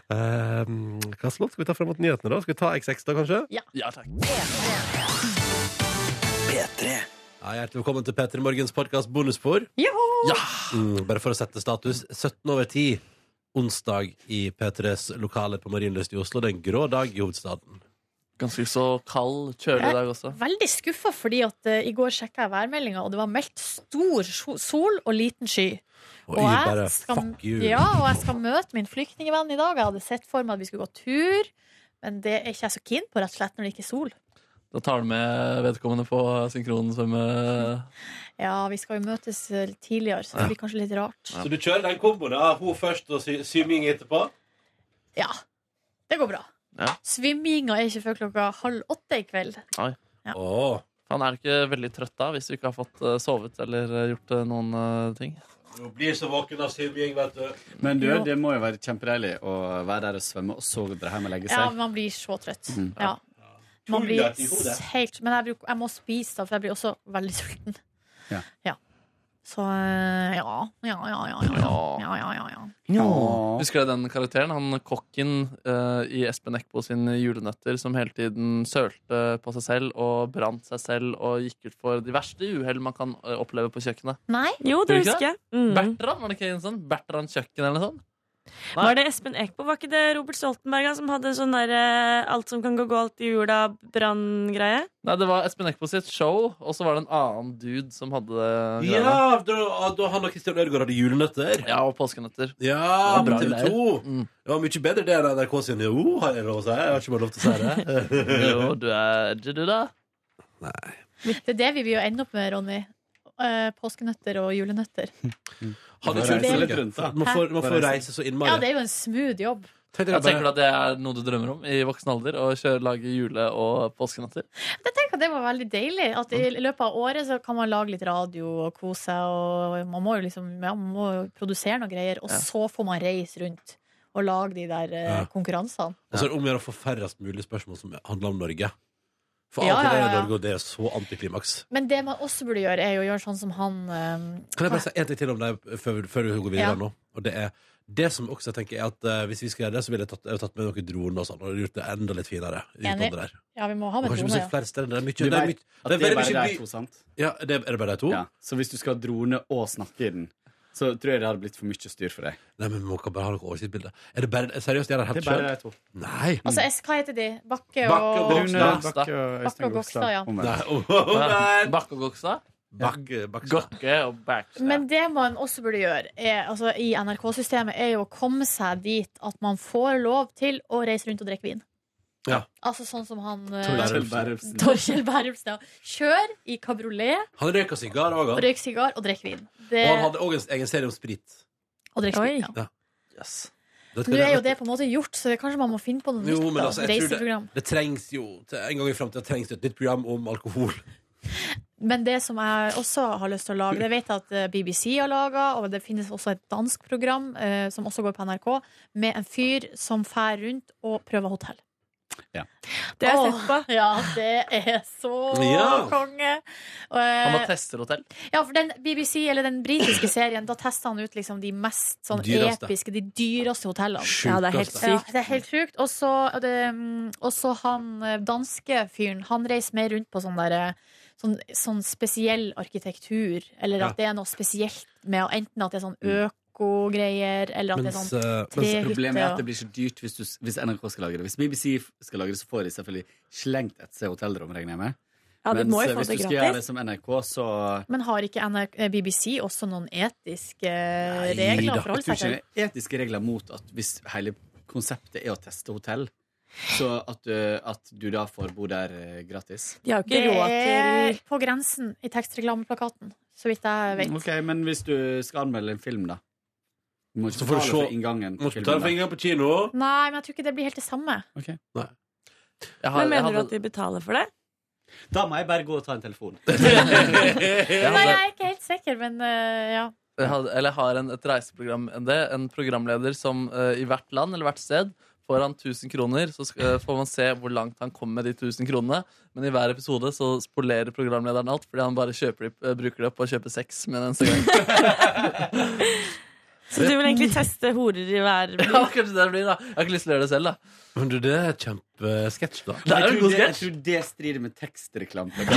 Speaker 2: um, hva slags låt skal vi ta frem mot nyhetene, da? Skal vi ta XX, da, kanskje?
Speaker 3: Ja.
Speaker 4: takk.
Speaker 2: Ja, hjertelig velkommen til P3 Morgens podkast Bonusspor.
Speaker 3: Joho!
Speaker 2: Mm, bare for å sette status. 17 over 10 onsdag i P3s lokaler på Marienlyst i Oslo. Det er en grå dag i hovedstaden.
Speaker 4: Ganske så kald, kjølig dag også.
Speaker 3: Veldig skuffa, fordi at eh, i går sjekka jeg værmeldinga, og det var meldt stor so- sol og liten sky.
Speaker 2: Oi, bare fuck you.
Speaker 3: ja, og jeg skal møte min flyktningvenn i dag. Jeg hadde sett for meg at vi skulle gå tur, men det er ikke jeg så keen på, rett og slett, når det ikke er sol.
Speaker 4: Da tar du med vedkommende på synkronsvømme...
Speaker 3: Ja, vi skal jo møtes eh, tidligere, så
Speaker 4: Ja.
Speaker 3: det blir kanskje litt rart.
Speaker 4: Ja.
Speaker 2: Så du kjører den komboen? da? Hun først og sy syming etterpå?
Speaker 3: Ja, det går bra.
Speaker 4: Ja.
Speaker 3: Svimminga er ikke før klokka halv åtte i kveld.
Speaker 4: Nei.
Speaker 3: Ja.
Speaker 4: Han er du ikke veldig trøtt da, hvis du ikke har fått eh, sovet eller eh, gjort eh, noen eh, ting?
Speaker 2: Hun blir så våken av syming, vet du.
Speaker 13: Men du,
Speaker 3: Jo.
Speaker 13: det må jo være kjempedeilig å være der og svømme, og så dra hjem og legge
Speaker 3: Ja,
Speaker 13: seg.
Speaker 3: man blir så trøtt.
Speaker 13: Mm.
Speaker 3: Ja. Man blir
Speaker 13: Tullet i hodet.
Speaker 3: helt Men jeg, bruk, jeg må spise, da, for jeg blir også veldig sulten.
Speaker 13: Ja.
Speaker 3: Ja. Så eh, ja, ja, ja, ja. ja, ja. ja, ja, ja, ja.
Speaker 4: Husker du den karakteren? Han kokken eh, i Espen Eckbo sin Julenøtter som hele tiden sølte på seg selv og brant seg selv og gikk ut for de verste uhell man kan eh, oppleve på kjøkkenet.
Speaker 3: Nei?
Speaker 5: Jo, det
Speaker 4: Husker du
Speaker 5: husker
Speaker 4: ikke
Speaker 5: jeg. Mm.
Speaker 4: det? Bertrand, var det ikke en sånn? Bertrand Kjøkken eller noe sånt? Nei.
Speaker 5: Var det Espen Eckbo? Var ikke det Robert Stoltenberg han, som hadde sånn der eh, alt som kan gå galt i jula, brann-greie?
Speaker 4: Nei, det var Espen Eckbo sitt show, og så var det en annen dude som hadde det greiene.
Speaker 2: Ja, da, da han og Kristian Ørgaard hadde julenøtter.
Speaker 4: Ja, og påskenøtter.
Speaker 2: Ja,
Speaker 4: Det var
Speaker 2: på
Speaker 4: bra
Speaker 2: TV 2. Det var mye bedre det enn NRK sin Jo, har jeg lov til å si. Jeg har ikke bare lov til å si det.
Speaker 4: Jo, du er ikke du, da?
Speaker 3: Det er det vi vil jo ende opp med, Ronny. Eh, Påskenøtter og julenøtter.
Speaker 2: Hadde
Speaker 4: Må reise
Speaker 2: ikke ulykke.
Speaker 4: litt rundt, da.
Speaker 2: Man får, man
Speaker 4: Hæ?
Speaker 2: får reise så innmari.
Speaker 3: Ja, det er jo en smooth jobb.
Speaker 4: Jeg tenker du at det er noe du drømmer om i voksen alder? Å kjøre, lage jule- og påskenøtter?
Speaker 3: Jeg tenker at det var veldig deilig. At i løpet av året så kan man lage litt radio og kose seg. Og man må jo liksom ja, man må jo produsere noen greier, og
Speaker 2: Ja.
Speaker 3: så får man reise rundt og lage de der eh,
Speaker 2: Ja.
Speaker 3: konkurransene.
Speaker 2: Og så er det altså, om å gjøre å få færrest mulig spørsmål som handler om Norge. For
Speaker 3: Ja,
Speaker 2: alt
Speaker 3: ja,
Speaker 2: det der
Speaker 3: ja,
Speaker 2: i
Speaker 3: ja.
Speaker 2: Norge, og det er så antiklimaks.
Speaker 3: Men det man også burde gjøre, er jo å gjøre sånn som han eh,
Speaker 2: Kan jeg bare si en ting til om deg eh, før, før vi går videre
Speaker 3: Ja.
Speaker 2: nå? Og det er det som også jeg tenker er at eh, Hvis vi skal gjøre det, så ville jeg tatt, jeg ville tatt med noen droner og sånn, og gjort det enda litt finere. utenom
Speaker 3: Enig.
Speaker 2: det der.
Speaker 3: Ja, vi må ha
Speaker 2: Og
Speaker 3: med
Speaker 2: kanskje
Speaker 3: drone,
Speaker 2: musikk
Speaker 3: ja.
Speaker 2: flere steder. Det er mye,
Speaker 13: Du
Speaker 2: det er
Speaker 13: vet
Speaker 2: mye,
Speaker 13: at det
Speaker 2: veldig
Speaker 13: er bare
Speaker 2: mye
Speaker 13: de
Speaker 2: by-
Speaker 13: to, sant?
Speaker 2: Ja, det, er det bare de to?
Speaker 13: Ja. Så hvis du skal drone og snakke i den, så tror jeg det hadde blitt for mye styr for deg.
Speaker 2: Nei, men vi må ikke bare ha noe oversiktsbilde. Er det bare, seriøst, jeg har helt
Speaker 13: Det er bare de
Speaker 2: selv?
Speaker 13: to.
Speaker 2: Nei.
Speaker 3: Altså, S, hva heter de? Bakke og,
Speaker 2: Bakke og Gokstad.
Speaker 3: Bakke Bakke og Gokstad, ja.
Speaker 2: Nei, oh,
Speaker 4: Bakke og Gokstad?
Speaker 2: Bakke,
Speaker 4: Gokke og Backstad.
Speaker 3: Men det man også burde gjøre er, altså, i NRK-systemet, er jo å komme seg dit at man får lov til å reise rundt og drikke vin.
Speaker 2: Ja.
Speaker 3: Altså sånn som han eh,
Speaker 2: Torkjell Berrelsen.
Speaker 3: Torkjell Berrelsen, ja. Kjør i kabriolet,
Speaker 2: Han røyka sigar òg, han.
Speaker 3: røyk sigar og drikk vin. Det,
Speaker 2: Og han hadde òg en egen serie om sprit.
Speaker 3: og drikk sprit, ja.
Speaker 2: Ja. Det skal
Speaker 3: Nå er
Speaker 2: jeg-
Speaker 3: jo det på en måte gjort, så kanskje man må finne på noe
Speaker 2: Jo,
Speaker 3: nytt.
Speaker 2: men
Speaker 3: da.
Speaker 2: altså, jeg tror det,
Speaker 3: Reiseprogram.
Speaker 2: det trengs jo til- En gang i framtida trengs det et nytt program om alkohol.
Speaker 3: Men det som jeg også har lyst til å lage, det vet jeg at eh, BBC har laga, og det finnes også et dansk program eh, som også går på NRK, med en fyr som fær rundt og prøver hotell.
Speaker 13: Ja.
Speaker 3: Det har jeg sett på. Ja, det er så
Speaker 4: Ja.
Speaker 3: konge. Og, eh,
Speaker 4: Han var testerhotell.
Speaker 3: ja, for den BBC, eller den britiske serien, da testa han ut liksom de mest sånn
Speaker 4: Dyreste.
Speaker 3: episke, de dyreste hotellene.
Speaker 4: Sjukeste. Ja, det er helt
Speaker 13: altså.
Speaker 4: sykt.
Speaker 3: Ja, det er helt sjukt. Og så og det, mm, og så han eh, danske fyren, han reiser mer rundt på sånn derre Sånn, sånn spesiell arkitektur, eller at det er noe spesielt med å- enten at det er sånn
Speaker 13: Mm.
Speaker 3: økogreier, eller at
Speaker 13: Mens,
Speaker 3: det er
Speaker 13: eh,
Speaker 3: sånn
Speaker 13: mens problemet er
Speaker 3: trehytte
Speaker 13: at det
Speaker 3: og
Speaker 13: blir så dyrt hvis, du, hvis NRK skal lage det. Hvis BBC f- skal lage det, så får de selvfølgelig slengt et seg hotellrom, regner jeg med.
Speaker 3: Ja, de
Speaker 13: Mens,
Speaker 3: må jo
Speaker 13: eh,
Speaker 3: få
Speaker 13: hvis
Speaker 3: det
Speaker 13: du skal gjøre det
Speaker 3: gratis.
Speaker 13: som NRK, så
Speaker 3: Men har ikke NRK, eh, BBC også noen etiske eh,
Speaker 13: Nei
Speaker 3: regler
Speaker 13: da.
Speaker 3: å forholde seg
Speaker 13: Jeg
Speaker 3: til?
Speaker 13: tror ikke det er etiske regler mot at hvis hele konseptet er å teste hotell, så at, eh, at du da får bo der eh, gratis.
Speaker 3: Det er på grensen i tekstreklameplakaten, så vidt jeg vet.
Speaker 13: Ok, men hvis du skal anmelde en film, da? Du må
Speaker 2: Så får du
Speaker 13: ikke betale
Speaker 2: se-
Speaker 13: for inngangen.
Speaker 2: Må ikke betale for inngang på kino.
Speaker 3: Nei, men jeg tror ikke det blir helt det samme.
Speaker 5: Men mener du at de betaler for det?
Speaker 13: Da må jeg bare gå og ta en telefon.
Speaker 4: Jeg
Speaker 3: Nei,
Speaker 4: hadde-
Speaker 3: jeg er ikke helt sikker, men eh, ja.
Speaker 4: Jeg hadde- eller har en, et reiseprogram enn det. En programleder som eh, i hvert land eller hvert sted Får han 1000 kroner, så skal, får man se hvor langt han kommer med de 1000 kronene. Men i hver episode så spolerer programlederen alt, fordi han bare kjøper de, eh, bruker det opp og kjøper sex med den eneste gang.
Speaker 5: Så du vil egentlig teste horer i hver
Speaker 4: Ja, kanskje det blir da Jeg har ikke lyst til å gjøre det selv, da.
Speaker 2: Men du, det er kjempesketsj, da.
Speaker 4: Det er jo en god
Speaker 13: Jeg
Speaker 4: sketsj.
Speaker 13: tror det strider med tekstreklame.
Speaker 4: At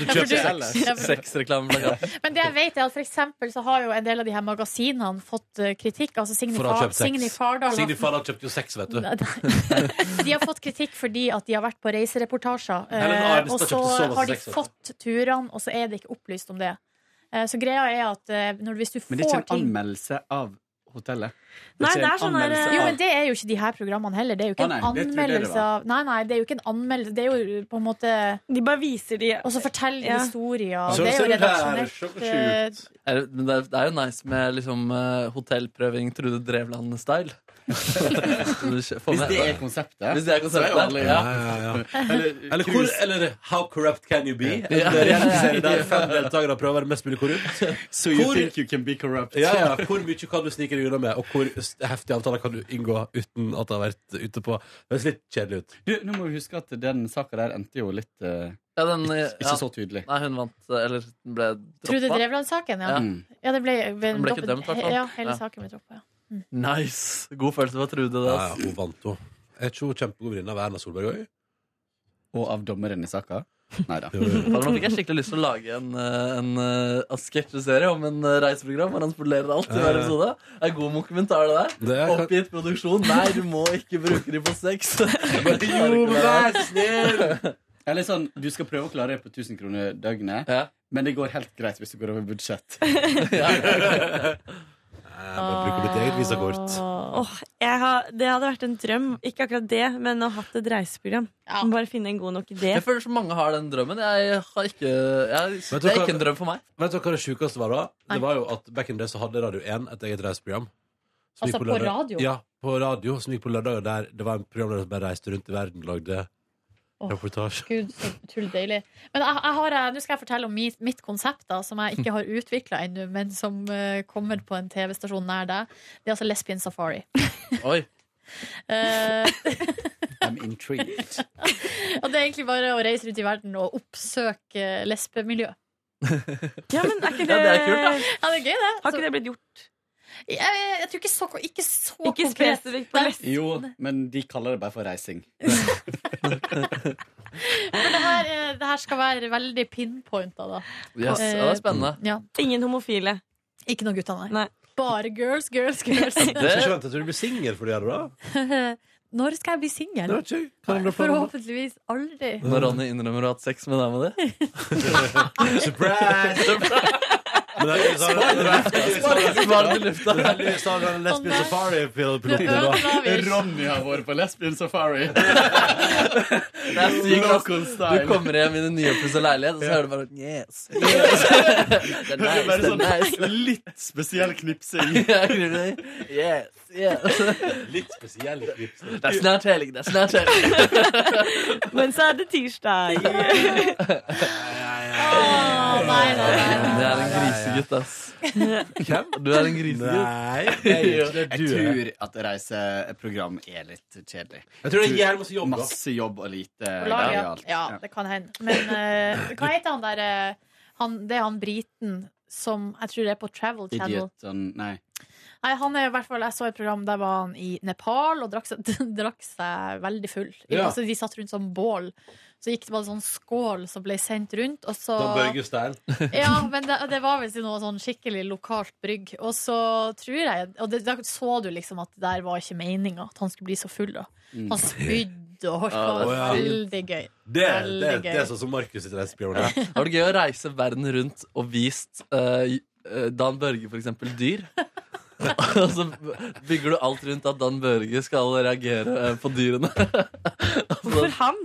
Speaker 13: du kjøper
Speaker 3: sex.
Speaker 4: Sexreklameplakat.
Speaker 3: Men det jeg vet er at for eksempel så har jo en del av de her magasinene fått eh, kritikk. Altså Signy,
Speaker 2: For å ha
Speaker 3: Far
Speaker 2: kjøpt sex.
Speaker 3: Signy Fardal har-
Speaker 2: Signy Fardal kjøpte jo sex, vet du.
Speaker 3: Nei, De har fått kritikk fordi at de har vært på reisereportasjer. eh,
Speaker 2: Helen
Speaker 3: og
Speaker 2: Arnestad
Speaker 3: så
Speaker 2: kjøpte så masse
Speaker 3: har de
Speaker 2: sex, vet du.
Speaker 3: fått turene, og så er det ikke opplyst om det. Eh, Så greia er at eh, når, hvis du
Speaker 13: Men det er
Speaker 3: får
Speaker 13: ikke en
Speaker 3: ting
Speaker 13: anmeldelse av hotellet.
Speaker 5: Nei, det
Speaker 13: en
Speaker 5: er sånn der-
Speaker 13: anmeldelse
Speaker 3: Jo,
Speaker 13: av-
Speaker 3: men det er jo ikke de her programmene heller. Det er jo ikke
Speaker 13: Å, nei,
Speaker 3: en
Speaker 13: det trodde jeg det
Speaker 3: anmeldelse
Speaker 13: var.
Speaker 3: av Nei, nei, det er jo ikke en anmeldelse. Det er jo på en måte
Speaker 5: De bare viser de
Speaker 3: Og så forteller de
Speaker 5: Ja.
Speaker 3: historier.
Speaker 4: Så
Speaker 3: det er jo
Speaker 4: ser du her, så
Speaker 3: redaksjonelt. eh,
Speaker 4: Er det- men Det er, det er jo nice med liksom, eh, hotellprøving Trude Drevland-style. Hvis
Speaker 13: Hvis det er konseptet,
Speaker 4: Hvis det er
Speaker 13: så er jo
Speaker 4: konseptet,
Speaker 13: alle-
Speaker 4: ja.
Speaker 2: Eller, eller, hvor, eller How corrupt can you be? eh, En
Speaker 4: Ja.
Speaker 2: realityserie der fem deltakere prøver å være mest mulig korrupt.
Speaker 13: So you
Speaker 2: Hvor-
Speaker 13: think you can be corrupt.
Speaker 2: ja, ja. Hvor mye kan du snike deg unna med, og hvor s- heftige avtaler kan du inngå uten at det har vært ute på Det høres litt kjedelig ut.
Speaker 13: Du, nå må vi huske at den saka der endte jo litt eh,
Speaker 4: Ja, den,
Speaker 13: ikke,
Speaker 4: ja.
Speaker 13: ikke så tydelig.
Speaker 4: Nei, hun vant, eh, eller hun ble
Speaker 3: Trude
Speaker 4: droppa.
Speaker 3: Drevland-saken, ja. Mm.
Speaker 4: Ja.
Speaker 3: ja. Det ble,
Speaker 4: Den ble ikke dømt, i hvert fall.
Speaker 3: Ja, hele
Speaker 4: Ja.
Speaker 3: saken ble droppa, ja.
Speaker 4: Nice! God følelse for Trude. Det,
Speaker 2: Ja,
Speaker 4: ass.
Speaker 2: hun vant, hun. Er ikke hun kjempegod venninne av Erna Solberg òg?
Speaker 13: Og av dommeren i saka? Nei da.
Speaker 4: Fader, Nå fikk jeg skikkelig lyst til å lage en, eh, en, eh, en sketsjeserie om en eh, reiseprogram hvor han spolerer alt i
Speaker 2: Ja,
Speaker 4: hver
Speaker 2: ja.
Speaker 4: episode. Det er god dokumentar, det der.
Speaker 2: Det er-
Speaker 4: Oppgitt produksjon. Nei, du må ikke bruke de på sex.
Speaker 13: Jo, vær Eller sånn, du skal prøve å klare det på 1000 kroner døgnet, men det går helt greit hvis du går over budsjett.
Speaker 2: bruker ditt eget visakort.
Speaker 5: Åh, jeg har, det hadde vært en drøm. Ikke akkurat det, men å ha hatt et reiseprogram. Må Bare finne en god nok idé.
Speaker 4: Jeg føler så mange har den drømmen. Jeg har ikke, jeg,
Speaker 2: Vet du
Speaker 4: det er
Speaker 2: hva-
Speaker 4: ikke en drøm for meg.
Speaker 2: Vet du hva det sjukeste var da? Det var jo at Back in the day så hadde Radio 1 et eget reiseprogram. som
Speaker 3: Altså
Speaker 2: gikk
Speaker 3: på
Speaker 2: lørdag-
Speaker 3: radio?
Speaker 2: Ja, på radio, som gikk på lørdager der det var en programleder som bare reiste rundt i verden og lagde
Speaker 3: Åh,
Speaker 2: reportasje.
Speaker 3: Gud, så utrolig deilig. Men jeg, jeg har, eh, nå skal jeg fortelle om mitt, mitt konsept, da, som jeg ikke har utvikla ennå, men som eh, kommer på en TV-stasjon nær deg. Det er altså Lesbian Safari.
Speaker 4: Oi.
Speaker 3: Eh,
Speaker 13: I'm intrigued.
Speaker 3: og det er egentlig bare å reise rundt i verden og oppsøke eh, lesbemiljø.
Speaker 5: Ja, men er
Speaker 3: Ja,
Speaker 5: ikke det,
Speaker 3: det er kult, da. Ja, det er gøy, det.
Speaker 5: Har ikke det blitt gjort?
Speaker 3: Jeg, jeg, tror ikke så, ikke så
Speaker 5: Ikke
Speaker 3: konkret.
Speaker 5: spesifikt på
Speaker 3: Nei,
Speaker 13: Jo, men de kaller det bare for reising.
Speaker 3: Men det her, eh, det her skal være veldig pinpointa, da.
Speaker 13: Yes,
Speaker 3: Eh,
Speaker 13: ja, det er spennende.
Speaker 3: Ja.
Speaker 5: Ingen homofile?
Speaker 3: Ikke noen gutter, nei. Bare girls, girls, girls.
Speaker 2: Jeg skal ikke vente til du blir singel for å gjøre det. da.
Speaker 3: Når skal jeg bli
Speaker 2: Det
Speaker 3: singel?
Speaker 2: var ikke- kan du prøve?
Speaker 3: Forhåpentligvis aldri.
Speaker 13: Mm.
Speaker 4: Når Ronny innrømmer å ha hatt sex med dama di.
Speaker 2: Surprise! Men det er jo sånn-
Speaker 4: Svar i lufta.
Speaker 2: Heldigvis har vi en lesbisk safari-pilot
Speaker 13: Nå
Speaker 2: da.
Speaker 13: Ronny har vært på lesbian safari.
Speaker 4: Det er sykt, ass.
Speaker 13: Local style.
Speaker 4: Du kommer hjem i den nyoppussa leilighet, og så hører du bare Yes.
Speaker 13: Det
Speaker 4: Det
Speaker 13: er bare
Speaker 4: er nice,
Speaker 13: sånn
Speaker 4: det er nice.
Speaker 13: litt spesiell knipsing.
Speaker 4: Ja, knipsing. Yes, yes.
Speaker 2: Litt spesiell klips.
Speaker 4: Det er snart helg, det er snart helg.
Speaker 5: Men så er det tirsdag.
Speaker 4: Det er en grisegutt, ass. Hvem? Du er en grisegutt.
Speaker 13: jeg tror eh, at reiseprogram er litt kjedelig.
Speaker 2: Jeg tror det er jævlig masse jobb, da.
Speaker 13: Masse jobb og lite
Speaker 3: På lag, ja.
Speaker 13: gøyalt.
Speaker 3: ja, det kan hende. Men eh, hva heter han der eh, han, Det er han briten som jeg tror det er på Travel Channel.
Speaker 13: Idiot sånn Nei.
Speaker 3: Nei, han er i hvert fall, Jeg så et program der var han i Nepal og drakk seg, drakk seg veldig full. I-
Speaker 2: Ja.
Speaker 3: Altså, de satt rundt som bål. Så gikk det bare sånn skål som ble sendt rundt. Og så
Speaker 2: Dan Børge-style.
Speaker 3: Ja, men det, det var visst noe sånn skikkelig lokalt brygg. Og så tror jeg Og det, da så du liksom at det der var ikke meninga, at han skulle bli så full, da.
Speaker 2: Mm.
Speaker 3: Han spydde og holdt på.
Speaker 2: Ja, det er fint.
Speaker 3: Veldig gøy.
Speaker 2: Det, er- det, er-
Speaker 3: Veldig
Speaker 2: det er sånn som Markus sitt reiseprogram. er.
Speaker 4: Det var det gøy å reise verden rundt og vist eh, eh, Dan Børge for eksempel dyr. Og så bygger du alt rundt at Dan Børge skal reagere eh, på dyrene. Hvorfor
Speaker 5: han?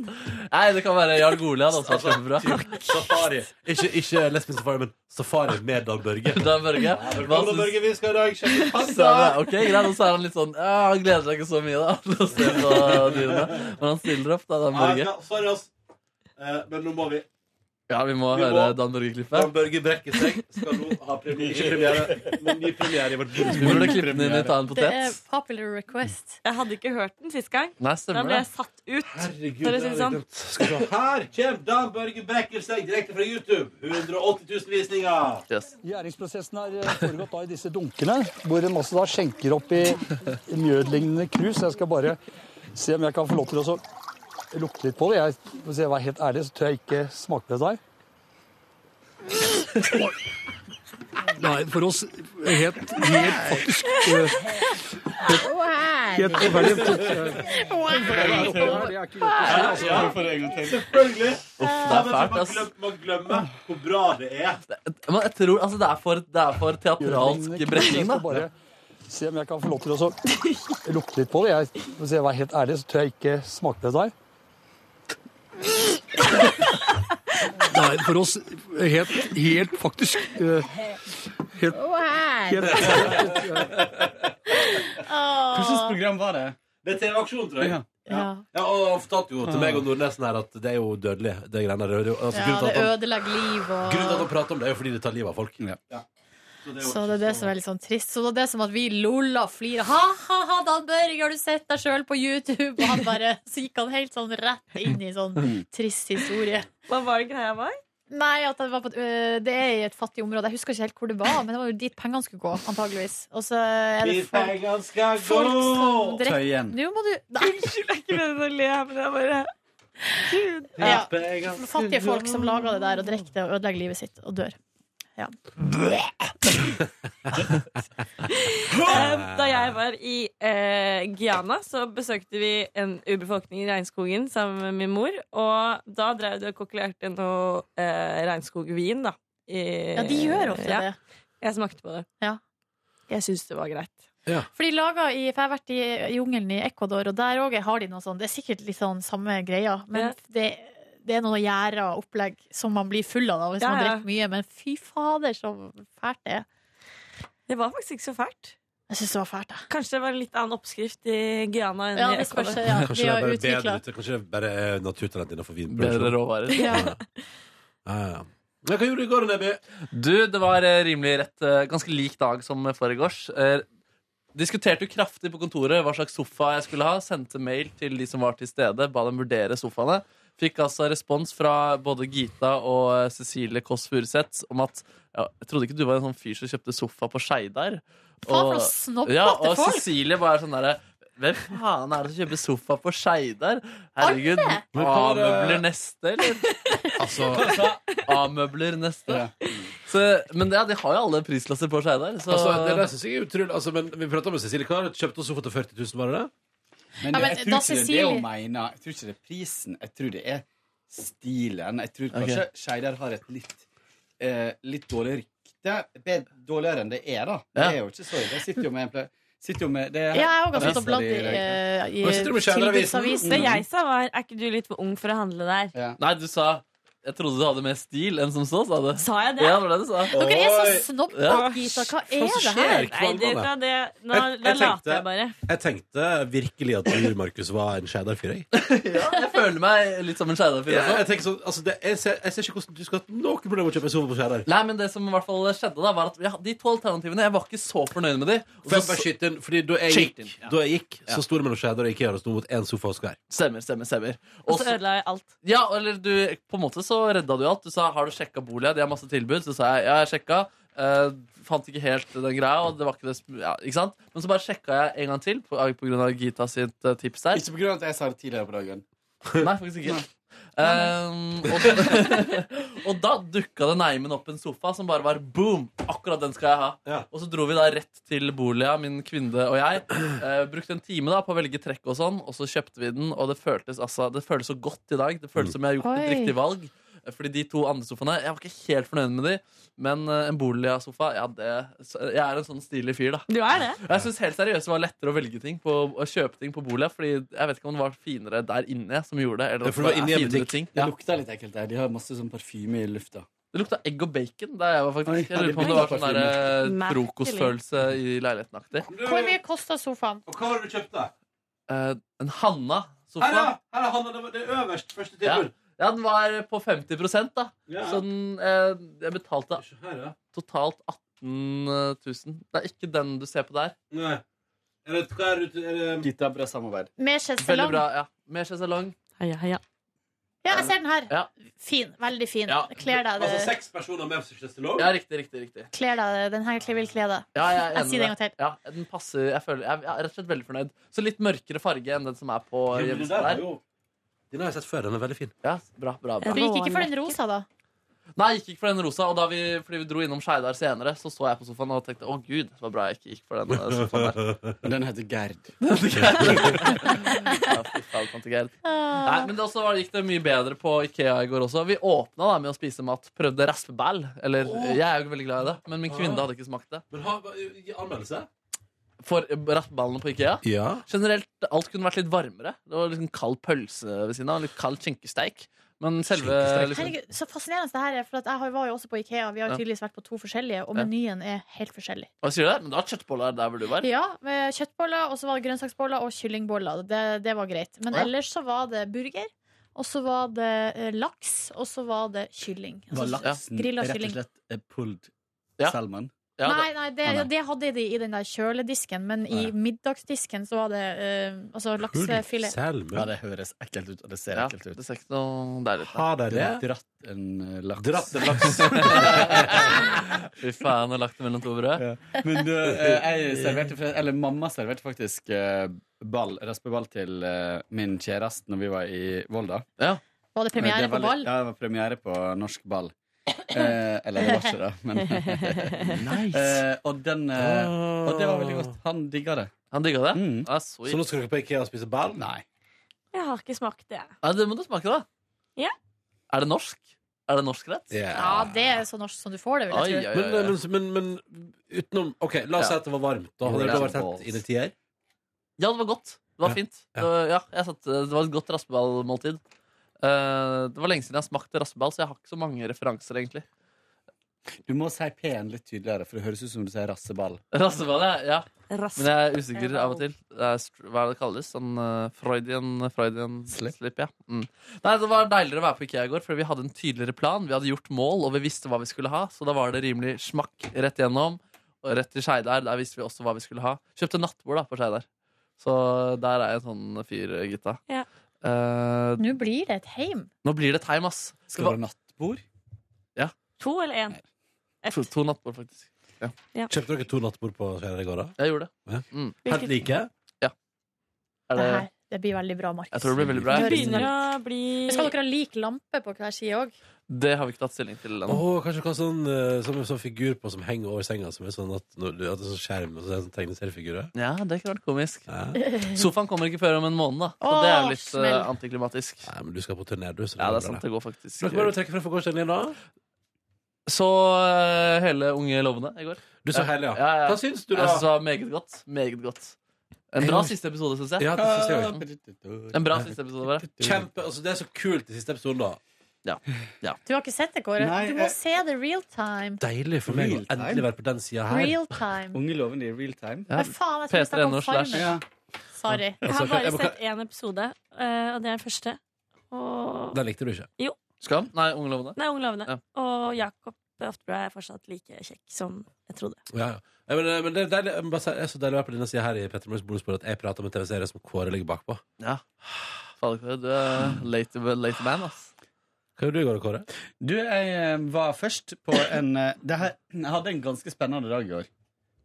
Speaker 4: Nei, det kan være Jarl Goli hadde også vært kjempebra.
Speaker 2: Safari. Ikke, ikke lesbisk safari, men safari med Dan Børge.
Speaker 4: Dan Børge. Hva
Speaker 2: Dan Børge, vi skal i dag sjekke
Speaker 4: Så er det,
Speaker 2: panda!
Speaker 4: ok, greit, og så er han litt sånn ja, Han gleder seg ikke så mye da til å se på dyrene. Men han stiller opp, da, Dan
Speaker 2: Ja,
Speaker 4: Børge.
Speaker 2: ja, Sorry, ass. Eh, Men nå må vi
Speaker 4: Ja, vi må
Speaker 2: Vi
Speaker 4: høre
Speaker 2: må-
Speaker 4: Dan Børge-klippet.
Speaker 2: Dan Børge brekker seg. Skal nå ha premiere, ikke premiere, men ny premiere i vårt
Speaker 4: Vi burde
Speaker 2: liksom-
Speaker 4: klippe den inn i Ta
Speaker 3: Det
Speaker 4: en potet.
Speaker 3: er popular request.
Speaker 5: Jeg hadde ikke hørt den sist gang.
Speaker 4: Nei,
Speaker 5: Da
Speaker 4: stemmer
Speaker 5: ble
Speaker 4: det.
Speaker 5: jeg satt ut.
Speaker 2: Herregud,
Speaker 5: Når jeg
Speaker 2: det
Speaker 5: sier
Speaker 2: har jeg
Speaker 5: sånn.
Speaker 2: glemt. Skal vi se. Her kommer Dan Børge brekker seg direkte fra YouTube. 180 000 visninger.
Speaker 12: Gjæringsprosessen har eh, foregått da i disse dunkene, hvor en også da skjenker opp i mjødlignende krus. Jeg skal bare se om jeg kan få lov til å så lukte litt på det. Jeg, hvis jeg var helt ærlig, så tør jeg ikke smake på dette her. Nei, for oss helt, helt faktisk eh, Helt forferdelig.
Speaker 2: Selvfølgelig.
Speaker 4: det er fælt, ass.
Speaker 2: Man glemmer hvor bra det er.
Speaker 4: Men jeg tror, altså, det, er for, det er for teatralsk
Speaker 12: Jeg
Speaker 4: brekking,
Speaker 12: skal
Speaker 4: da.
Speaker 12: bare se om jeg kan få lov til å så lukte litt på det. Jeg, hvis jeg var helt ærlig, så tør jeg ikke smake på dette her. Nei, for oss helt, helt faktisk eh, Helt,
Speaker 13: Hva slags program var det?
Speaker 2: Det er TV-aksjon, tror jeg.
Speaker 13: Ja.
Speaker 3: Ja.
Speaker 2: Ja, og han fortalte jo til meg og Nordnesen her at det er jo dødelig, det greiene der. Altså,
Speaker 3: Ja,
Speaker 2: grunnen, til
Speaker 3: det
Speaker 2: at han,
Speaker 3: ødelegger liv og
Speaker 2: grunnen til at han prater om det, er jo fordi det tar livet av folk. Ja.
Speaker 3: Så det er det som er litt sånn trist. Så det er det som at vi lolla og flirer. Ha, ha, ha, Dan Børge, har du sett deg sjøl på YouTube? Og han bare Så gikk han helt sånn rett inn i sånn trist historie.
Speaker 5: Hva var det greia var?
Speaker 3: Nei, at det, var på, et- øh, det er i et fattig område. Jeg husker ikke helt hvor det var, men det var jo dit pengene skulle gå, antageligvis. Og så er det folk,
Speaker 2: skal
Speaker 3: folk som drikker
Speaker 13: Tøyen.
Speaker 3: Nå må du Nei.
Speaker 5: Unnskyld, jeg er ikke meningen å le, men det er bare Gud.
Speaker 3: Ja. Fattige folk som lager det der og drikker det og ødelegger livet sitt og dør. Ja.
Speaker 5: Eh, Da jeg var i eh, Guyana, så besøkte vi en urbefolkning i regnskogen sammen med min mor. Og da drev de og kokkelerte noe eh, regnskogvin, da. I-
Speaker 3: Ja, de gjør ofte det.
Speaker 5: Jeg smakte på det. Jeg syns det var greit.
Speaker 3: For de lager i, for Jeg har vært i jungelen i Ecuador, og der òg har de noe sånn Det er sikkert litt sånn samme greia, men
Speaker 5: Ja.
Speaker 3: det, det er noe gjerder og opplegg som man blir full av da, hvis
Speaker 5: Ja,
Speaker 3: man
Speaker 5: ja.
Speaker 3: drikker mye. Men fy fader, så fælt det er.
Speaker 5: Det var faktisk ikke så fælt.
Speaker 3: Jeg syns det var fælt, jeg.
Speaker 5: Kanskje det var en litt annen oppskrift i Guyana enn
Speaker 3: Ja,
Speaker 5: i
Speaker 3: det spørs,
Speaker 5: Ecuador.
Speaker 3: ja. Vi
Speaker 2: Kanskje det
Speaker 3: har
Speaker 2: er bare bedre
Speaker 3: utvikla
Speaker 2: ute. Kanskje det er bare er naturtalent innenfor vinproduksjon.
Speaker 4: Bedre råvarer.
Speaker 3: Ja.
Speaker 2: Ja, ja. Men hva gjorde du i går, Nebby?
Speaker 4: Du, det var eh, rimelig rett eh, Ganske lik dag som foregårs Eh, Diskuterte jo kraftig på kontoret Hva slags sofa jeg skulle ha Sendte mail til de som var til stede Ba dem vurdere sofaene Fikk altså respons fra både Gita og eh, Cecilie Koss Furuseth Om at ja, Jeg trodde ikke du var en sånn fyr som kjøpte sofa på Skeidar
Speaker 3: Faen, for
Speaker 4: Og-
Speaker 3: noen snobbete
Speaker 4: Ja, og
Speaker 3: folk!
Speaker 4: Cecilie bare sånn der hvem faen er det som kjøper sofa på Skeidar? Herregud,
Speaker 2: Men hva var det-
Speaker 4: A-møbler neste, eller?
Speaker 2: Altså-
Speaker 4: A-møbler neste. Så, men ja, de har jo alle prisklasser på Skeidar. Så
Speaker 2: Altså, det der synes jeg er utrolig altså, men Vi pratet med Cecilie Klar. Kjøpte hun sofa til 40 000, var det det?
Speaker 13: Men,
Speaker 3: Ja,
Speaker 13: det,
Speaker 3: men
Speaker 13: jeg
Speaker 3: da
Speaker 13: tror ikke det er det
Speaker 3: Cecilie-
Speaker 13: hun mener. Jeg tror ikke det er prisen. Jeg tror det er stilen. Jeg tror
Speaker 4: Ok.
Speaker 13: kanskje Skeidar har et litt, eh, litt dårlig rykte. Be- Dårligere enn det er, da. Det
Speaker 4: Ja.
Speaker 13: er jo ikke så ille. Jeg sitter jo med en ple... Sitter jo med det
Speaker 3: Ja, jeg har også
Speaker 13: avisa
Speaker 3: fått opp bladd
Speaker 13: di
Speaker 3: i, eh, i
Speaker 13: Hva sitter du med Skeidaravisen?
Speaker 3: tilbudsavis.
Speaker 5: Det jeg sa, var Er ikke du litt for ung for å handle der?
Speaker 4: Nei, du sa Jeg trodde du hadde mer stil enn som så, sa du.
Speaker 5: Sa jeg det?
Speaker 4: Ja, det var det du sa.
Speaker 3: Dere er så snobbete, Gita. Hva er det her?
Speaker 5: Nei, det, da, det, nå,
Speaker 2: Jeg- jeg
Speaker 5: da
Speaker 2: tenkte-
Speaker 5: later jeg bare.
Speaker 2: Jeg tenkte virkelig at du, Markus, var en Skeidar-fyr. jeg.
Speaker 4: Jeg føler meg litt som en Skeidar-fyr
Speaker 2: Ja,
Speaker 4: også.
Speaker 2: jeg, tenker sånn, altså, det, jeg, ser, jeg ser ikke hvordan du skal ha noe problem med å kjøpe en sofa på Skjærer.
Speaker 4: Nei, men det som i hvert fall skjedde da, var at ja, de to alternativene Jeg var ikke så fornøyd med de. Og
Speaker 2: Får jeg
Speaker 4: så-
Speaker 2: bare skyte inn? Fordi da jeg
Speaker 4: Skyt
Speaker 2: gikk,
Speaker 4: inn, ja.
Speaker 2: da jeg gikk
Speaker 4: Ja.
Speaker 2: så sto det mellom Skjærer og Ikea. Det sto mot én sofa og skvær.
Speaker 4: Stemmer, stemmer, stemmer.
Speaker 5: Og så ødela jeg alt.
Speaker 4: Ja, eller du, på en måte så redda du alt. Du sa 'har du sjekka boliga', de har masse tilbud. Så sa jeg ja, jeg sjekka. Eh, fant ikke helt den greia, og det var ikke det sp- ja, Ikke sant? Men så bare sjekka jeg en gang til, på, på grunn av Gita sitt eh, tips der.
Speaker 13: Ikke på grunn av at jeg sa det tidligere på dagen.
Speaker 4: Nei, faktisk ikke. Ehm, og, og da dukka det neimen opp en sofa som bare var boom! Akkurat den skal jeg ha. Og så dro vi da rett til Bolia, min kvinne og jeg. Eh, brukte en time da på å velge trekk og sånn, og så kjøpte vi den. Og det føltes, altså, det føltes så godt i dag. Det føltes som jeg har gjort et
Speaker 3: Oi.
Speaker 4: riktig valg. Eh, Fordi de to andre sofaene Jeg var ikke helt fornøyd med de, men eh, en Bolia-sofa ja, det- så- Jeg er en sånn stilig fyr, da.
Speaker 5: Du er det.
Speaker 4: Jeg synes helt seriøst det var lettere å velge ting på, å kjøpe ting på Bolia. Fordi jeg vet ikke om det var finere der inne som gjorde det. Eller
Speaker 13: Ja,
Speaker 4: at
Speaker 13: for det var
Speaker 4: er
Speaker 13: inni en
Speaker 4: finere
Speaker 13: butikk.
Speaker 4: ting.
Speaker 13: Det
Speaker 4: Ja.
Speaker 13: lukta litt ekkelt der. De har masse sånn parfyme i lufta.
Speaker 4: Det lukta egg og bacon der jeg var,
Speaker 13: Oi,
Speaker 4: faktisk.
Speaker 13: ja,
Speaker 4: Jeg lurer
Speaker 13: det
Speaker 4: på om det
Speaker 13: lukta
Speaker 4: var sånn der
Speaker 13: parfyme.
Speaker 4: eh,
Speaker 13: Merkelig.
Speaker 4: frokostfølelse i leiligheten aktig.
Speaker 3: Hvor mye kosta sofaen?
Speaker 2: Og hva var det du kjøpte?
Speaker 4: Eh, en Hanna-sofa.
Speaker 2: Her, ja! Her er Hanna. Det, var- det er øverst. Første
Speaker 4: Ja.
Speaker 2: tilbud.
Speaker 4: Ja, den var på 50 da.
Speaker 7: Ja.
Speaker 4: Så den, eh, jeg betalte
Speaker 2: her, ja.
Speaker 4: totalt 18 000. Det er ikke den du ser på der.
Speaker 2: Nei. Er det, hva er det,
Speaker 13: Gitta, bra samarbeid.
Speaker 3: Med
Speaker 4: Veldig
Speaker 3: sjeselong.
Speaker 4: bra.
Speaker 3: Ja,
Speaker 4: ja Med sjeselong.
Speaker 5: Heia, heia.
Speaker 3: jeg ser den her.
Speaker 4: Ja.
Speaker 3: Fin. Veldig fin. Kler deg
Speaker 2: Altså
Speaker 3: det.
Speaker 2: seks personer med sjeselong?
Speaker 4: Ja, riktig, riktig. riktig.
Speaker 3: Kler deg det. Den her vil kle deg.
Speaker 4: Ja, jeg er
Speaker 3: sier
Speaker 4: enig
Speaker 3: det en
Speaker 4: med
Speaker 3: gang til.
Speaker 4: deg. Ja, den passer, jeg, føler, jeg er rett og slett veldig fornøyd. Så litt mørkere farge enn den som er på
Speaker 2: men den
Speaker 4: hjemmesiden
Speaker 2: der var
Speaker 4: der.
Speaker 2: jo- Den har jeg sett før. Den er veldig fin.
Speaker 4: Ja, bra, bra, bra.
Speaker 3: Du gikk ikke for den rosa, da?
Speaker 4: Nei, jeg gikk ikke for den rosa. Og da vi, fordi vi dro innom Skeidar senere, så så jeg på sofaen og tenkte å gud, det var bra jeg ikke gikk for den eh, sofaen der.
Speaker 13: Men den heter Gerd.
Speaker 4: Ja, fy faen, tante Gerd. Nei, men det også var, gikk det mye bedre på Ikea i går også. Vi åpna da med å spise mat. Prøvde raspeball. Eller,
Speaker 2: Åh.
Speaker 4: jeg er jo veldig glad i det, men min kvinne
Speaker 2: Ja.
Speaker 4: hadde ikke smakt det.
Speaker 2: Men ha, gi anmeldelse.
Speaker 4: For eh, raspeballene på Ikea?
Speaker 2: Ja.
Speaker 4: Generelt, alt kunne vært litt varmere. Det var liksom kald pølse ved siden av. Litt kald skinkesteik. Men selve liksom,
Speaker 3: Herregud, så fascinerende det her er. For at jeg har- var jo også på Ikea. Vi har jo
Speaker 4: Ja.
Speaker 3: tydeligvis vært på to forskjellige, og
Speaker 4: Ja.
Speaker 3: menyen er helt forskjellig.
Speaker 4: Hva sier du der? Men du har kjøttboller der hvor du var?
Speaker 3: Ja, med kjøttboller, og så var det grønnsaksboller og kyllingboller. Det, det var greit. Men
Speaker 4: Å, ja.
Speaker 3: ellers så var det burger, og så var det eh, laks, og så var det kylling.
Speaker 13: Var
Speaker 3: Altså,
Speaker 13: laksen
Speaker 3: grilla
Speaker 13: rett og
Speaker 3: kylling.
Speaker 13: slett eh, pulled salmon?
Speaker 3: nei, nei, det,
Speaker 13: Ah, nei.
Speaker 3: det hadde de i den der kjøledisken, men i middagsdisken så var det eh, altså laksefilet.
Speaker 13: Ja, det høres ekkelt ut, og det ser ekkelt ut.
Speaker 4: Det ser ikke noe deilig ut.
Speaker 13: Har
Speaker 2: dere det?
Speaker 13: dratt en eh, laks?
Speaker 2: Dratt en laks.
Speaker 4: Fy faen, har lagt det mellom to brød.
Speaker 13: Men du, eh, jeg serverte fra- Eller mamma serverte faktisk eh, ball, raspeball til eh, min kjæreste når vi var i Volda.
Speaker 3: Var det premiere
Speaker 13: Men var
Speaker 3: på ball?
Speaker 13: litt- Ja, det var premiere på norsk ball. Eh, eller det var ikke det, men
Speaker 4: Nice.
Speaker 13: eh, og, den, eh, og det var veldig godt. Han digga det.
Speaker 4: Han digga det?
Speaker 13: Mm.
Speaker 4: Ah, sweet.
Speaker 2: Ah. Så nå skal dere på Ikea og spise ball?
Speaker 13: Nei.
Speaker 5: Jeg har ikke smakt det.
Speaker 4: Ja, det må du smake, da.
Speaker 5: Ja.
Speaker 4: Er det norsk? Er det norsk rett?
Speaker 3: Ja, det er så norsk som du får det, vil jeg tro.
Speaker 2: Men, men, men, men utenom OK, la oss si at det var varmt. Da hadde det da vært
Speaker 13: sånn
Speaker 2: tett inne i tier.
Speaker 4: Ja, det var godt. Det var fint. Det var, ja, jeg satt, eh, det var et godt raspeballmåltid. Eh, det var lenge siden jeg smakte raspeball, så jeg har ikke så mange referanser, egentlig.
Speaker 13: Du må si P-en litt tydeligere, for det høres ut som du sier rasseball.
Speaker 4: Raspeball, ja. ja.
Speaker 13: Raspeball.
Speaker 4: Men jeg er usikker av og til. Det er, str- hva er det det kalles? Sånn eh, Freudian, Freudian slip. ja. Mm. Nei, det var deiligere å være på IKEA i går, for vi hadde en tydeligere plan. Vi hadde gjort mål, og vi visste hva vi skulle ha, så da var det rimelig smakk rett gjennom. Og rett til Skeidar. Der visste vi også hva vi skulle ha. Kjøpte nattbord da, på Skeidar. Så der er jeg en sånn fyr, gutta.
Speaker 5: Ja.
Speaker 4: Eh,
Speaker 3: Nå blir det et heim.
Speaker 4: Nå blir det et heim, ass.
Speaker 13: Skal det være nattbord?
Speaker 4: Ja.
Speaker 5: To eller én?
Speaker 4: To, to nattbord, faktisk. Ja.
Speaker 5: Ja.
Speaker 2: Kjøpte dere to nattbord på Skjæra i går, da?
Speaker 4: Jeg gjorde det.
Speaker 2: Ja.
Speaker 4: Mm.
Speaker 2: Helt like?
Speaker 4: Ja. Er
Speaker 3: Det,
Speaker 4: det
Speaker 3: her, det blir veldig bra, Markus.
Speaker 4: Jeg tror det blir veldig bra.
Speaker 3: Det høres-
Speaker 4: Begynner
Speaker 3: Skal dere ha lik lampe på hver side òg?
Speaker 4: Det har vi ikke tatt stilling til ennå.
Speaker 2: Åh, kanskje hva sånn, eh, som en sånn figur på som henger over senga, som er sånn at, når du- at det er sånn skjerm og så er det sånn tegneseriefigur?
Speaker 4: Ja, det kunne vært komisk.
Speaker 2: Ja.
Speaker 4: Sofaen kommer ikke før om en måned, da. Så
Speaker 2: Åh,
Speaker 4: det er jo litt eh,
Speaker 2: smell.
Speaker 4: antiklimatisk.
Speaker 2: Nei, men du skal på turné, du. Så
Speaker 4: Ja,
Speaker 2: går
Speaker 4: det er
Speaker 2: bra,
Speaker 4: sant. Det går faktisk
Speaker 2: Men Hva var det du trekker frem for gårsdagen din, da?
Speaker 4: Så eh, hele Unge lovende i går.
Speaker 2: Du så hele, ja.
Speaker 4: ja,
Speaker 2: Hva syns du, da?
Speaker 4: Jeg synes det var meget godt. Meget godt. En bra siste episode, syns jeg.
Speaker 2: Ja, det synes jeg også.
Speaker 4: Mm. En bra siste episode, bare.
Speaker 2: Kjempe, altså Det er så kult i siste episode, da.
Speaker 4: Ja.
Speaker 3: Du har ikke sett det, Kåre?
Speaker 13: Nei,
Speaker 3: du må
Speaker 13: jeg-
Speaker 3: se det real time.
Speaker 2: Deilig for meg å
Speaker 13: Real time.
Speaker 2: endelig være på den sida her.
Speaker 3: Real time.
Speaker 13: Unge lovende i real time.
Speaker 3: Hva faen, jeg skulle snakke om Farmen. Sorry.
Speaker 5: Jeg
Speaker 2: Altså,
Speaker 5: har bare
Speaker 2: jeg må-
Speaker 5: sett én episode, eh, og det er den første. Og
Speaker 2: Den likte du ikke?
Speaker 5: Jo.
Speaker 4: Skam? Nei, Unge lovende.
Speaker 5: Nei, Unge lovende.
Speaker 4: Ja.
Speaker 5: Og Jakob Oftebro er fortsatt like kjekk som jeg trodde.
Speaker 2: Ja, ja. Ja, Men, eh, men det er, deilig, jeg må bare si, det er så deilig å være på denne sida her i Petter Morgens bonusbord at jeg prater om en TV-serie som Kåre ligger bakpå.
Speaker 4: Ja. Fader, Kåre, du er late, late man, ass.
Speaker 2: Hva gjorde du i går, Kåre?
Speaker 13: Du, jeg eh, var først på en eh, det her, Jeg hadde en ganske spennende dag i går.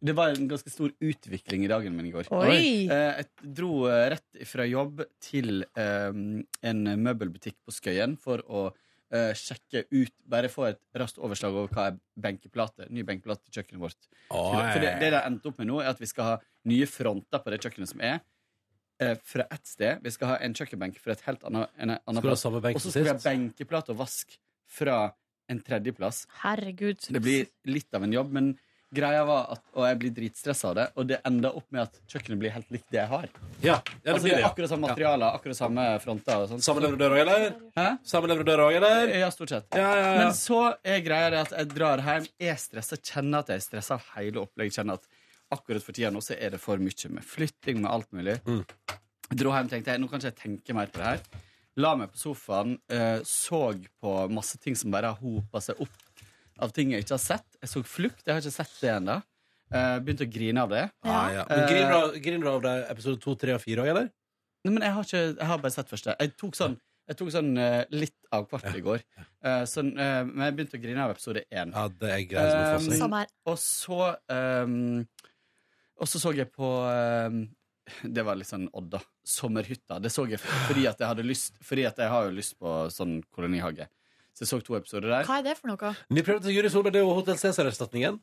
Speaker 13: Det var en ganske stor utvikling i dagen min i går.
Speaker 3: Oi.
Speaker 13: Eh, Jeg dro eh, rett fra jobb til eh, en møbelbutikk på Skøyen for å eh, sjekke ut Bare få et raskt overslag over hva er benkeplate, ny benkeplate til kjøkkenet vårt.
Speaker 2: Oi.
Speaker 13: For det, det det har endt opp med nå, er at vi skal ha nye fronter på det kjøkkenet som er. eh, Fra ett sted. Vi skal ha en kjøkkenbenk fra et helt annet, en, annen
Speaker 2: Skal du ha
Speaker 13: plass.
Speaker 2: samme benk
Speaker 13: Og så
Speaker 2: som
Speaker 13: skal vi ha
Speaker 2: sist?
Speaker 13: benkeplate og vask fra en tredjeplass.
Speaker 3: Herregud.
Speaker 13: Det blir litt av en jobb, men greia var at Og jeg blir dritstressa av det, og det ender opp med at kjøkkenet blir helt likt det jeg har.
Speaker 2: Ja, det blir
Speaker 13: altså, det
Speaker 2: det,
Speaker 13: er
Speaker 2: ja.
Speaker 13: akkurat samme materialer, akkurat samme fronter og sånt.
Speaker 2: Samme leverandør òg, eller?
Speaker 13: Hæ?
Speaker 2: Samme leverandør òg, eller?
Speaker 13: Ja, stort sett.
Speaker 2: ja, ja.
Speaker 13: Men så er greia det at jeg drar hjem, er stressa, kjenner at jeg er stressa av hele opplegget. Kjenner at akkurat for tida nå så er det Mm. for mye med flytting, med alt mulig. Dro hjem tenkte jeg, nå kan ikke jeg tenke mer på det her. La meg på sofaen, eh, så på masse ting som bare har hopa seg opp av ting jeg ikke har sett. Jeg så Flukt, jeg har ikke sett det ennå. Eh, begynte å grine av det.
Speaker 2: Ja, eh, ja. Men griner du av- griner du av det episode to, tre og fire òg, eller?
Speaker 13: Nei, men jeg har, ikke, jeg har bare sett første. Jeg tok sånn, jeg tok sånn eh, litt av kvart i går. Eh, sånn, eh, men jeg begynte å grine av episode én.
Speaker 2: Ja, det er greit som en fosse.
Speaker 13: Um, og så um, Og så så jeg på um, Det var litt sånn Odd, da. Sommerhytta. Det så jeg fordi at jeg hadde lyst Fordi at jeg har jo lyst på sånn kolonihage. Så jeg så to episoder der.
Speaker 3: Hva er det for noe?
Speaker 2: Vi prøvde til Juri Solberg, det er jo Hotell Cæsar-erstatningen.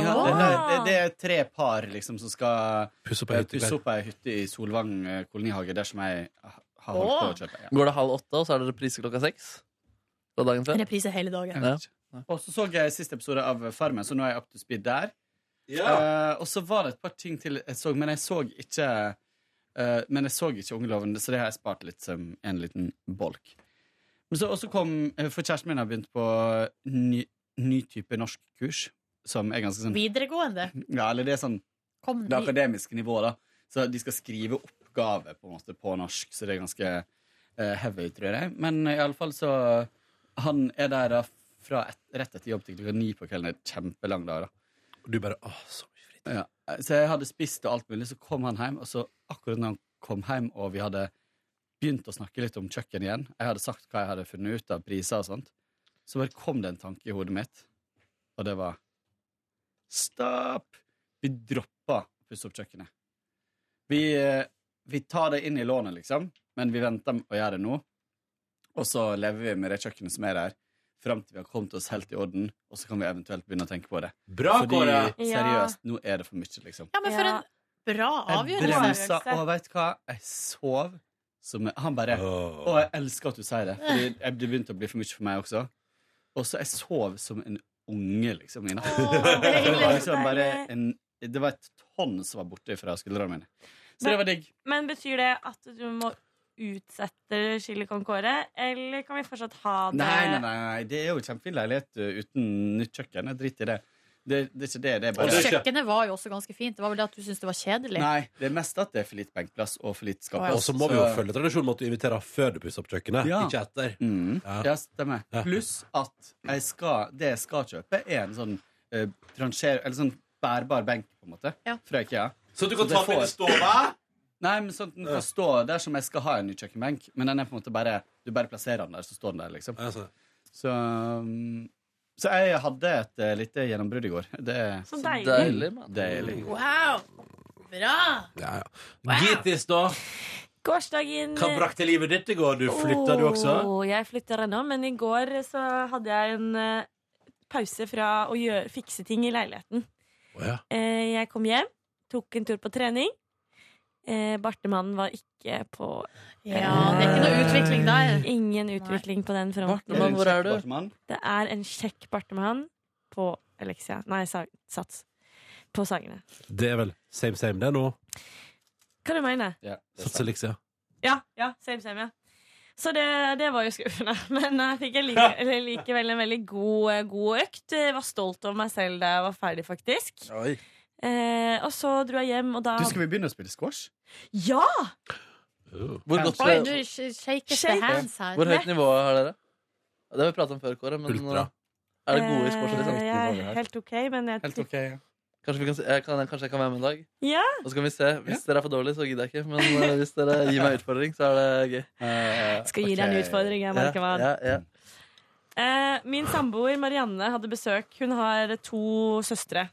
Speaker 13: Ja,
Speaker 2: Ah.
Speaker 13: det, det, det er tre par liksom, som skal
Speaker 2: pusse Eh, opp ei hytte.
Speaker 13: pusse opp ei hytte i Solvang eh, kolonihage, der som jeg har holdt på å kjøpe. Ja.
Speaker 4: Går det halv åtte, og så er det reprise klokka seks? Fra dagen før?
Speaker 3: Reprise hele dagen.
Speaker 13: Jeg vet ikke. Og så så jeg siste episode av Farmen, så nå er jeg up to speed der. Eh, og så var det et par ting til jeg så, men jeg så ikke eh, Men jeg så ikke Ungeloven, så det har jeg spart litt som en liten bolk. Men så, og så kom eh, For kjæresten min har begynt på ny, ny type norskkurs, som er ganske sånn
Speaker 3: Videregående.
Speaker 13: Ja, eller det er sånn
Speaker 3: Kom,
Speaker 13: det akademiske nivået, da. Så de skal skrive oppgave på, en måte, på norsk, så det er ganske eh, heavy, tror jeg. Men i alle fall så Han er der da fra et, rett etter jobb til klokka ni på kvelden. Det er et kjempelang dag, da.
Speaker 2: Og du bare åh, så mye
Speaker 13: fritid. Ja. Så jeg hadde spist og alt mulig, så kom han hjem, og så akkurat når han kom hjem, og vi hadde begynt å snakke litt om kjøkken igjen, jeg hadde sagt hva jeg hadde funnet ut av priser og sånt, så bare kom det en tanke i hodet mitt, og det var Stopp! Vi dropper å pusse opp kjøkkenet. Vi, eh, vi tar det inn i lånet, liksom, men vi venter med å gjøre det nå. Og så lever vi med det kjøkkenet som er der, fram til vi har kommet oss helt i orden, og så kan vi eventuelt begynne å tenke på det.
Speaker 2: Bra,
Speaker 13: Fordi,
Speaker 2: Kåre!
Speaker 13: seriøst, nå er det for mye, liksom.
Speaker 3: Ja, men for en bra
Speaker 13: Jeg
Speaker 3: avgjørelse.
Speaker 13: bremsa, og veit du hva? Jeg sov som Han bare Og jeg elsker at du sier det, Fordi jeg- det begynte å bli for mye for meg også. Og så jeg sov som en unge, liksom, i natt.
Speaker 5: deilig.
Speaker 13: Det var liksom bare en Det var et tonn som var borte fra skuldrene mine. Så det var digg.
Speaker 5: Men betyr det at du må utsette chili con core, eller kan vi fortsatt ha det?
Speaker 13: Nei, nei, nei, nei, det er jo kjempefin leilighet uh, uten nytt kjøkken. Jeg driter i det. Det, det er ikke det. det er bare
Speaker 3: Og kjøkkenet var jo også ganske fint. Det var vel det at du syntes det var kjedelig.
Speaker 13: Nei, det er mest at det er for lite benkplass og for lite skapplass.
Speaker 2: Og så må vi jo følge tradisjonen med at du inviterer før du pusser opp kjøkkenet.
Speaker 13: Ja.
Speaker 2: Ikke etter. Mm. Ja.
Speaker 13: Ja, stemmer. Pluss at jeg skal, det jeg skal kjøpe, er en sånn eh, ranger... Eller sånn bærbar benk, på en måte, fra IKEA.
Speaker 2: Så du kan
Speaker 13: det
Speaker 2: ta den
Speaker 13: får-
Speaker 2: i stova?
Speaker 13: Nei, men sånn at den kan stå der som jeg skal ha en ny kjøkkenbenk. Men den er på en måte bare Du bare plasserer den der, så står den der, liksom.
Speaker 2: altså.
Speaker 13: Så um, Så jeg hadde et eh, lite gjennombrudd i går. Det
Speaker 3: Så deilig. Deilig,
Speaker 13: Mm, Deilig.
Speaker 3: Wow! Bra!
Speaker 2: Ja, ja. Gitis, da?
Speaker 5: Gårsdagen
Speaker 2: Hva brakte livet ditt i går? Du flytta, du også?
Speaker 5: Åh, jeg flytter ennå, men i går så hadde jeg en eh, pause fra å gjøre, fikse ting i leiligheten. Eh, jeg kom hjem, tok en tur på trening. Eh, Bartemannen var ikke på
Speaker 3: Ja, det er ikke noe utvikling der.
Speaker 5: Ingen utvikling på den fronten.
Speaker 13: Bartemann, hvor er du? Bartemann?
Speaker 5: Det er en kjekk Bartemann på Elixia. Nei, Sa- Sats. På Sagene.
Speaker 2: Det er vel same same, det nå?
Speaker 5: Hva du mener du?
Speaker 2: Satser liksom. Elixia.
Speaker 5: Ja, ja, same, same, ja. Så det, det var jo skuffende. Men jeg fikk en like, eller likevel en veldig god, eh, god økt. Jeg var stolt over meg selv da jeg var ferdig, faktisk. Eh, og så dro jeg hjem, og da
Speaker 13: Du, skal vi begynne å spille squash?
Speaker 5: Ja!
Speaker 4: Hvor, godt, eh,
Speaker 3: Oi, du sh- shakes the hands her.
Speaker 4: hvor høyt nivå har dere? Det har vi pratet om før, Kåre. Men er det gode i squash? eller
Speaker 5: Eh,
Speaker 4: sånn?
Speaker 5: jeg er helt OK, men jeg
Speaker 4: Helt ok, ja. Kanskje, vi kan, se- jeg kan, kanskje jeg kan være med en dag?
Speaker 5: Ja.
Speaker 4: Og så kan vi se. Hvis dere er for dårlige, så gidder jeg ikke. Men eh, hvis dere gir meg utfordring, så er det gøy.
Speaker 5: Skal gi deg en utfordring, jeg merker meg.
Speaker 4: Ja, ja, ja.
Speaker 5: Eh, min samboer Marianne hadde besøk. Hun har to søstre.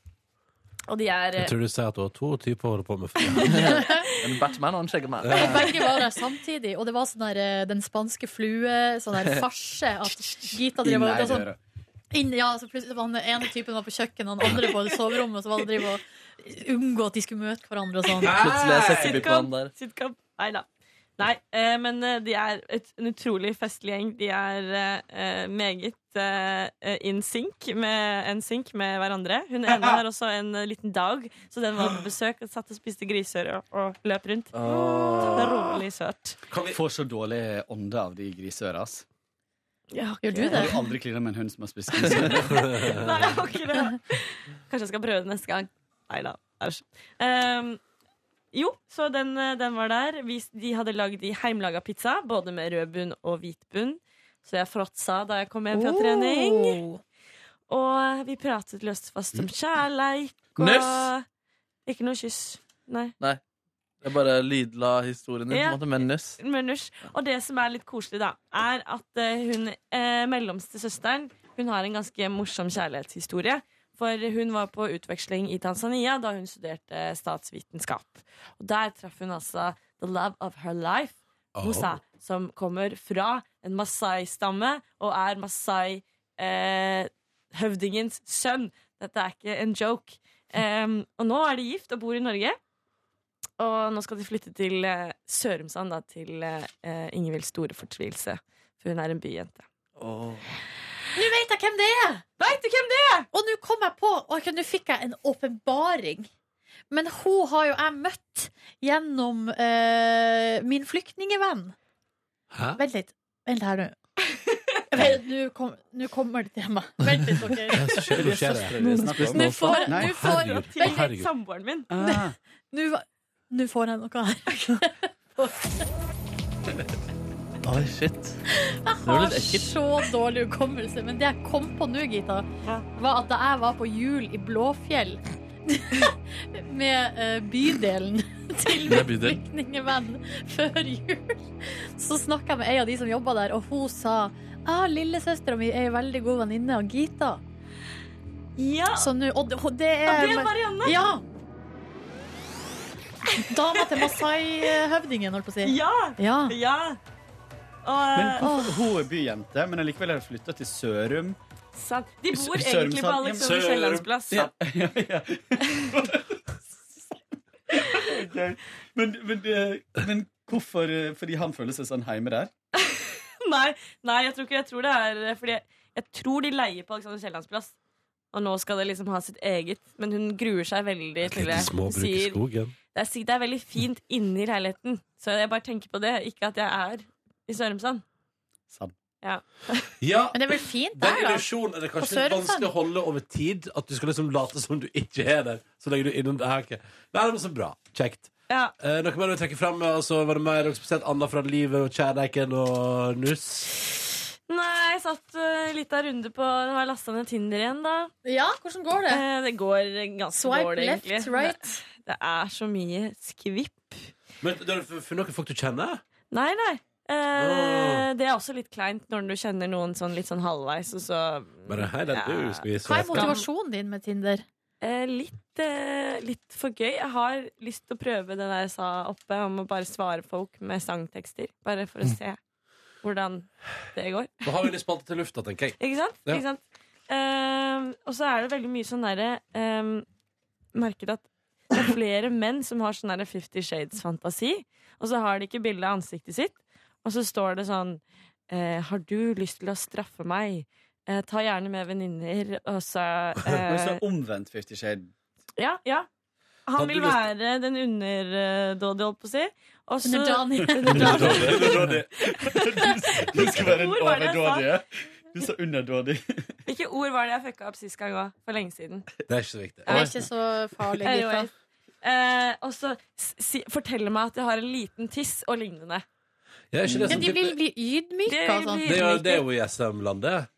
Speaker 5: Og de er
Speaker 2: Jeg tror du sier at du har to typer å holde på med.
Speaker 4: en Batman og en skjeggemann.
Speaker 3: Og begge var der samtidig, og det var sånn der, eh, den spanske flue, sånn der farse. At Gita drev og
Speaker 13: Nei,
Speaker 3: det var sånn,
Speaker 13: dere.
Speaker 3: inn, ja, så plutselig var den ene typen var på kjøkkenet, den andre på soverommet, og så var det å drive og unngå at de skulle møte hverandre og sånn.
Speaker 4: Plutselig er
Speaker 5: Sitcom.
Speaker 4: sekkepipaen der.
Speaker 5: Sitcom. Nei da. Nei, eh, men eh, de er et, en utrolig festlig gjeng. De er eh, eh, meget eh, in sync med, en sync med hverandre. Hun ene har også en eh, liten dag, så den var på besøk og satt og spiste griseøre og, og løp rundt. Så det er rolig søt.
Speaker 13: Får så dårlig ånde av de griseøra, ass.
Speaker 3: Gjør du det?
Speaker 13: Har du aldri klina med en hund som har spist griseøra?
Speaker 5: Nei, jeg har ikke det. Kanskje jeg skal prøve det neste gang. Nei da. Æsj. Ehm, Jo, så den, eh, den var der. Vi, de hadde lagd i heimlaga pizza, både med rød bunn og hvit bunn. Så jeg fråtsa da jeg kom hjem fra
Speaker 17: Oh.
Speaker 5: trening. Og vi pratet løst fast om kjærleik og
Speaker 4: Nøss?
Speaker 5: Ikke noe kyss. Nei.
Speaker 4: Nei. Jeg bare lydla historien din,
Speaker 5: Ja.
Speaker 4: på en måte, men nøss.
Speaker 5: Men nusj. Og det som er litt koselig, da, er at eh, hun eh, mellomste søsteren Hun har en ganske morsom kjærlighetshistorie. For hun var på utveksling i Tanzania da hun studerte eh, statsvitenskap. Og der traff hun altså the love of her life, Musa,
Speaker 17: Oh.
Speaker 5: som kommer fra en masai-stamme og er masai-høvdingens sønn. Dette er ikke en joke. Em, og nå er de gift og bor i Norge. Og nå skal de flytte til eh, Sørumsand, da, til eh, Ingevils store fortvilelse. For hun er en byjente.
Speaker 3: Nå vet jeg hvem det er!
Speaker 5: Vet du hvem det er?
Speaker 3: Og nå kom jeg på, og nå fikk jeg en åpenbaring. Men hun har jo jeg møtt gjennom eh, min flyktningevenn.
Speaker 2: Hæ?
Speaker 3: Vent litt. Vent her nå. Vent, Nå kom, nå kommer det til meg. Vent litt, dere.
Speaker 2: Hva skjer? Hva skjer?
Speaker 3: Nå får, nå får,
Speaker 2: Herregud,
Speaker 3: vent litt.
Speaker 2: herregud.
Speaker 5: Samboeren min.
Speaker 3: Nå nå får jeg noe her.
Speaker 4: Oi, shit.
Speaker 3: Jeg
Speaker 4: Det var
Speaker 3: har
Speaker 4: litt ekkelt.
Speaker 3: så dårlig hukommelse, men det jeg kom på nå, Gita, var at da jeg var på jul i Blåfjell med eh, bydelen til
Speaker 4: Med
Speaker 3: min
Speaker 4: bydelen.
Speaker 3: flyktningevenn før jul, så snakka jeg med ei av de som jobba der, og hun sa ah, lillesøstera mi er ei veldig god venninne av Gita. Så nå Og det, og det er
Speaker 17: Ja, det er Marianne.
Speaker 3: Ja. Dama til Masai-høvdingen, holdt på å si.
Speaker 5: Ja! eh,
Speaker 3: Ja.
Speaker 13: Men hvorfor- hun er byjente, men allikevel har flytta til Sørum.
Speaker 5: Sant. De bor
Speaker 13: Sø-
Speaker 5: egentlig på
Speaker 13: Sørumsand.
Speaker 5: Alexander
Speaker 13: Sørum.
Speaker 5: Kiellands plass.
Speaker 13: Ja. Ok. Men, men, det- men hvorfor eh, Fordi han føler seg sånn hjemme der?
Speaker 5: Nei, nei, jeg tror ikke jeg tror det er eh, fordi jeg, jeg tror de leier på Alexander Kiellands plass. Og nå skal det liksom ha sitt eget, men hun gruer seg veldig til det. Hun sier det er, sikkert- det er veldig fint inni leiligheten, så jeg bare tenker på det. Ikke at jeg er i Sørumsand.
Speaker 13: Sant.
Speaker 5: Ja.
Speaker 2: Ja,
Speaker 3: Men det er vel fint
Speaker 2: Den
Speaker 3: der, da?
Speaker 2: illusjonen er det
Speaker 3: På
Speaker 2: kanskje litt
Speaker 3: Sørumsand.
Speaker 2: vanskelig å holde over tid. At du skal liksom late som du ikke er der. Så legger du innom det her. Nei, det var så bra. Kjekt.
Speaker 5: Ja.
Speaker 2: Eh, noe mer du vil trekke fram? Altså, var det mer noe spesielt annet fra livet og kjærleiken og nuss?
Speaker 5: Nei, jeg satt uh, litt av runde på Nå har jeg lasta ned Tinder igjen, da.
Speaker 3: Ja, hvordan går det?
Speaker 5: Eh, det går ganske
Speaker 3: Swipe
Speaker 5: dårlig,
Speaker 3: left,
Speaker 5: egentlig.
Speaker 3: right.
Speaker 5: Det, det er så mye skvipp.
Speaker 2: Men du har funnet noen folk du kjenner?
Speaker 5: Nei, nei. Eh, Det er også litt kleint når du kjenner noen sånn litt sånn halvveis, og så
Speaker 2: Bare hei, det er du. Skal vi
Speaker 3: Hva er
Speaker 2: ses?
Speaker 3: motivasjonen din med Tinder?
Speaker 5: Eh, litt, eh, litt for gøy. Jeg har lyst til å prøve det der jeg sa oppe, om å bare svare folk med sangtekster. Bare for å se hvordan det går.
Speaker 2: Da har vi litt spalte til lufta, tenker jeg.
Speaker 5: Ikke sant?
Speaker 2: Ja.
Speaker 5: Ikke sant? Ehm, og så er det veldig mye sånn derre ehm, Merket at det er flere menn som har sånn derre Fifty Shades-fantasi, og så har de ikke bilde av ansiktet sitt. Og så står det sånn eh, Har du lyst til å straffe meg? Eh, ta gjerne med venninner, og så
Speaker 13: Men så
Speaker 5: eh,
Speaker 13: omvendt Fifty Shade.
Speaker 5: Ja, ja. Han
Speaker 13: Hadde
Speaker 5: vil
Speaker 13: du lyst-
Speaker 5: være den underdådige, holdt på å si. Og så
Speaker 3: Underdanig.
Speaker 13: Underdådig. Du skal være en
Speaker 5: Hvor var det jeg sa?
Speaker 13: overdådig. Du sa underdådig.
Speaker 5: Hvilke ord var det jeg fucka opp sist gang òg? For lenge siden.
Speaker 2: Det er ikke så viktig.
Speaker 3: Det er ikke så farlig, gutta.
Speaker 5: Anyway. Eh, og så s- si, fortelle meg at jeg har en liten tiss og lignende.
Speaker 2: Ja, er ikke det
Speaker 3: Men
Speaker 2: sånn
Speaker 3: de
Speaker 2: type-
Speaker 3: vil bli ydmyka og sånn.
Speaker 2: Det er jo- det er jo i SM-landet.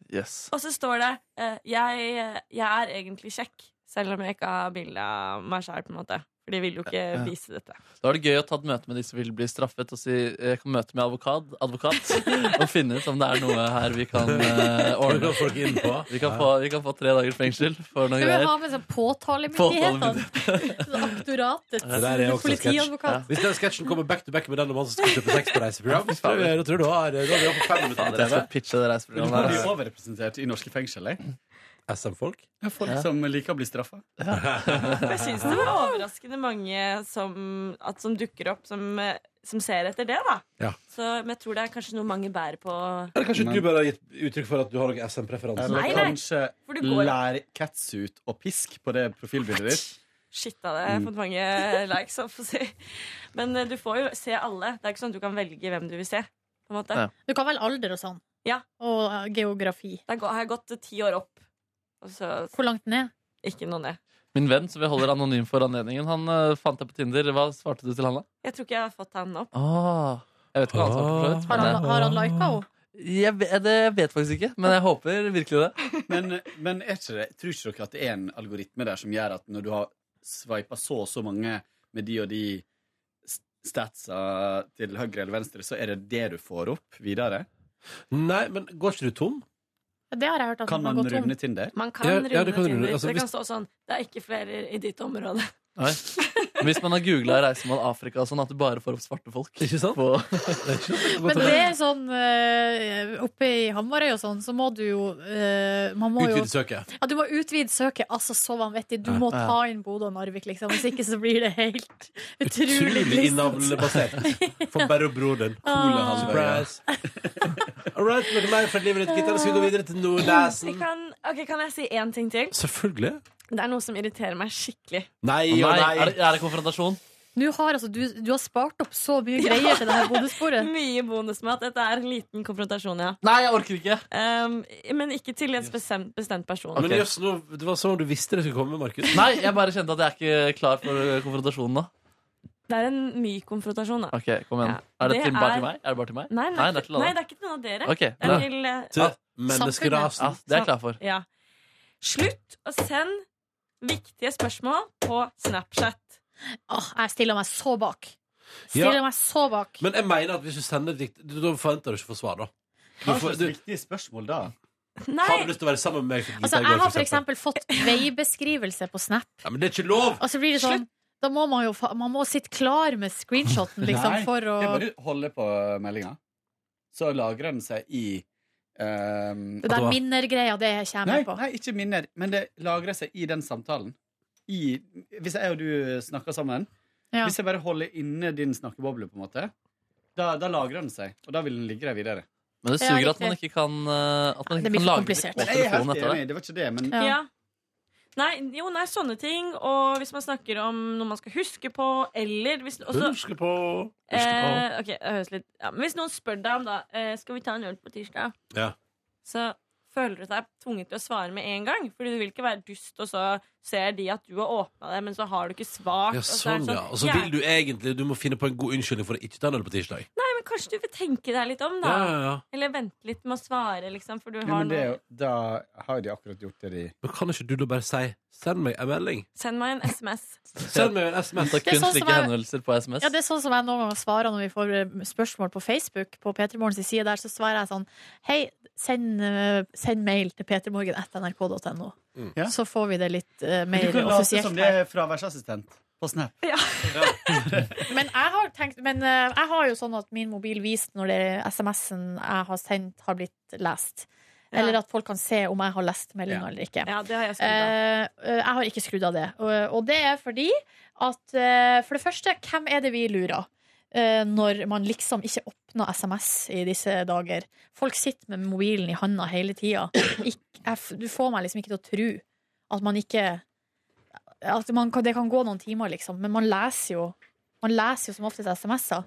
Speaker 5: Og så står det eh, jeg, 'Jeg er egentlig kjekk', selv om jeg ikke har bilde av meg sjæl, på en måte. For de vil jo ikke
Speaker 4: Ja.
Speaker 5: vise dette.
Speaker 4: Da er det gøy å ta et møte med de som vil bli straffet, og si jeg kan møte med advokat, advokat og finne ut om det er noe her vi kan eh, ordne.
Speaker 2: Vi kan få folk inn på.
Speaker 4: Vi kan få, vi kan få tre dagers fengsel for noe
Speaker 3: Skal vi
Speaker 4: greier.
Speaker 3: ha med sånn påtalemyndighetene? Sånn Aktoratets
Speaker 2: Det der er også en sketsj. Ja.
Speaker 3: politiadvokat.
Speaker 2: Hvis den sketsjen kommer back to back med den om han som skal kjøpe sexpreiseprogram, så tror jeg- da tror jeg du har da har vi hatt fem minutter
Speaker 13: Fader,
Speaker 2: på
Speaker 13: jeg skal
Speaker 2: TV.
Speaker 4: pitche det
Speaker 13: Men
Speaker 4: reiseprogrammet
Speaker 13: du
Speaker 4: her,
Speaker 13: blir
Speaker 4: altså.
Speaker 13: overrepresentert i norske fengsel.
Speaker 2: SM-folk?
Speaker 13: Ja, folk
Speaker 4: Ja.
Speaker 13: som liker å bli straffa.
Speaker 5: Jeg syns det var overraskende mange som, at, som dukker opp, som, eh, som ser etter det, da.
Speaker 2: Ja.
Speaker 5: Så, men jeg tror det er kanskje noe mange bærer på.
Speaker 2: Eller kanskje du bare har gitt uttrykk for at du har noen SM-preferanser?
Speaker 13: Eller
Speaker 5: Nei, nei.
Speaker 13: kanskje
Speaker 5: For det går-
Speaker 13: lær catsuit og pisk på det profilbildet ditt.
Speaker 5: Shit, da hadde jeg
Speaker 13: Mm.
Speaker 5: fått mange likes. holdt på å Si. Men eh, du får jo se alle. Det er ikke sånn at du kan velge hvem du vil se. På en måte.
Speaker 4: Ja.
Speaker 3: Du kan vel alder og sånn?
Speaker 5: Ja.
Speaker 3: Og eh, geografi.
Speaker 5: Da går- har jeg gått ti år opp. Og så
Speaker 3: Hvor langt ned?
Speaker 5: ikke noe ned.
Speaker 4: Min venn, som vi holder anonym for anledningen, han eh, fant deg på Tinder. Hva svarte du til han, da?
Speaker 5: Jeg tror ikke jeg har fått han opp.
Speaker 4: Ah, jeg vet ikke hva han svarte. for så vidt,
Speaker 3: Har
Speaker 4: men,
Speaker 3: han,
Speaker 4: eh,
Speaker 3: har han lika henne?
Speaker 4: Jeg, ve- det vet jeg faktisk ikke, men jeg håper virkelig det.
Speaker 13: Men, men er ikke det, tror ikke dere at det er en algoritme der som gjør at når du har sveipa så og så mange med de og de st- statsa til høyre eller venstre, så er det det du får opp videre?
Speaker 2: Nei, men går ikke du tom?
Speaker 3: Det har jeg hørt at
Speaker 13: Kan
Speaker 3: har
Speaker 13: man
Speaker 3: gått om.
Speaker 13: runde Tinder?
Speaker 5: Man kan
Speaker 2: Ja, ja,
Speaker 5: runde
Speaker 2: du kan runde.
Speaker 5: Tinder.
Speaker 2: Altså,
Speaker 5: det kan
Speaker 2: hvis-
Speaker 5: stå sånn Det er ikke flere i ditt område.
Speaker 4: Nei. Hvis man har googla 'reisemål Afrika' og sånn at du bare får opp svarte folk.
Speaker 2: Ikke sant?
Speaker 3: Men det er sånn eh, Oppe i Hamarøy og sånn, så må du jo eh, Man må jo
Speaker 2: Utvide søket.
Speaker 3: ja, Du må utvide søket altså så vanvittig. Du må
Speaker 2: Ja.
Speaker 3: ta inn Bodø og Narvik, liksom. Hvis ikke så blir det helt utrolig
Speaker 2: Utrolig
Speaker 3: trist.
Speaker 2: innavlebasert. For bare broderen.
Speaker 3: Ah.
Speaker 2: Surprise. All right, noe mer fra livet ditt, Gitar? Skal vi gå videre til
Speaker 5: Vi
Speaker 2: Nordnesen?
Speaker 5: Kan, ok, kan jeg si én ting til?
Speaker 2: Selvfølgelig.
Speaker 5: Det er noe som irriterer meg skikkelig.
Speaker 2: Nei
Speaker 4: Å,
Speaker 2: og
Speaker 4: nei.
Speaker 2: nei.
Speaker 4: Er det- er det konfrontasjon?
Speaker 3: Nå har altså, du, du har spart opp så mye greier til det her bonussporet.
Speaker 5: Mye bonusmat. Dette er en liten konfrontasjon, ja. Ehm,
Speaker 4: Nei, jeg orker ikke.
Speaker 5: men ikke til en bestemt, bestemt person.
Speaker 2: Men jøss, nå- det var som om du visste det skulle komme, Markus.
Speaker 4: Nei, jeg bare kjente at jeg er ikke klar for konfrontasjonen nå.
Speaker 5: Det er en myk konfrontasjon, da.
Speaker 4: Ok, kom
Speaker 5: Ja.
Speaker 4: igjen. Er det,
Speaker 5: Det
Speaker 4: til, bare
Speaker 5: er-
Speaker 4: til meg? Er det bare til meg?
Speaker 5: Nei, nei,
Speaker 4: det er til
Speaker 5: nei,
Speaker 4: alle.
Speaker 5: det er ikke til noen av dere.
Speaker 4: Ok,
Speaker 5: det
Speaker 4: bra.
Speaker 5: er til, eh,
Speaker 4: Til
Speaker 5: ah,
Speaker 4: menneskerasen.
Speaker 5: samfunnet.
Speaker 4: Ja, det er jeg klar for.
Speaker 5: Ja. Slutt å sende viktige spørsmål på Snapchat.
Speaker 3: Åh, jeg stiller meg så bak.
Speaker 2: Ja.
Speaker 3: Stiller meg så bak.
Speaker 2: Men jeg mener at hvis du sender et dikt, da forventer du ikke å få svar, da.
Speaker 13: Hva slags viktige spørsmål da?
Speaker 3: Nei.
Speaker 2: Har du lyst til å være sammen med meg? for
Speaker 3: Altså,
Speaker 2: gitar i går,
Speaker 3: jeg har
Speaker 2: for
Speaker 3: for eksempel fått veibeskrivelse på Snap.
Speaker 2: Ja, men det er ikke lov!
Speaker 3: Og så blir det sånn Da må man jo fa- man må sitte klar med screenshoten, liksom,
Speaker 13: Nei,
Speaker 3: for å
Speaker 13: Det er bare å holde på meldinga. Så lagrer den seg i ehm,
Speaker 3: Det der minner-greia, det kommer
Speaker 13: Nei,
Speaker 3: jeg på.
Speaker 13: nei, ikke minner, men det lagrer seg i den samtalen. I, hvis jeg og du snakker sammen,
Speaker 3: Ja.
Speaker 13: hvis jeg bare holder inne din snakkeboble, på en måte, da, da lagrer den seg, og da vil den ligge der videre.
Speaker 4: Men det
Speaker 13: Ja,
Speaker 4: suger at man
Speaker 13: riktig.
Speaker 4: ikke kan, eh, at man
Speaker 13: Det
Speaker 4: ikke
Speaker 13: blir
Speaker 4: kan
Speaker 13: for
Speaker 4: lage det
Speaker 13: komplisert.
Speaker 4: på
Speaker 13: Men jeg er helt
Speaker 4: telefonen etter
Speaker 13: enig,
Speaker 4: det.
Speaker 13: det var ikke det, men
Speaker 5: Ja. Nei, jo, nei, sånne ting. Og hvis man snakker om noe man skal huske på, eller hvis, også,
Speaker 2: Huske på,
Speaker 5: Eh, ok, det høres litt ja, Men hvis noen spør deg om da eh, Skal vi ta en øl på tirsdag,
Speaker 2: Ja.
Speaker 5: så føler du deg tvunget til å svare med en gang. Fordi du vil ikke være dust, og så ser de at du har åpna det, men så har du ikke svart.
Speaker 2: Ja,
Speaker 5: og så er
Speaker 2: sånn,
Speaker 5: det
Speaker 2: ja. Og så vil du egentlig Du må finne på en god unnskyldning for å ikke ta en øl på tirsdag.
Speaker 5: Nei, men kanskje du vil tenke deg litt om, da.
Speaker 2: Ja, ja, ja.
Speaker 5: Eller vente litt med å svare, liksom, for du
Speaker 13: Jo,
Speaker 5: har
Speaker 13: men det er
Speaker 5: noe
Speaker 13: jo, da har de akkurat gjort det de
Speaker 2: Men kan ikke du da bare si 'send meg en melding'?
Speaker 5: Send meg en SMS.
Speaker 2: Send meg en SMS.
Speaker 4: Det er
Speaker 3: Det er sånn
Speaker 4: kun
Speaker 3: som
Speaker 4: slike
Speaker 3: jeg-
Speaker 4: henvendelser på SMS.
Speaker 3: Ja, det er sånn som jeg noen ganger svarer når vi får eh, spørsmål på Facebook. På Petermorgens side der så svarer jeg sånn Hei, send, eh, send mail til petermorgen.nrk.no.
Speaker 13: Ja.
Speaker 3: Så får vi det litt eh,
Speaker 13: Men
Speaker 3: mer
Speaker 13: Du kan late
Speaker 3: offisielt.
Speaker 13: som det er fraværsassistent på Snap.
Speaker 3: Men, jeg har, tenkt, men eh, jeg har jo sånn at min mobil viser når det SMS-en jeg har sendt, har blitt lest.
Speaker 5: Ja.
Speaker 3: Eller at folk kan se om jeg har lest meldinga
Speaker 5: Ja.
Speaker 3: eller ikke.
Speaker 5: Ja, det har jeg skrevet.
Speaker 3: Eh, eh, jeg har ikke skrudd av det. Og, og det er fordi at eh, For det første, hvem er det vi lurer? Eh, når man liksom ikke åpner SMS i disse dager. Folk sitter med mobilen i handa hele tida. Du får meg liksom ikke til å tro at man ikke at man, kan- Det kan gå noen timer, liksom, men man leser jo Man leser jo som oftest SMS-er.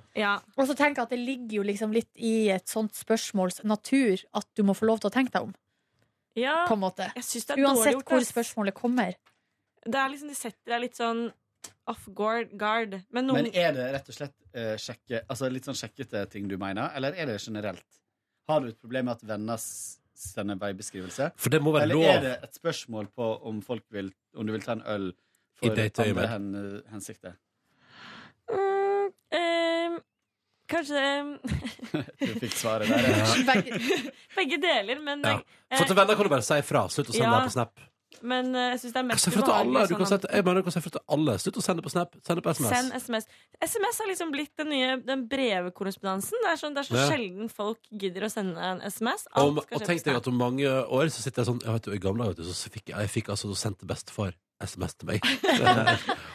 Speaker 3: Og så tenker jeg at det ligger jo liksom litt i et sånt spørsmåls natur at du må få lov til å tenke deg om.
Speaker 5: Ja,
Speaker 3: På en måte.
Speaker 5: jeg synes det er dårlig
Speaker 3: Uansett
Speaker 5: gjort,
Speaker 3: hvor
Speaker 5: ass.
Speaker 3: spørsmålet kommer.
Speaker 5: Det er liksom, De setter deg litt sånn off guard. guard. Men noen
Speaker 13: Men er det rett og slett eh, sjekke, altså litt sånn sjekkete ting du mener, eller er det generelt? Har du et problem med at venner s- sender veibeskrivelse?
Speaker 2: For det må være
Speaker 13: eller
Speaker 2: lov.
Speaker 13: er det et spørsmål på om, folk vil, om du vil ta en øl
Speaker 2: I
Speaker 13: for
Speaker 2: dateøyemed.
Speaker 13: andre hen, hensikter?
Speaker 5: Mm, ehm, kanskje
Speaker 13: Du fikk svaret der. ja.
Speaker 5: begge, begge deler, men
Speaker 2: Ja.
Speaker 5: eh,
Speaker 2: For til venner kan du bare si fra. Slutt å sende
Speaker 5: Ja.
Speaker 2: det på Snap.
Speaker 5: Men eh, jeg syns det er
Speaker 2: Jeg
Speaker 5: mest
Speaker 2: sier fra til alle.
Speaker 5: ubehagelig
Speaker 2: Du kan
Speaker 5: sånn
Speaker 2: si til- jeg mener du kan si fra til alle. Slutt å sende på Snap. Send det på
Speaker 5: at-
Speaker 2: SMS.
Speaker 5: Send SMS. SMS har liksom blitt den nye den brevkorrespondansen. Det er, sånn, det er så
Speaker 2: Ja.
Speaker 5: sjelden folk gidder å sende en SMS. Alt
Speaker 2: Om,
Speaker 5: skal
Speaker 2: og
Speaker 5: skje
Speaker 2: tenk
Speaker 5: på
Speaker 2: deg
Speaker 5: Snap.
Speaker 2: at om mange år så sitter jeg sånn jeg vet du, I gamle dager vet du, så fikk jeg, jeg fikk altså så sendte bestefar SMS til meg.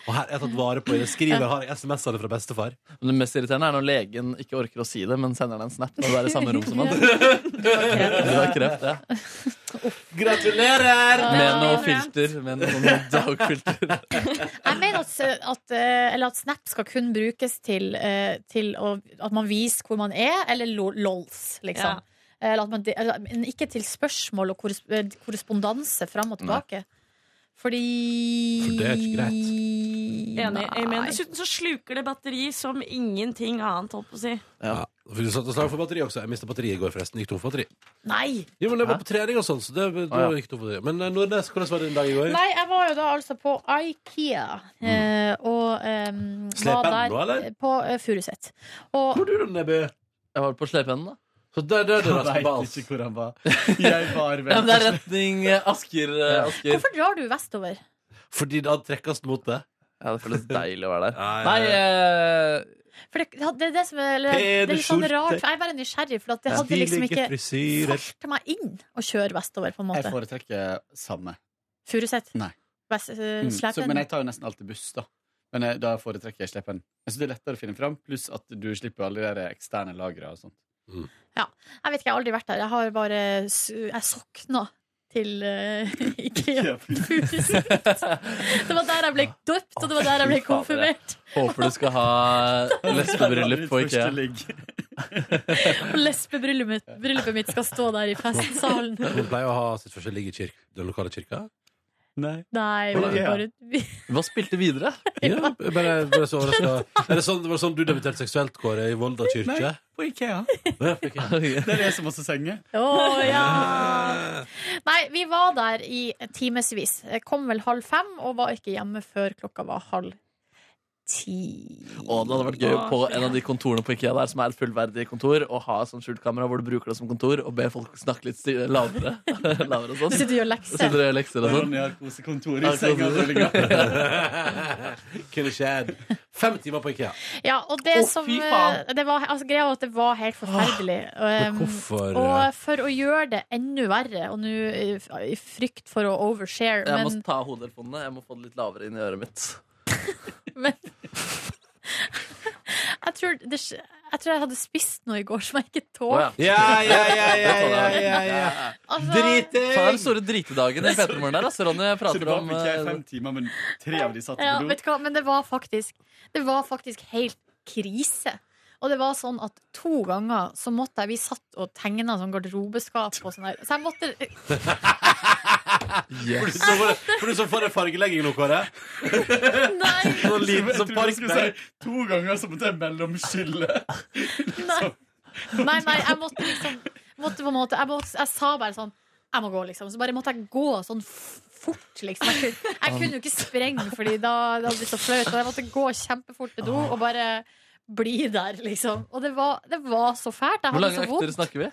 Speaker 2: og her er jeg tatt vare på i det. Skriver har jeg SMS-ene fra bestefar.
Speaker 4: Men det mest irriterende er når legen ikke orker å si det, men sender deg en snap når du er i samme rom som han. Du har kreft, ja.
Speaker 2: Gratulerer!
Speaker 4: Med noe filter. Med noe dagfilter.
Speaker 3: Jeg mener at, at, eh, eller at Snap skal kun brukes til, eh, til å, at man viser hvor man er, eller lo- lols, liksom.
Speaker 5: Ja.
Speaker 3: Eller at man, eller, men ikke til spørsmål og korres- eh, korrespondanse fram og tilbake. Fordi
Speaker 2: For det er ikke greit.
Speaker 5: Enig. Amen. Dessuten så sluker det batteri som ingenting annet, holdt på å si.
Speaker 2: Ja. for Du satte slag for batteri også. Jeg mista batteriet i går, forresten. Gikk tom for batteri.
Speaker 5: Nei!
Speaker 2: Jo, men jeg var på trening og sånn, så det, det
Speaker 5: Ah, ja.
Speaker 2: gikk tom for batteri. Men eh, Nordnes, hvordan var din dag i går?
Speaker 3: Nei, jeg var jo da altså på Ikea. eh, Og em, var
Speaker 2: Slepen
Speaker 3: der
Speaker 2: nå, Mm. eller?
Speaker 3: på eh, Furuset. Og
Speaker 2: Hvor er du, Nebø?
Speaker 4: Jeg var på slepeenden, da.
Speaker 2: Så der døde
Speaker 13: Jeg
Speaker 2: Raske
Speaker 13: vet
Speaker 2: Bals.
Speaker 13: ikke hvor han var. Jeg var
Speaker 4: Ja, men det er
Speaker 13: vel
Speaker 4: retning eh, Asker. eh, Asker.
Speaker 3: hvorfor drar du vestover?
Speaker 2: Fordi da trekkes mot det.
Speaker 4: Ja, det føles deilig å være der.
Speaker 2: ja,
Speaker 4: Nei,
Speaker 2: ja.
Speaker 4: eh,
Speaker 3: For det, det er det som er, eller, det er litt sånn
Speaker 4: Pederskjorte.
Speaker 3: rart. for Jeg er bare nysgjerrig, for at det hadde liksom ikke falt meg inn å kjøre vestover, på en
Speaker 13: Jeg
Speaker 3: måte.
Speaker 13: foretrekker samme.
Speaker 3: Furuset.
Speaker 13: Nei.
Speaker 3: Vest- eh,
Speaker 13: Mm. Så,
Speaker 3: Slepen.
Speaker 13: men jeg tar jo nesten alltid buss, da. Men eh, da foretrekker jeg slepen. Jeg synes det er lettere å finne fram, pluss at du slipper alle de der eksterne lagrene og sånt.
Speaker 3: Ja. Jeg vet ikke, jeg har aldri vært der. Jeg har bare s- Jeg sokna til eh, Ikea Furuset. Det var der jeg ble døpt, og det var der jeg ble
Speaker 4: Fy fader, jeg
Speaker 3: konfirmert.
Speaker 4: Håper du skal ha lesbebryllup på IKEA.
Speaker 3: Og lesbebryllup mitt- bryllupet mitt skal stå der i festsalen.
Speaker 2: Hun pleier å ha sitt første ligg i kirk, den lokale kirka.
Speaker 3: Nei, men vi bare vi,
Speaker 4: Hva spilte videre?
Speaker 2: Ja, bare, bare så overraska. Er det sånn, var det sånn du debuterte seksuelt, Kåre, i Volda kirke?
Speaker 13: på Ikea.
Speaker 2: Ja, fikk jeg.
Speaker 13: Det er det som også senger.
Speaker 3: Å ja! Nei, vi var der i timevis. Jeg Kom vel halv fem og var ikke hjemme før klokka var halv ti.
Speaker 4: Å, det hadde vært gøy på en av de kontorene på IKEA der som er et fullverdig kontor, å ha sånn skjult kamera hvor du bruker det som kontor, og be folk snakke litt stille, lavere. lavere og sånn.
Speaker 3: Du sitter og gjør lekser.
Speaker 4: Sitter og gjør lekser og sånn.
Speaker 13: Ronny har kosekontor i
Speaker 4: Ja,
Speaker 13: senga.
Speaker 4: kosekontor.
Speaker 13: og så ligger han.
Speaker 2: Kunne skjedd. Fem timer på Ikea.
Speaker 3: Ja, og det som eh, det var, altså, Greia var at det var helt forferdelig. Um,
Speaker 2: hvorfor,
Speaker 3: og
Speaker 2: eh?
Speaker 3: for å gjøre det enda verre, og nå i f- i frykt for å overshare
Speaker 4: Jeg må
Speaker 3: men,
Speaker 4: ta hodetelefonene. Jeg må få det litt lavere inn i øret mitt.
Speaker 3: jeg, tror det, sk- jeg tror jeg hadde spist noe i går som jeg ikke
Speaker 4: Å,
Speaker 3: tålte.
Speaker 2: Ja, ja, ja, ja, ja, ja,
Speaker 4: ja.
Speaker 3: Altså-
Speaker 4: Driting! Faen, den store dritedagen i P3morgen der, altså. Ronny
Speaker 13: Så det
Speaker 4: prater
Speaker 13: var
Speaker 4: om
Speaker 13: på Ikea i
Speaker 4: eh,
Speaker 13: fem timer, men tre av de satt
Speaker 3: Ja,
Speaker 13: på do.
Speaker 3: vet du hva, men det var faktisk Det var faktisk helt krise. Og det var sånn at to ganger så måtte jeg Vi satt og tegna sånn garderobeskap og sånn der. Så jeg måtte
Speaker 2: Får du så for, får du så for deg fargelegging nå, Kåre?
Speaker 3: Nei!
Speaker 2: Sånn liten
Speaker 13: Jeg
Speaker 2: som
Speaker 13: trodde du skulle
Speaker 2: parkbenk.
Speaker 13: si to ganger så måtte jeg mellomskille.
Speaker 3: Nei, nei, jeg måtte liksom måtte på en måte, jeg, måtte, jeg sa bare sånn Jeg må gå, liksom. Så bare måtte jeg gå sånn f- fort, liksom. Jeg kunne, jeg kunne jo ikke sprenge, Fordi da det hadde blitt så flaut. Og jeg måtte gå kjempefort til do og bare bli der, liksom. Og det var, det var så fælt. Jeg
Speaker 4: Hvor
Speaker 3: hadde
Speaker 4: lange
Speaker 3: så
Speaker 4: økter
Speaker 3: vondt.
Speaker 4: snakker vi?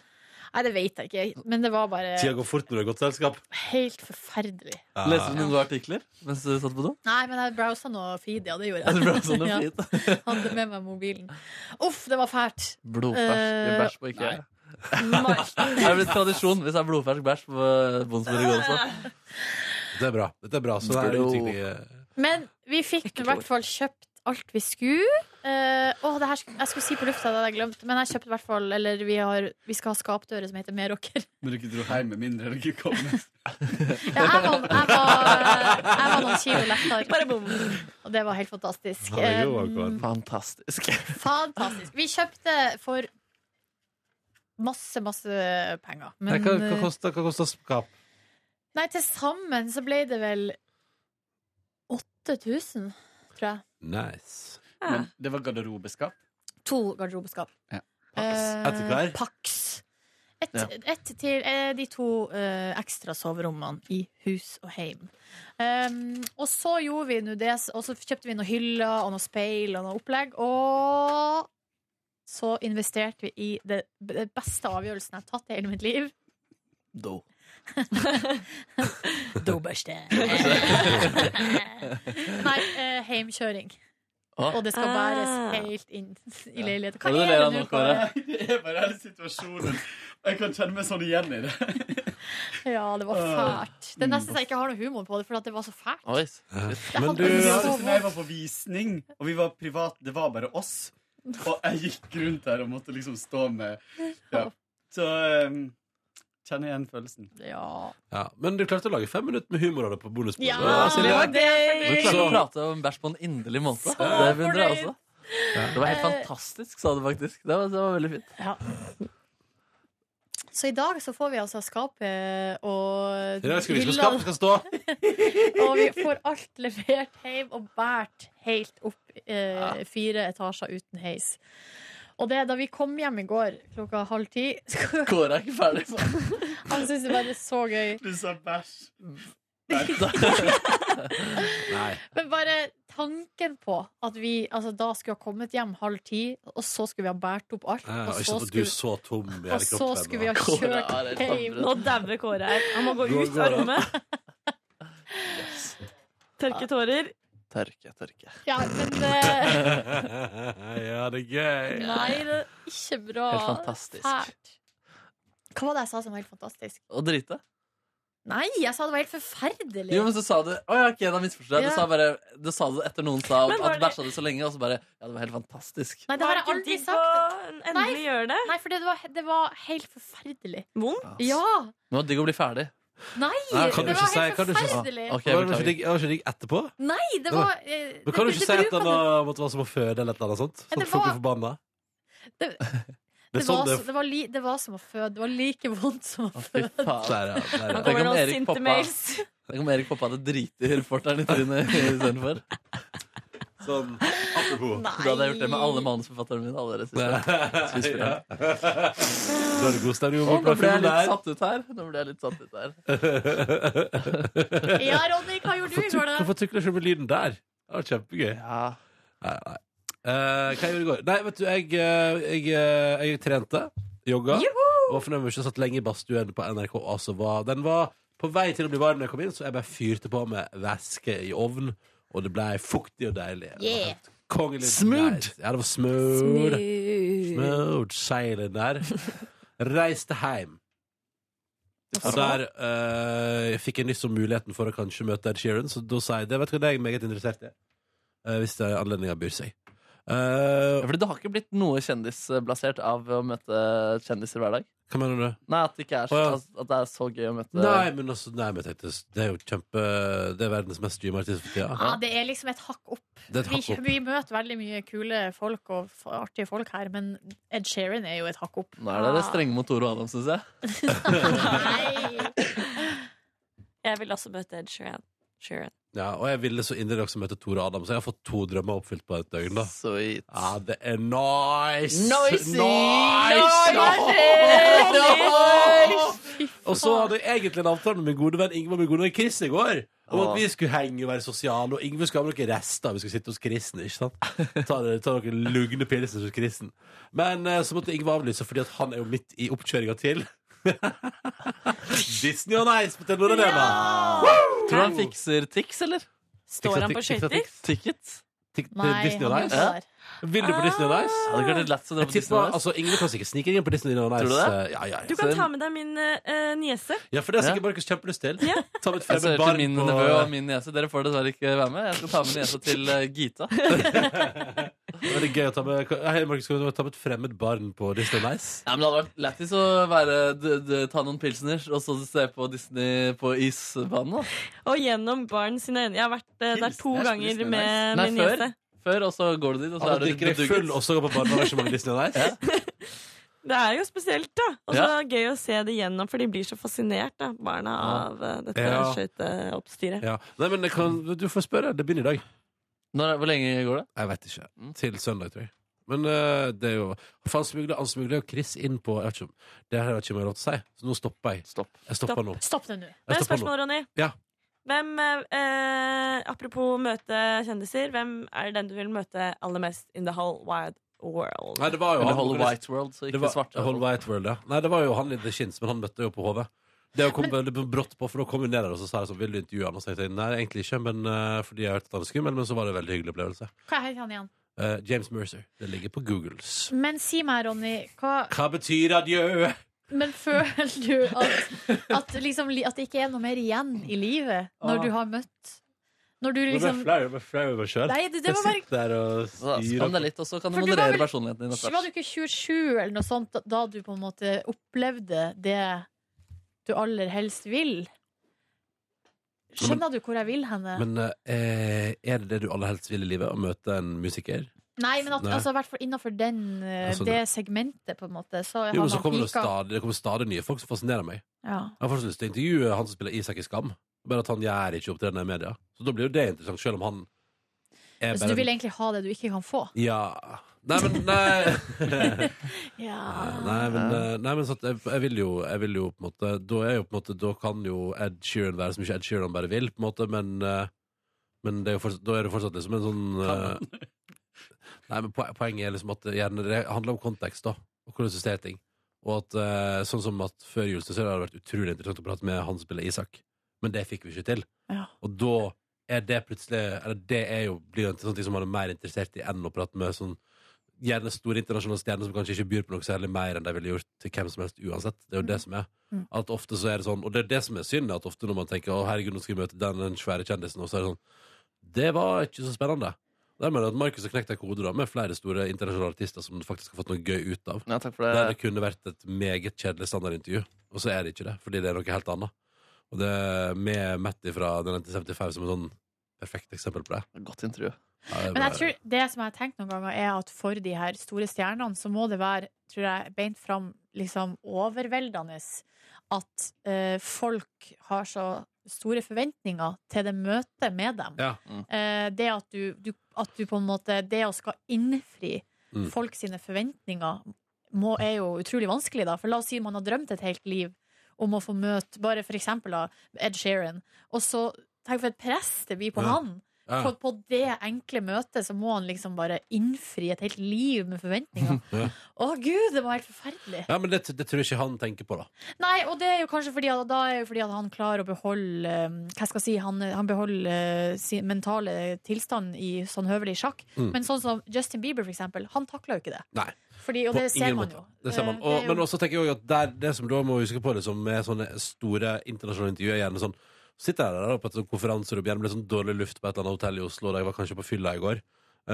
Speaker 3: Nei, det vet jeg ikke. Men det var bare
Speaker 2: Tida går fort når du har godt selskap.
Speaker 3: helt forferdelig.
Speaker 13: Ah.
Speaker 4: Leste du noen gode artikler mens du satt på do?
Speaker 3: Nei, men jeg browsa noe feed, ja. Det gjorde jeg.
Speaker 4: Ja, du browset noe
Speaker 3: ja. Hadde med meg mobilen. Uff, det var fælt.
Speaker 4: Blodfersk
Speaker 3: Eh,
Speaker 4: bæsj på IKEA. Det er blitt tradisjon hvis det er blodfersk bæsj på Bonsborg også.
Speaker 2: Det er bra. Dette er bra. Så det er utvikling. eh.
Speaker 3: Men vi fikk i hvert fall kjøpt alt vi skulle. Eh, åh, det her, sk- jeg skulle si på lufta, det hadde jeg glemt. Men jeg kjøpte i hvert fall Eller vi, har, vi skal ha skapdører som heter Meråker.
Speaker 13: Men dere dro hjem med mindre dere kom.
Speaker 3: Ja, jeg, var, jeg, var, jeg var noen kilo lettere. Og det var helt fantastisk. Eh,
Speaker 4: Fantastisk.
Speaker 3: fantastisk. Vi kjøpte for masse, masse penger.
Speaker 2: Nei,
Speaker 3: Men
Speaker 2: Hva hva
Speaker 3: eh,
Speaker 2: koster- hva koster skap?
Speaker 3: Nei, til sammen så ble det vel 8000, tror jeg.
Speaker 2: Nice.
Speaker 13: Men det var garderobeskap.
Speaker 3: To garderobeskap.
Speaker 13: Ja.
Speaker 3: Eh,
Speaker 13: Etter hver?
Speaker 3: Pax. Ett
Speaker 13: Ja.
Speaker 3: ett til eh, de to eh, ekstra soverommene i hus og heim. Um, og så gjorde vi nå det, og så kjøpte vi noen hyller og noe speil og noe opplegg. Og så investerte vi i det, det beste avgjørelsen jeg har tatt i hele mitt liv.
Speaker 4: Do.
Speaker 3: Dobørste. Nei, eh, heimkjøring.
Speaker 13: Å.
Speaker 3: Og det skal bæres helt inn i leiligheten. Hva
Speaker 13: Og
Speaker 3: er det
Speaker 13: ler
Speaker 3: nå,
Speaker 13: han
Speaker 3: Kåre?
Speaker 13: av, Kåre. Det er bare hele situasjonen. Og Jeg kan kjenne meg sånn igjen i det.
Speaker 3: Ja, det var
Speaker 13: Åh.
Speaker 3: fælt. Det er nesten så jeg ikke har noe humor på det, for at det var så fælt.
Speaker 4: Oi.
Speaker 13: Men
Speaker 3: du-
Speaker 13: du Jeg var på visning, og vi var privat. Det var bare oss. Og jeg gikk rundt der og måtte liksom stå med ja. Så um, kjenner igjen følelsen.
Speaker 3: Ja.
Speaker 2: Ja, men du klarte å lage fem minutter med humor av det på bonusbordet.
Speaker 13: Ja, det var
Speaker 4: Du klarte å prate om bæsj på en inderlig måte. Det beundrer jeg også. Det var helt
Speaker 3: Eh.
Speaker 4: fantastisk, sa du faktisk. Det var, det var veldig fint.
Speaker 3: Ja. Så i dag så får vi altså skapet og
Speaker 2: I dag skal vi se på
Speaker 3: hylla-
Speaker 2: skapet skal stå.
Speaker 3: og vi får alt levert hjem og båret helt opp eh, fire etasjer uten heis. Og det er da vi kom hjem i går klokka halv ti
Speaker 4: Kåre er ikke ferdig.
Speaker 3: Han syntes det var så gøy.
Speaker 13: Du sa bæsj.
Speaker 2: Nei.
Speaker 3: Men bare tanken på at vi altså, da skulle ha kommet hjem halv ti, og så skulle vi ha båret opp alt,
Speaker 2: Eh,
Speaker 3: og
Speaker 2: ikke
Speaker 3: så
Speaker 2: sant, og du
Speaker 3: skulle
Speaker 2: er så tom i
Speaker 3: og
Speaker 2: hele
Speaker 3: så
Speaker 2: kroppen.
Speaker 3: skulle vi ha
Speaker 2: Kåre er
Speaker 3: kjørt
Speaker 2: helt
Speaker 3: hjem.
Speaker 2: andre.
Speaker 5: Nå dauer Kåre her. Han må gå
Speaker 2: Nå
Speaker 5: ut
Speaker 2: går
Speaker 5: av
Speaker 2: han.
Speaker 5: rommet. Tørke tårer.
Speaker 4: Tørke, tørke.
Speaker 3: Ja, men eh,
Speaker 2: ja, det er gøy.
Speaker 3: Nei, det er ikke bra.
Speaker 4: Helt fantastisk.
Speaker 3: Fælt. Hva var det jeg sa som var helt fantastisk?
Speaker 4: Og drite.
Speaker 3: Nei, jeg sa det var helt forferdelig.
Speaker 4: Jo, men så sa du Å ja, ok, da misforstår jeg.
Speaker 3: Ja.
Speaker 4: Du sa bare Du sa det etter noen sa
Speaker 3: Men var
Speaker 4: at
Speaker 3: det-
Speaker 4: bæsja du så lenge, og så bare Ja, det var helt fantastisk.
Speaker 3: Nei, det har jeg
Speaker 5: Var
Speaker 3: aldri
Speaker 5: ikke digg
Speaker 3: sagt.
Speaker 5: å endelig gjøre det?
Speaker 3: Nei, for det var, det var helt forferdelig.
Speaker 5: Vondt?
Speaker 3: Ja!
Speaker 4: Det var digg å bli ferdig.
Speaker 3: Nei!
Speaker 2: Nei, kan du
Speaker 3: det
Speaker 2: ikke
Speaker 3: var
Speaker 2: si,
Speaker 3: helt
Speaker 2: kan du ikke si
Speaker 3: forferdelig.
Speaker 2: Ok, Var det ikke digg- var det ikke digg etterpå?
Speaker 3: Nei, det var eh, det-
Speaker 2: Men kan du ikke
Speaker 3: det
Speaker 2: si at
Speaker 3: bruker
Speaker 2: den var, måtte være som å føde eller et eller annet sånt? Sånn at folk blir forbanna?
Speaker 3: Det-
Speaker 2: Det er
Speaker 3: Det
Speaker 2: sånn
Speaker 3: var,
Speaker 2: det
Speaker 3: så- det, var li, det var som å føde. Det var like vondt som å føde.
Speaker 2: Der, ja. Der, ja.
Speaker 4: Tenk om
Speaker 5: noen
Speaker 4: Erik
Speaker 5: sinte
Speaker 4: poppa-
Speaker 5: mails.
Speaker 4: Tenk om Erik poppa det drite i reporteren i trynet istedenfor.
Speaker 2: Sånn apropos.
Speaker 4: Da hadde jeg gjort det med alle manusforfatterne mine. Alle regissørene, skuespillerne.
Speaker 2: Da er det god
Speaker 4: Å,
Speaker 2: stemning om
Speaker 4: nå
Speaker 2: bort
Speaker 4: ble jeg
Speaker 2: filmen
Speaker 4: litt
Speaker 2: der.
Speaker 4: satt ut her. Nå ble jeg litt satt ut her.
Speaker 3: Ja, Ronny, hva gjorde du i går, da?
Speaker 2: Hvorfor tukler du ikke med lyden der? Det var kjempegøy. Nei, nei. Eh, hva jeg gjorde i går? Nei, vet du, jeg, eh, jeg, eh, jeg trente. Jogga. Og fornøyd med ikke satt lenge i badstuen på NRK. Altså, var, den var på vei til å bli varm da jeg kom inn, så jeg bare fyrte på med væske i ovnen. Og det ble fuktig og deilig. Det var
Speaker 3: Yeah.
Speaker 2: helt Kongelig. Smooth! Ja, det var smooth. Smooth seilen der. Reiste hjem. Og der eh, fikk jeg nyss om muligheten for å kanskje møte Ed Sheeran, så da sa jeg det. Vet du hva, det er jeg meget interessert i. Eh, hvis det er anledninga byr seg. Eh,
Speaker 4: Ja, Fordi det har ikke blitt noe kjendisblasert av å møte kjendiser hver dag?
Speaker 2: Hva mener du?
Speaker 4: Nei, at det ikke er så,
Speaker 2: Å, ja.
Speaker 4: altså, at det er så gøy å møte
Speaker 2: Nei, men altså, nei, men jeg tenkte, det er jo kjempe Det er verdens mest streama artist for tida.
Speaker 3: Ja, det er liksom et hakk opp.
Speaker 2: Det er et hakk
Speaker 3: vi,
Speaker 2: opp.
Speaker 3: vi møter veldig mye kule folk og f- artige folk her, men Ed Sheeran er jo et hakk opp.
Speaker 4: Nå er dere strenge mot Tore og Adam, syns jeg.
Speaker 5: Jeg vil også møte Ed Sheeran. Sheeran.
Speaker 2: Ja, og jeg ville så inderlig også møte Tore Adam, så jeg har fått to drømmer oppfylt på et døgn. da Ja, det er nice!
Speaker 4: Noisy!
Speaker 2: Nice!
Speaker 4: Nice!
Speaker 2: Og så hadde jeg egentlig en avtale med min gode venn Ingvar min gode venn Chris i går. Om at
Speaker 4: Åh.
Speaker 2: vi skulle henge og være sosiale, og Ingvar skulle ha med noen rester. Vi skulle sitte hos Chrisen, ikke sant? Ta, ta noen lugne pilser hos Chrisen. Men eh, så måtte Ingvar avlyse, fordi at han er jo midt i oppkjøringa til Disney on Ice på Telenor Arena.
Speaker 4: Tror du han fikser Tix, eller?
Speaker 5: Står han på skøyter?
Speaker 4: Ticket?
Speaker 5: Nei,
Speaker 2: Disney on
Speaker 5: han
Speaker 2: Ice?
Speaker 5: gjør det
Speaker 2: Vil du på Disney on Ice?
Speaker 4: Ja, det er klart det er lett å dra på
Speaker 2: Jeg
Speaker 4: Disney on
Speaker 2: tipper,
Speaker 4: Ice.
Speaker 2: altså, Ingrid kan sikkert snike inn på Disney on Ice.
Speaker 4: Tror du det?
Speaker 2: eh, Ja, ja, ja.
Speaker 5: Du kan ta med deg min eh, niese.
Speaker 2: Ja, for det har sikkert Markus kjempelyst til. Ta med
Speaker 4: Jeg ser
Speaker 2: et fremmed
Speaker 4: til
Speaker 2: barn
Speaker 4: min
Speaker 2: på-
Speaker 4: nevø og min niese. Dere får dessverre ikke være med. Jeg skal ta med niesa til eh, Gita.
Speaker 2: Det er Veldig gøy å ta med Hei, Markus, skal du ta med et fremmed barn på Disney on Ice?
Speaker 4: Nei, men Det hadde vært lættis å være, d d ta noen pilsner og så se på Disney på isbanen. da
Speaker 5: Og gjennom barn sine øyne. Jeg har vært eh, der to
Speaker 4: Pilsner,
Speaker 5: ganger
Speaker 4: Disney on Ice.
Speaker 5: med
Speaker 4: Nei,
Speaker 5: Eh, min
Speaker 4: før.
Speaker 5: niese.
Speaker 4: Før, og så går du dit, og så
Speaker 2: Han
Speaker 4: er du
Speaker 2: Altså, drikker deg
Speaker 4: bedugget.
Speaker 2: full og så går på barnearrangement i Disney on Ice?
Speaker 5: Det er jo spesielt, da. Og så
Speaker 2: Ja.
Speaker 5: gøy å se det gjennom, for de blir så fascinert, da, barna, av eh, dette
Speaker 2: Ja.
Speaker 5: skøyteoppstyret.
Speaker 2: Ja. Nei, men det kan, du får spørre. Det begynner i dag.
Speaker 4: hvor lenge går det?
Speaker 2: Jeg vet ikke. Til søndag, tror jeg. Men eh, det er jo For han smugla han smugla jo Chris inn på jeg vet ikke om- Det her har ikke jeg lov til å si, så nå stopper jeg. Jeg stopper nå.
Speaker 3: Stopp det nå.
Speaker 5: Men
Speaker 2: Jeg stopper
Speaker 5: spørsmål,
Speaker 2: nå.
Speaker 5: Ronny.
Speaker 2: Ja.
Speaker 5: Hvem, eh, apropos møte kjendiser, hvem er den du vil møte aller mest in the whole wide world?
Speaker 2: Nei, det var jo
Speaker 4: Eller
Speaker 2: han-
Speaker 4: Whole White World, så ikke
Speaker 2: det var,
Speaker 4: Svarte
Speaker 2: Whole
Speaker 4: World.
Speaker 2: White World, ja. Nei, det var jo han i The Shins, men han møtte jeg jo på HV. Det kom veldig brått på, for da kom hun ned der og så sa jeg sånn, vil du intervjue han? Og så tenkte jeg nei, egentlig ikke, men eh, fordi jeg har hørt at han er skummel, men så var det en veldig hyggelig opplevelse.
Speaker 3: Hva heter han igjen?
Speaker 2: Eh, James Mercer. Det ligger på Googles.
Speaker 3: Men si meg, Ronny, hva
Speaker 2: Hva betyr adjø?
Speaker 3: Men føler du at, at, liksom, li- at det ikke er noe mer igjen i livet når
Speaker 2: Ah.
Speaker 3: du har møtt Når du
Speaker 2: Nå ble jeg
Speaker 3: liksom
Speaker 2: flau, jeg ble flau over meg selv.
Speaker 3: Nei, det- det var
Speaker 2: Jeg sitter der og
Speaker 4: Skam deg
Speaker 2: styrer.
Speaker 4: litt, og så kan du
Speaker 3: For du var
Speaker 4: moderere
Speaker 3: vel-
Speaker 4: personligheten din.
Speaker 3: Var
Speaker 4: etter
Speaker 3: du
Speaker 4: hvert.
Speaker 3: ikke 27 eller noe sånt da- da du på en måte opplevde det du aller helst vil? Skjønner du hvor jeg vil henne?
Speaker 2: Men eh, er det det du aller helst vil i livet? Å møte en musiker?
Speaker 3: Nei, men at,
Speaker 2: Nei.
Speaker 3: altså, i hvert fall innenfor den, eh,
Speaker 2: Altså,
Speaker 3: det segmentet, på en måte, så har
Speaker 2: Jo, men
Speaker 3: man
Speaker 2: så kommer det,
Speaker 3: pika.
Speaker 2: stadig, det kommer stadig nye folk som fascinerer meg.
Speaker 3: Ja.
Speaker 2: Jeg har fortsatt lyst til å intervjue han som spiller Isak i Skam. Bare at han gjør ikke opptredener i media. Så da blir jo det interessant, selv om han er
Speaker 3: Så du vil egentlig ha det du ikke kan få?
Speaker 2: Ja. Nei, men Nei,
Speaker 3: Ja.
Speaker 2: nei, men, eh, nei, men så at jeg, jeg, vil jo, jeg vil jo på en måte Da er jo på en måte Da kan jo Ed Sheeran være så mye Ed Sheeran bare vil, på en måte, men eh, Men det er jo fortsatt, da er det fortsatt liksom en sånn eh, Nei, men poe- poenget er liksom at det gjerne, det handler om kontekst, da. Og hvordan du ser ting. Og at eh, sånn som at før jul så hadde det vært utrolig interessant å prate med han som spiller Isak, men det fikk vi ikke til. Og da er det plutselig Eller det er jo blir jo en sånn ting som man er mer interessert i enn å prate med sånn gjerne store internasjonale stjerner som kanskje ikke byr på noe særlig mer enn de ville gjort til hvem som helst uansett. Det er jo det som er.
Speaker 17: Mm.
Speaker 2: At ofte så er det sånn, og det er det som er synd, at ofte når man tenker å herregud, nå skal vi møte den, den svære kjendisen, og så er det sånn det var ikke så spennende. Der mener jeg at Markus har knekt en kode da, med flere store internasjonale artister som du faktisk har fått noe gøy ut av.
Speaker 4: Ja, takk for det.
Speaker 3: Eh.
Speaker 2: Der det kunne vært et meget kjedelig standardintervju, og så er det ikke det, fordi det er noe helt annet. Og det med Matti fra den 75 som et sånn perfekt eksempel på det.
Speaker 4: Godt intervju.
Speaker 3: Men jeg tror det som jeg har tenkt noen ganger, er at for de her store stjernene, så må det være, tror jeg, beint fram liksom overveldende at eh, folk har så store forventninger til det møtet med dem.
Speaker 2: Ja.
Speaker 3: Eh, det at du, du, at du på en måte Det å skal innfri
Speaker 2: Mm.
Speaker 3: folk sine forventninger må, er jo utrolig vanskelig, da. For la oss si man har drømt et helt liv om å få møte bare for eksempel da, Ed Sheeran, og så Tenk for et press det blir på
Speaker 2: Ja.
Speaker 3: han!
Speaker 2: Ja.
Speaker 3: På, på det enkle møtet så må han liksom bare innfri et helt liv med forventninger.
Speaker 2: Ja.
Speaker 3: Å gud, det var helt forferdelig!
Speaker 2: Ja, men det, det tror jeg ikke han tenker på, da.
Speaker 3: Nei, og det er jo kanskje fordi at, da er jo fordi at han klarer å beholde eh, Hva skal jeg si, han, han beholder eh, sin mentale tilstand i sånn høvelig sjakk.
Speaker 2: Mm.
Speaker 3: Men sånn som Justin Bieber, for eksempel, han takler jo ikke det.
Speaker 2: Nei.
Speaker 3: Fordi, og
Speaker 2: På
Speaker 3: det ser
Speaker 2: ingen
Speaker 3: man
Speaker 2: måte.
Speaker 3: jo.
Speaker 2: Det ser
Speaker 3: Eh,
Speaker 2: man. Og,
Speaker 3: det er jo-
Speaker 2: Men også tenker jeg også at der, det som da må vi huske på det som er sånne store internasjonale intervjuer, er gjerne sånn Sitter jeg der da på et sånt konferanserom, gjerne med litt sånn dårlig luft på et eller annet hotell i Oslo, da jeg var kanskje på fylla i går,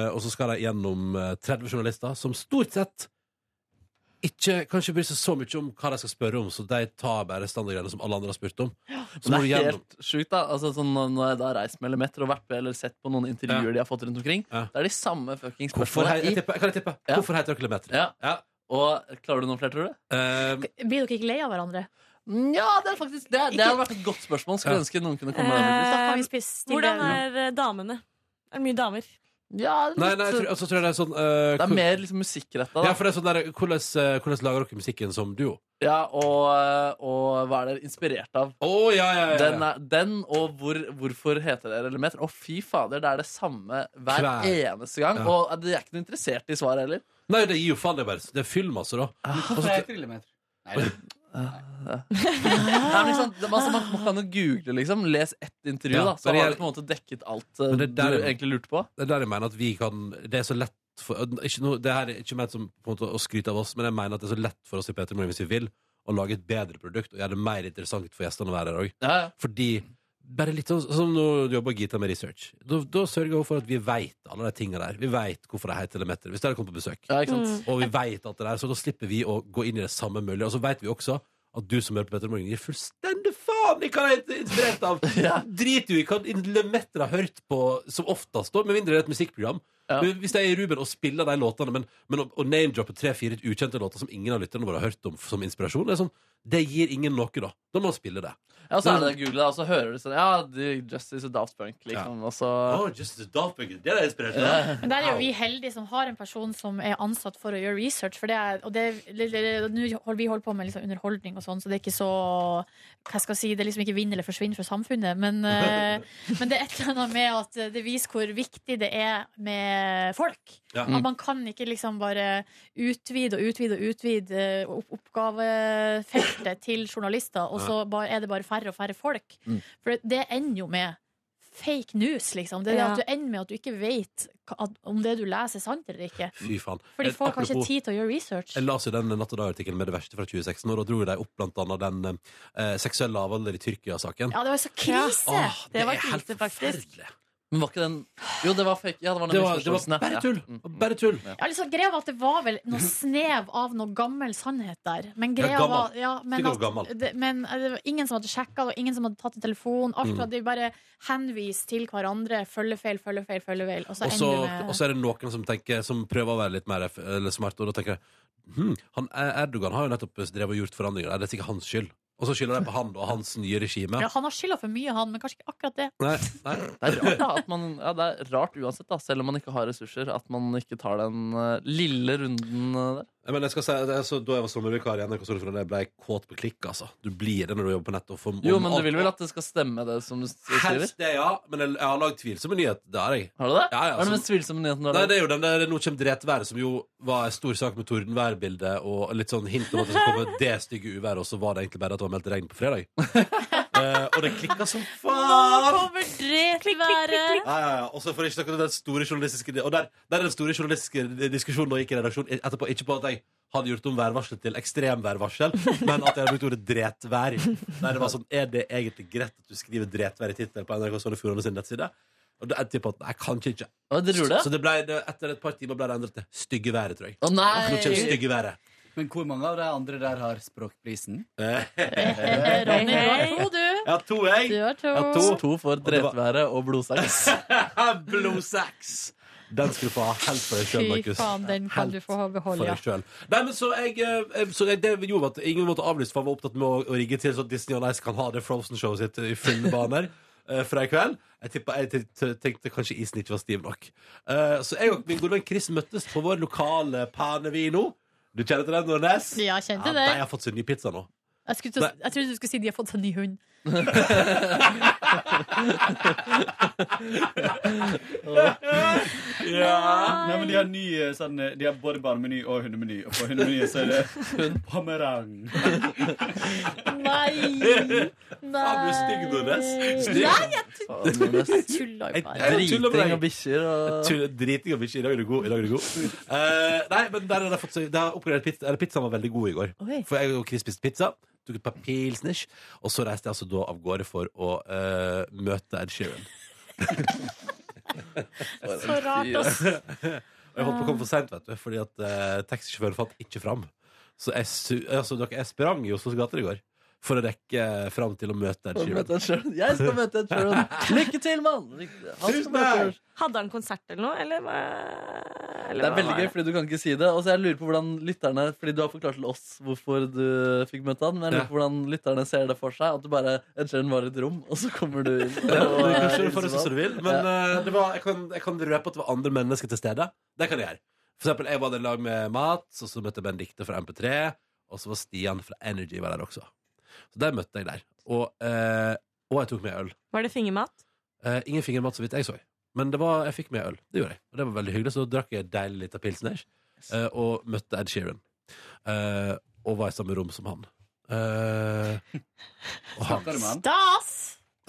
Speaker 2: Eh, og så skal de gjennom eh, 30 journalister som stort sett ikke kanskje bryr seg så mye om hva de skal spørre om, så de tar bare standardgreiene som alle andre har spurt om. Så
Speaker 4: det
Speaker 2: må du
Speaker 4: er
Speaker 2: gjennom
Speaker 4: helt sjukt, da. Altså, sånn, når når jeg da har reist med Elementer og vært med eller sett på noen intervjuer de har fått rundt omkring, det er de samme fucking
Speaker 2: Hvorfor
Speaker 4: spørsmålene.
Speaker 2: hei- jeg tipper- Kan jeg tippe?
Speaker 4: Ja.
Speaker 2: Hvorfor heter dere Lemeter? Eh,
Speaker 4: Ja. Og klarer du noen flere, tror du?
Speaker 3: Blir dere ikke lei av hverandre?
Speaker 4: Ja, det er faktisk det. Det hadde vært et godt spørsmål. Skulle ønske noen kunne komme med det.
Speaker 3: kan vi
Speaker 5: Eh,
Speaker 3: spise til
Speaker 5: hvordan
Speaker 3: det.
Speaker 5: er eh, damene? Er det mye damer?
Speaker 4: Ja,
Speaker 2: Nei, nei, jeg tror, altså, tror jeg Eh, det er sånn eh,
Speaker 4: Det
Speaker 2: hvor-
Speaker 4: er mer liksom musikkretta. da.
Speaker 2: Ja, for det er sånn der, hvordan, eh, hvordan lager dere musikken som duo?
Speaker 4: Ja, og, eh, og hva er dere inspirert av?
Speaker 2: ja, ja.
Speaker 4: Den, er, den og hvor, hvorfor heter dere Elementer? Å, fy fader, det er det samme hver
Speaker 2: Hver.
Speaker 4: eneste gang.
Speaker 2: Ja.
Speaker 4: Og eh, de er ikke noe interessert i svaret heller.
Speaker 2: Nei, det gir jo faen, det er bare Det er fyllmasse, da.
Speaker 4: Ah.
Speaker 2: Altså, Og
Speaker 13: Hvorfor
Speaker 2: så-
Speaker 13: er jeg trillemeter? Nei, det-
Speaker 4: Nei, men liksom, det- altså, man, man kan jo google, liksom. Les ett intervju,
Speaker 2: Ja,
Speaker 4: da. Så
Speaker 2: men
Speaker 4: har
Speaker 2: jeg-
Speaker 4: du på en måte dekket alt eh,
Speaker 2: Men det er der-
Speaker 4: du egentlig lurte på.
Speaker 2: Det er der jeg mener at vi kan Det er så lett for, ikke noe, Det her er ikke ment som på en måte, å skryte av oss, men jeg mener at det er så lett for oss i P3 Morgen hvis vi vil, å lage et bedre produkt og gjøre det mer interessant for gjestene å være her òg. Fordi bare litt sånn som nå jobber Gita med research. Da, da sørger hun for at vi veit alle de tinga der. Vi veit hvorfor de heter Lemeter, hvis de hadde kommet på besøk.
Speaker 4: Ja, ikke sant? Mm.
Speaker 2: Og vi vet alt det der, så da slipper vi å gå inn i det samme møllet. Og så veit vi også at du som hører på Petter Morgen, gir fullstendig faen i hva jeg er inspirert av! Drit jo i hva Lemetter har hørt på som oftest, da, med mindre det er et musikkprogram. Men Hvis jeg er i Ruben og spiller de låtene, men, men å, å name-droppe tre-fire ukjente låter som ingen av lytterne våre har hørt om som inspirasjon, det, er sånn, det gir ingen noe, da. Da må man spille det.
Speaker 4: Ja, så er
Speaker 2: Mm.
Speaker 4: det Google, da, og så hører du sånn Ja, de- Justice og Daft Punk, liksom. Og så
Speaker 2: Å, Justice og Daft Punk, det er jeg inspirert
Speaker 4: av.
Speaker 3: Men der er jo vi heldige som har en person som er ansatt for å gjøre research. For det er, og det, det, det, det, nå holder- vi holder på med liksom underholdning og sånn, så det er ikke så Hva skal jeg si, det er liksom ikke vinn eller forsvinn for samfunnet. Men, eh, men det er et eller annet med at det viser hvor viktig det er med folk.
Speaker 18: Ja.
Speaker 2: Mm.
Speaker 3: At man kan ikke liksom bare utvide og utvide og utvide eh, opp- oppgavefeltet til journalister, og så bare, er det bare færre og færre folk.
Speaker 18: Mm.
Speaker 3: For det ender jo med fake news, liksom. Det er det
Speaker 18: Ja.
Speaker 3: at du ender med at du ikke vet hva- at- om det du leser, er sant eller ikke.
Speaker 2: Fy faen.
Speaker 3: Fordi
Speaker 2: Eh,
Speaker 3: folk har ikke
Speaker 2: apropos-
Speaker 3: tid til å gjøre research.
Speaker 2: Jeg las jo den Natt og Dag-artikkelen med det verste fra 2016, og da dro de opp blant annet den eh, seksuelle avholder i Tyrkia-saken.
Speaker 3: Ja, det var så krise!
Speaker 2: Åh, det
Speaker 5: det var
Speaker 2: er helt
Speaker 5: krise, faktisk.
Speaker 4: Men var ikke den Jo, det var fake. Ja, det var, den
Speaker 2: Det var- det var
Speaker 4: misforståelsen, ja.
Speaker 2: bare tull.
Speaker 4: Ja. Mm, mm.
Speaker 2: Bare tull.
Speaker 4: Ja.
Speaker 3: Ja, liksom, greia var at det var vel noe snev av noe gammel sannhet der. Men
Speaker 2: Mhm. Ja,
Speaker 3: greia
Speaker 2: gammel.
Speaker 3: var ja, men,
Speaker 2: Sikkert gammel.
Speaker 3: det, men eh, det var ingen som hadde sjekka det, og ingen som hadde tatt en telefon. Alt
Speaker 2: Mm.
Speaker 3: var De bare henvist til hverandre. Følgefeil, følgefeil, følgefeil. Og så
Speaker 2: Og så,
Speaker 3: ender det
Speaker 2: og
Speaker 3: med
Speaker 2: så er det noen som, tenker, som prøver å være litt mer eff- eller smart, og da tenker jeg hm, han, Erdogan har jo nettopp drevet og gjort forandringer. Er det sikkert hans skyld? Og så skylder de på han og hans nye regime.
Speaker 3: ja, Han har skylda for mye, han, men kanskje ikke akkurat det.
Speaker 2: Nei, nei.
Speaker 4: Det er rart, da. At man, ja, det er rart uansett, da, selv om man ikke har ressurser, at man ikke tar den eh, lille runden eh, der.
Speaker 2: Ja, Men jeg skal si, det er så, Da jeg var sommervikar i NRK Sogn og Fjordane, ble jeg kåt på klikk. altså Du blir det når du jobber på nett. Og får,
Speaker 4: Jo, men du vil vel at det skal stemme, det som du s- skriver?
Speaker 2: Helst det, ja. Men jeg, jeg har lagd tvilsomme nyheter. Det har jeg.
Speaker 4: Har du det?
Speaker 2: Ja,
Speaker 4: Hva
Speaker 2: ja,
Speaker 4: er den
Speaker 2: som-
Speaker 4: mest tvilsomme nyheten du har
Speaker 2: Nei,
Speaker 4: lagd?
Speaker 2: det er jo den der Nå kommer dretværet, som jo var en stor sak med tordenværbildet og litt sånn hint om at det skulle komme det stygge uværet, og så var det egentlig bare at det var meldt regn på fredag. Eh, og det klikka som
Speaker 3: Nå
Speaker 2: faen!
Speaker 3: kommer dretværet!
Speaker 2: Ja, ja, ja. Og så får ikke snakke om den store journalistiske Og der, der er den store journalistiske diskusjonen nå gikk i redaksjonen etterpå. Ikke på at jeg hadde gjort om værvarselet til ekstremværvarsel, men at jeg hadde brukt ordet dretvær. Der det var sånn, Er det egentlig greit at du skriver dretvær i tittelen på NRK Sogn og Fjordane sin nettside? Og da endte jeg på at jeg kan ikke.
Speaker 4: det tror du?
Speaker 2: Så det ble, det, etter et par timer ble det endret til stygge været, tror jeg.
Speaker 4: Å, nei!
Speaker 2: Nå kommer stygge været.
Speaker 13: Men hvor mange av de andre der har språkprisen?
Speaker 3: Eh, Ronny, du har to, du.
Speaker 2: Eh, Ja, to, jeg.
Speaker 3: Du har to.
Speaker 2: Ja, to.
Speaker 4: To for drepværet og blodsaks.
Speaker 2: Blodsaks! Den skal du få ha helt for deg sjøl,
Speaker 3: Fy
Speaker 2: Markus.
Speaker 3: faen, den kan du få
Speaker 2: for
Speaker 3: beholde.
Speaker 2: deg
Speaker 3: Ja.
Speaker 2: selv. Nei, men så jeg, eh, så jeg, det gjorde at ingen måtte avlyse, for han var opptatt med å, å rigge til så Disney on Ice kan ha det Frozen-showet sitt i fulle baner. eh, Fra i kveld Jeg, tippa, jeg t- t- tenkte kanskje isen ikke var stiv nok. Eh, så jeg og min gode venn Chris møttes på vår lokale Panevino. Du kjenner til den, Nordnes?
Speaker 3: Ja, jeg kjente
Speaker 2: Ja,
Speaker 3: det.
Speaker 2: de har fått seg ny pizza nå.
Speaker 3: Jeg, skulle, til å- jeg trodde du skulle si de har fått seg ny hund.
Speaker 2: Ja.
Speaker 13: Nei, men de har ny eh, sånn eh, De har både barnemeny og hundemeny. Og på hundemenyen så er det pomerang.
Speaker 3: Nei!
Speaker 2: Faen, du er stygg, Nordnes. Stygg.
Speaker 3: Nei, jeg tu- tulla jo bare.
Speaker 2: og bikkjer Driting og bikkjer. I dag er du god. I dag er du god. Eh, nei, men der har de fått seg de har oppgradert pizza. Eller pizzaen var veldig god i går.
Speaker 3: Oi.
Speaker 2: For jeg og Chris spiste pizza. Tok et par pilsners. Og så reiste jeg altså da av gårde for å eh, møte Ed Sheeran.
Speaker 3: Så rart, ass.
Speaker 2: Og jeg holdt på å komme for seint, vet du, fordi at eh, taxisjåføren fant ikke fram. Så jeg, su altså, dere, jeg sprang i Oslos gater i går for å rekke eh, fram til å møte Ed
Speaker 4: For å møte Ed
Speaker 2: Sheeran.
Speaker 4: Jeg skal møte Ed Sheeran. Lykke til, mann! Han skal møte Ed
Speaker 5: Hadde han konsert eller noe? Eller,
Speaker 4: Det er veldig gøy, fordi du kan ikke si det. Og så jeg lurer på hvordan lytterne Fordi du har forklart til oss hvorfor du fikk møte han, men jeg lurer på hvordan lytterne ser det for seg. At du bare Ed Sheeran var i et rom, og så kommer du inn.
Speaker 2: Ja, du
Speaker 4: og,
Speaker 2: kan
Speaker 4: eh,
Speaker 2: skjønne for
Speaker 4: hilser
Speaker 2: det som
Speaker 13: sånn.
Speaker 2: du vil,
Speaker 4: på han.
Speaker 2: men
Speaker 4: Ja.
Speaker 2: eh, det var, jeg, kan, jeg kan røpe at det var andre mennesker til stede. Det kan jeg gjøre. For eksempel, jeg var der i lag med Mats, og så møtte jeg Benedicte fra MP3, og så var Stian fra Energy var der også. Så der møtte jeg der. Og, eh, og jeg tok med øl.
Speaker 5: Var det fingermat?
Speaker 2: Eh, ingen fingermat, så vidt jeg så. Men det var, jeg fikk med øl. Det gjorde jeg. Og det var veldig hyggelig, så drakk jeg deilig lita pilsner eh, og møtte Ed Sheeran. Eh, og var i samme rom som han. Eh, og han-
Speaker 3: Stas!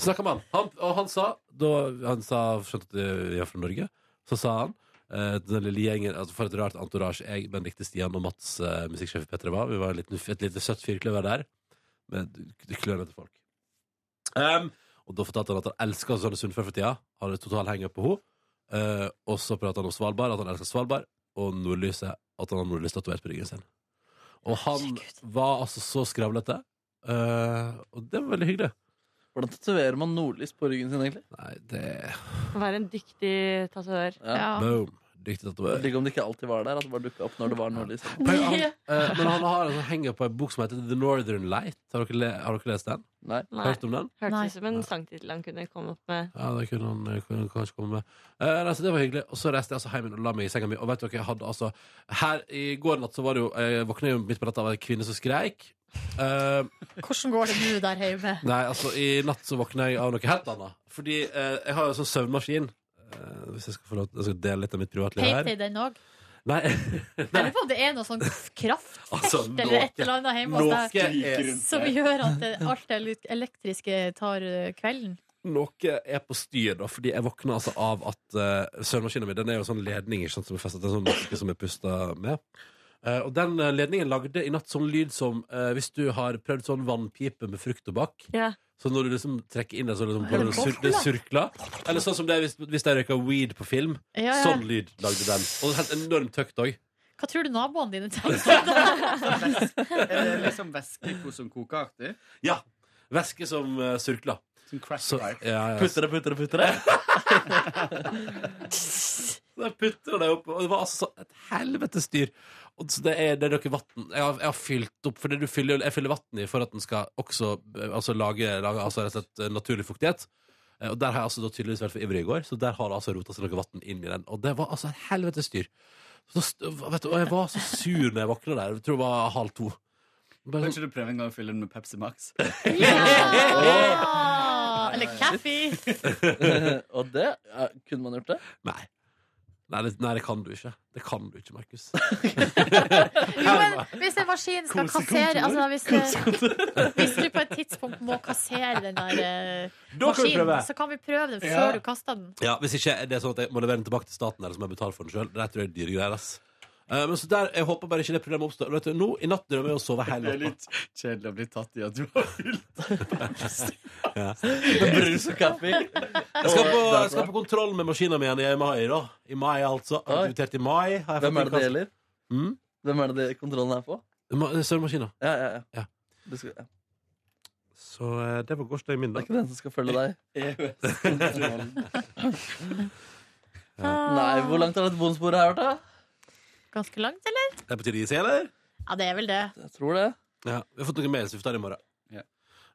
Speaker 2: Snakka med han. han. Og han sa da Han sa, skjønte at vi er fra Norge, så sa han eh, til den lille gjengen, altså For et rart entourage jeg, Benedicte, Stian og Mats, eh, musikksjef i P3, var. Vi var en liten, et lite søtt firkløver der, med klørne til folk. Em, og da fortalte han at han elsker Susanne Sundfør for tida. Hadde total hang-up på henne. Eh, og så pratet han om Svalbard, at han elsker Svalbard, og nordlyset, at han har nordlys tatovert på ryggen sin. Og han var altså så skravlete, eh, og det var veldig hyggelig.
Speaker 4: Hvordan tatoverer man nordlys på ryggen sin, egentlig?
Speaker 2: Nei, det
Speaker 5: Være en dyktig tatoverer.
Speaker 2: Boom. Dyktig tatoverer.
Speaker 4: Digg om det ikke alltid var der. At det bare dukka opp når det var nordlys.
Speaker 2: Men han, eh, men han har altså henger på en bok som heter The Northern Light. Har dere, le, har dere lest den?
Speaker 4: Nei.
Speaker 2: Hørt om den?
Speaker 5: Hørtes ut som en sangtittel han kunne komme opp med.
Speaker 2: Ja, det kunne han eh, kunne han kanskje komme med. Eh, nei, så det var hyggelig. Og så reiste jeg altså hjem igjen og la meg i senga mi. Og vet dere, jeg hadde altså Her i går natt så var det jo eh, Jeg våkna jo midt på natta av ei kvinne som skreik. Eh,
Speaker 3: Hvordan går det nå der hjemme?
Speaker 2: nei, altså, i natt så våkna jeg av noe helt annet. Fordi eh, jeg har jo sånn søvnmaskin. Eh, hvis jeg skal få lov til jeg skal dele litt av mitt privatliv
Speaker 3: Peip i
Speaker 2: her.
Speaker 3: den òg.
Speaker 2: Nei,
Speaker 3: Jeg lurer på om det er noe sånn kraftfelt
Speaker 2: Altså,
Speaker 3: eller et
Speaker 2: noe-
Speaker 3: eller annet hjemme hos deg
Speaker 2: noe er-
Speaker 3: som gjør at det, alt det litt elektriske tar eh, kvelden.
Speaker 2: noe er på styr, da, fordi jeg våkner altså av at uh, søvnmaskinen min den er jo sånn ledning ikke sant, som er festet til en sånn maske som er pusta med. Eh, og den eh, ledningen lagde i natt sånn lyd som eh, hvis du har prøvd sånn vannpipe med frukt og bakk.
Speaker 5: Ja.
Speaker 2: Så når du liksom trekker inn det, så liksom
Speaker 5: Er det
Speaker 2: det, sur, det surkler. Eller sånn som det er hvis, hvis de røyker weed på film.
Speaker 3: Ja, ja.
Speaker 2: Sånn lyd lagde den. Og helt enormt høyt òg.
Speaker 3: Hva tror du naboene dine tenker?
Speaker 13: Er det liksom væskeko som koker artig?
Speaker 2: Ja. Væske som eh, surkler.
Speaker 13: Som crash
Speaker 2: Så-
Speaker 13: pipe.
Speaker 2: ja, ja.
Speaker 13: Putter
Speaker 2: det, putter det, putter det. putter det opp, og det var altså et helvetes dyr. Og så det er, det er noe vann jeg, har- jeg har fylt opp, for det du fyller, jeg fyller vann i for at den skal også eh, altså, lage, lage altså, rett og slett eh, naturlig fuktighet. Eh, Og der har jeg altså da tydeligvis vært for ivrig i går, så der har det altså rota seg noe vann inn i den. Og det var altså et helvetes dyr. Så, st- vet du, og jeg var så sur når jeg våkna der. Jeg tror det var halv to. sånn,
Speaker 13: Kan ikke du prøve en gang å fylle den med Pepsi Max?
Speaker 3: Ja! Eller kaffe.
Speaker 4: Og det eh, Kunne man gjort det?
Speaker 2: Nei. Nei, det, nei, det kan du ikke. Det kan du ikke, Markus.
Speaker 3: Jo, men hvis en maskin skal kassere altså, hvis, det- hvis du på et tidspunkt må kassere den der eh,
Speaker 2: Da kan vi prøve.
Speaker 3: maskinen, så kan vi prøve den
Speaker 2: Ja.
Speaker 3: før du kaster den.
Speaker 2: Ja, Hvis ikke er det sånn at jeg må levere den tilbake til staten, eller så må jeg betale for den sjøl. Det tror jeg er dyre greier. ass. Eh, men så der, Jeg håper bare ikke det problemet oppstår. Vet du, nå i natt drømmer jeg å sove hele
Speaker 13: Det er
Speaker 2: natta.
Speaker 13: litt kjedelig å bli tatt i at du har
Speaker 2: Ja.
Speaker 13: Med brus og kaffe.
Speaker 2: Jeg skal, på, jeg skal på kontroll med maskina mi igjen i mai, da. I mai, altså. Aktivitert i mai. har jeg
Speaker 4: Hvem
Speaker 2: fått
Speaker 4: er det det
Speaker 2: innkast.
Speaker 4: gjelder? Hvem er det det kontrollen er på?
Speaker 2: Ma- det er Sørmaskina.
Speaker 4: Ja, ja,
Speaker 2: ja.
Speaker 4: Du skal, ja.
Speaker 2: Så eh, det var gårsdagen min, da.
Speaker 4: Det er ikke den som skal følge deg. Nei, hvor langt har dette bonusbordet her vært, da?
Speaker 3: Ganske langt, eller?
Speaker 2: Det er på tide å gi seg, eller?
Speaker 3: Ja, det er vel det.
Speaker 4: Jeg tror det.
Speaker 2: Ja, Vi har fått noen mails vi får ta det i morgen.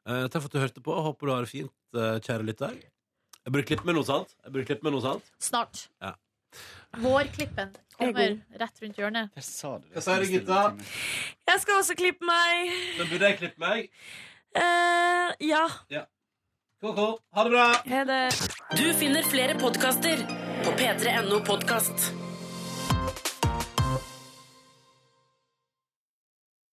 Speaker 2: Eh, takk for at du hørte på. Håper du har det fint, eh, kjære lytter. Jeg burde klippe med noe sant. Jeg burde klippe med noe sant.
Speaker 3: Snart.
Speaker 2: Ja.
Speaker 3: Vårklippen kommer
Speaker 5: god?
Speaker 3: rett rundt hjørnet.
Speaker 13: Jeg sa det.
Speaker 2: Hva sier du, gutta?
Speaker 5: Jeg skal også klippe meg.
Speaker 2: Men burde jeg klippe meg?
Speaker 5: Eh, ja.
Speaker 2: Ja. Ha det bra.
Speaker 5: Ha det.
Speaker 1: Du finner flere podkaster på p3.no podkast.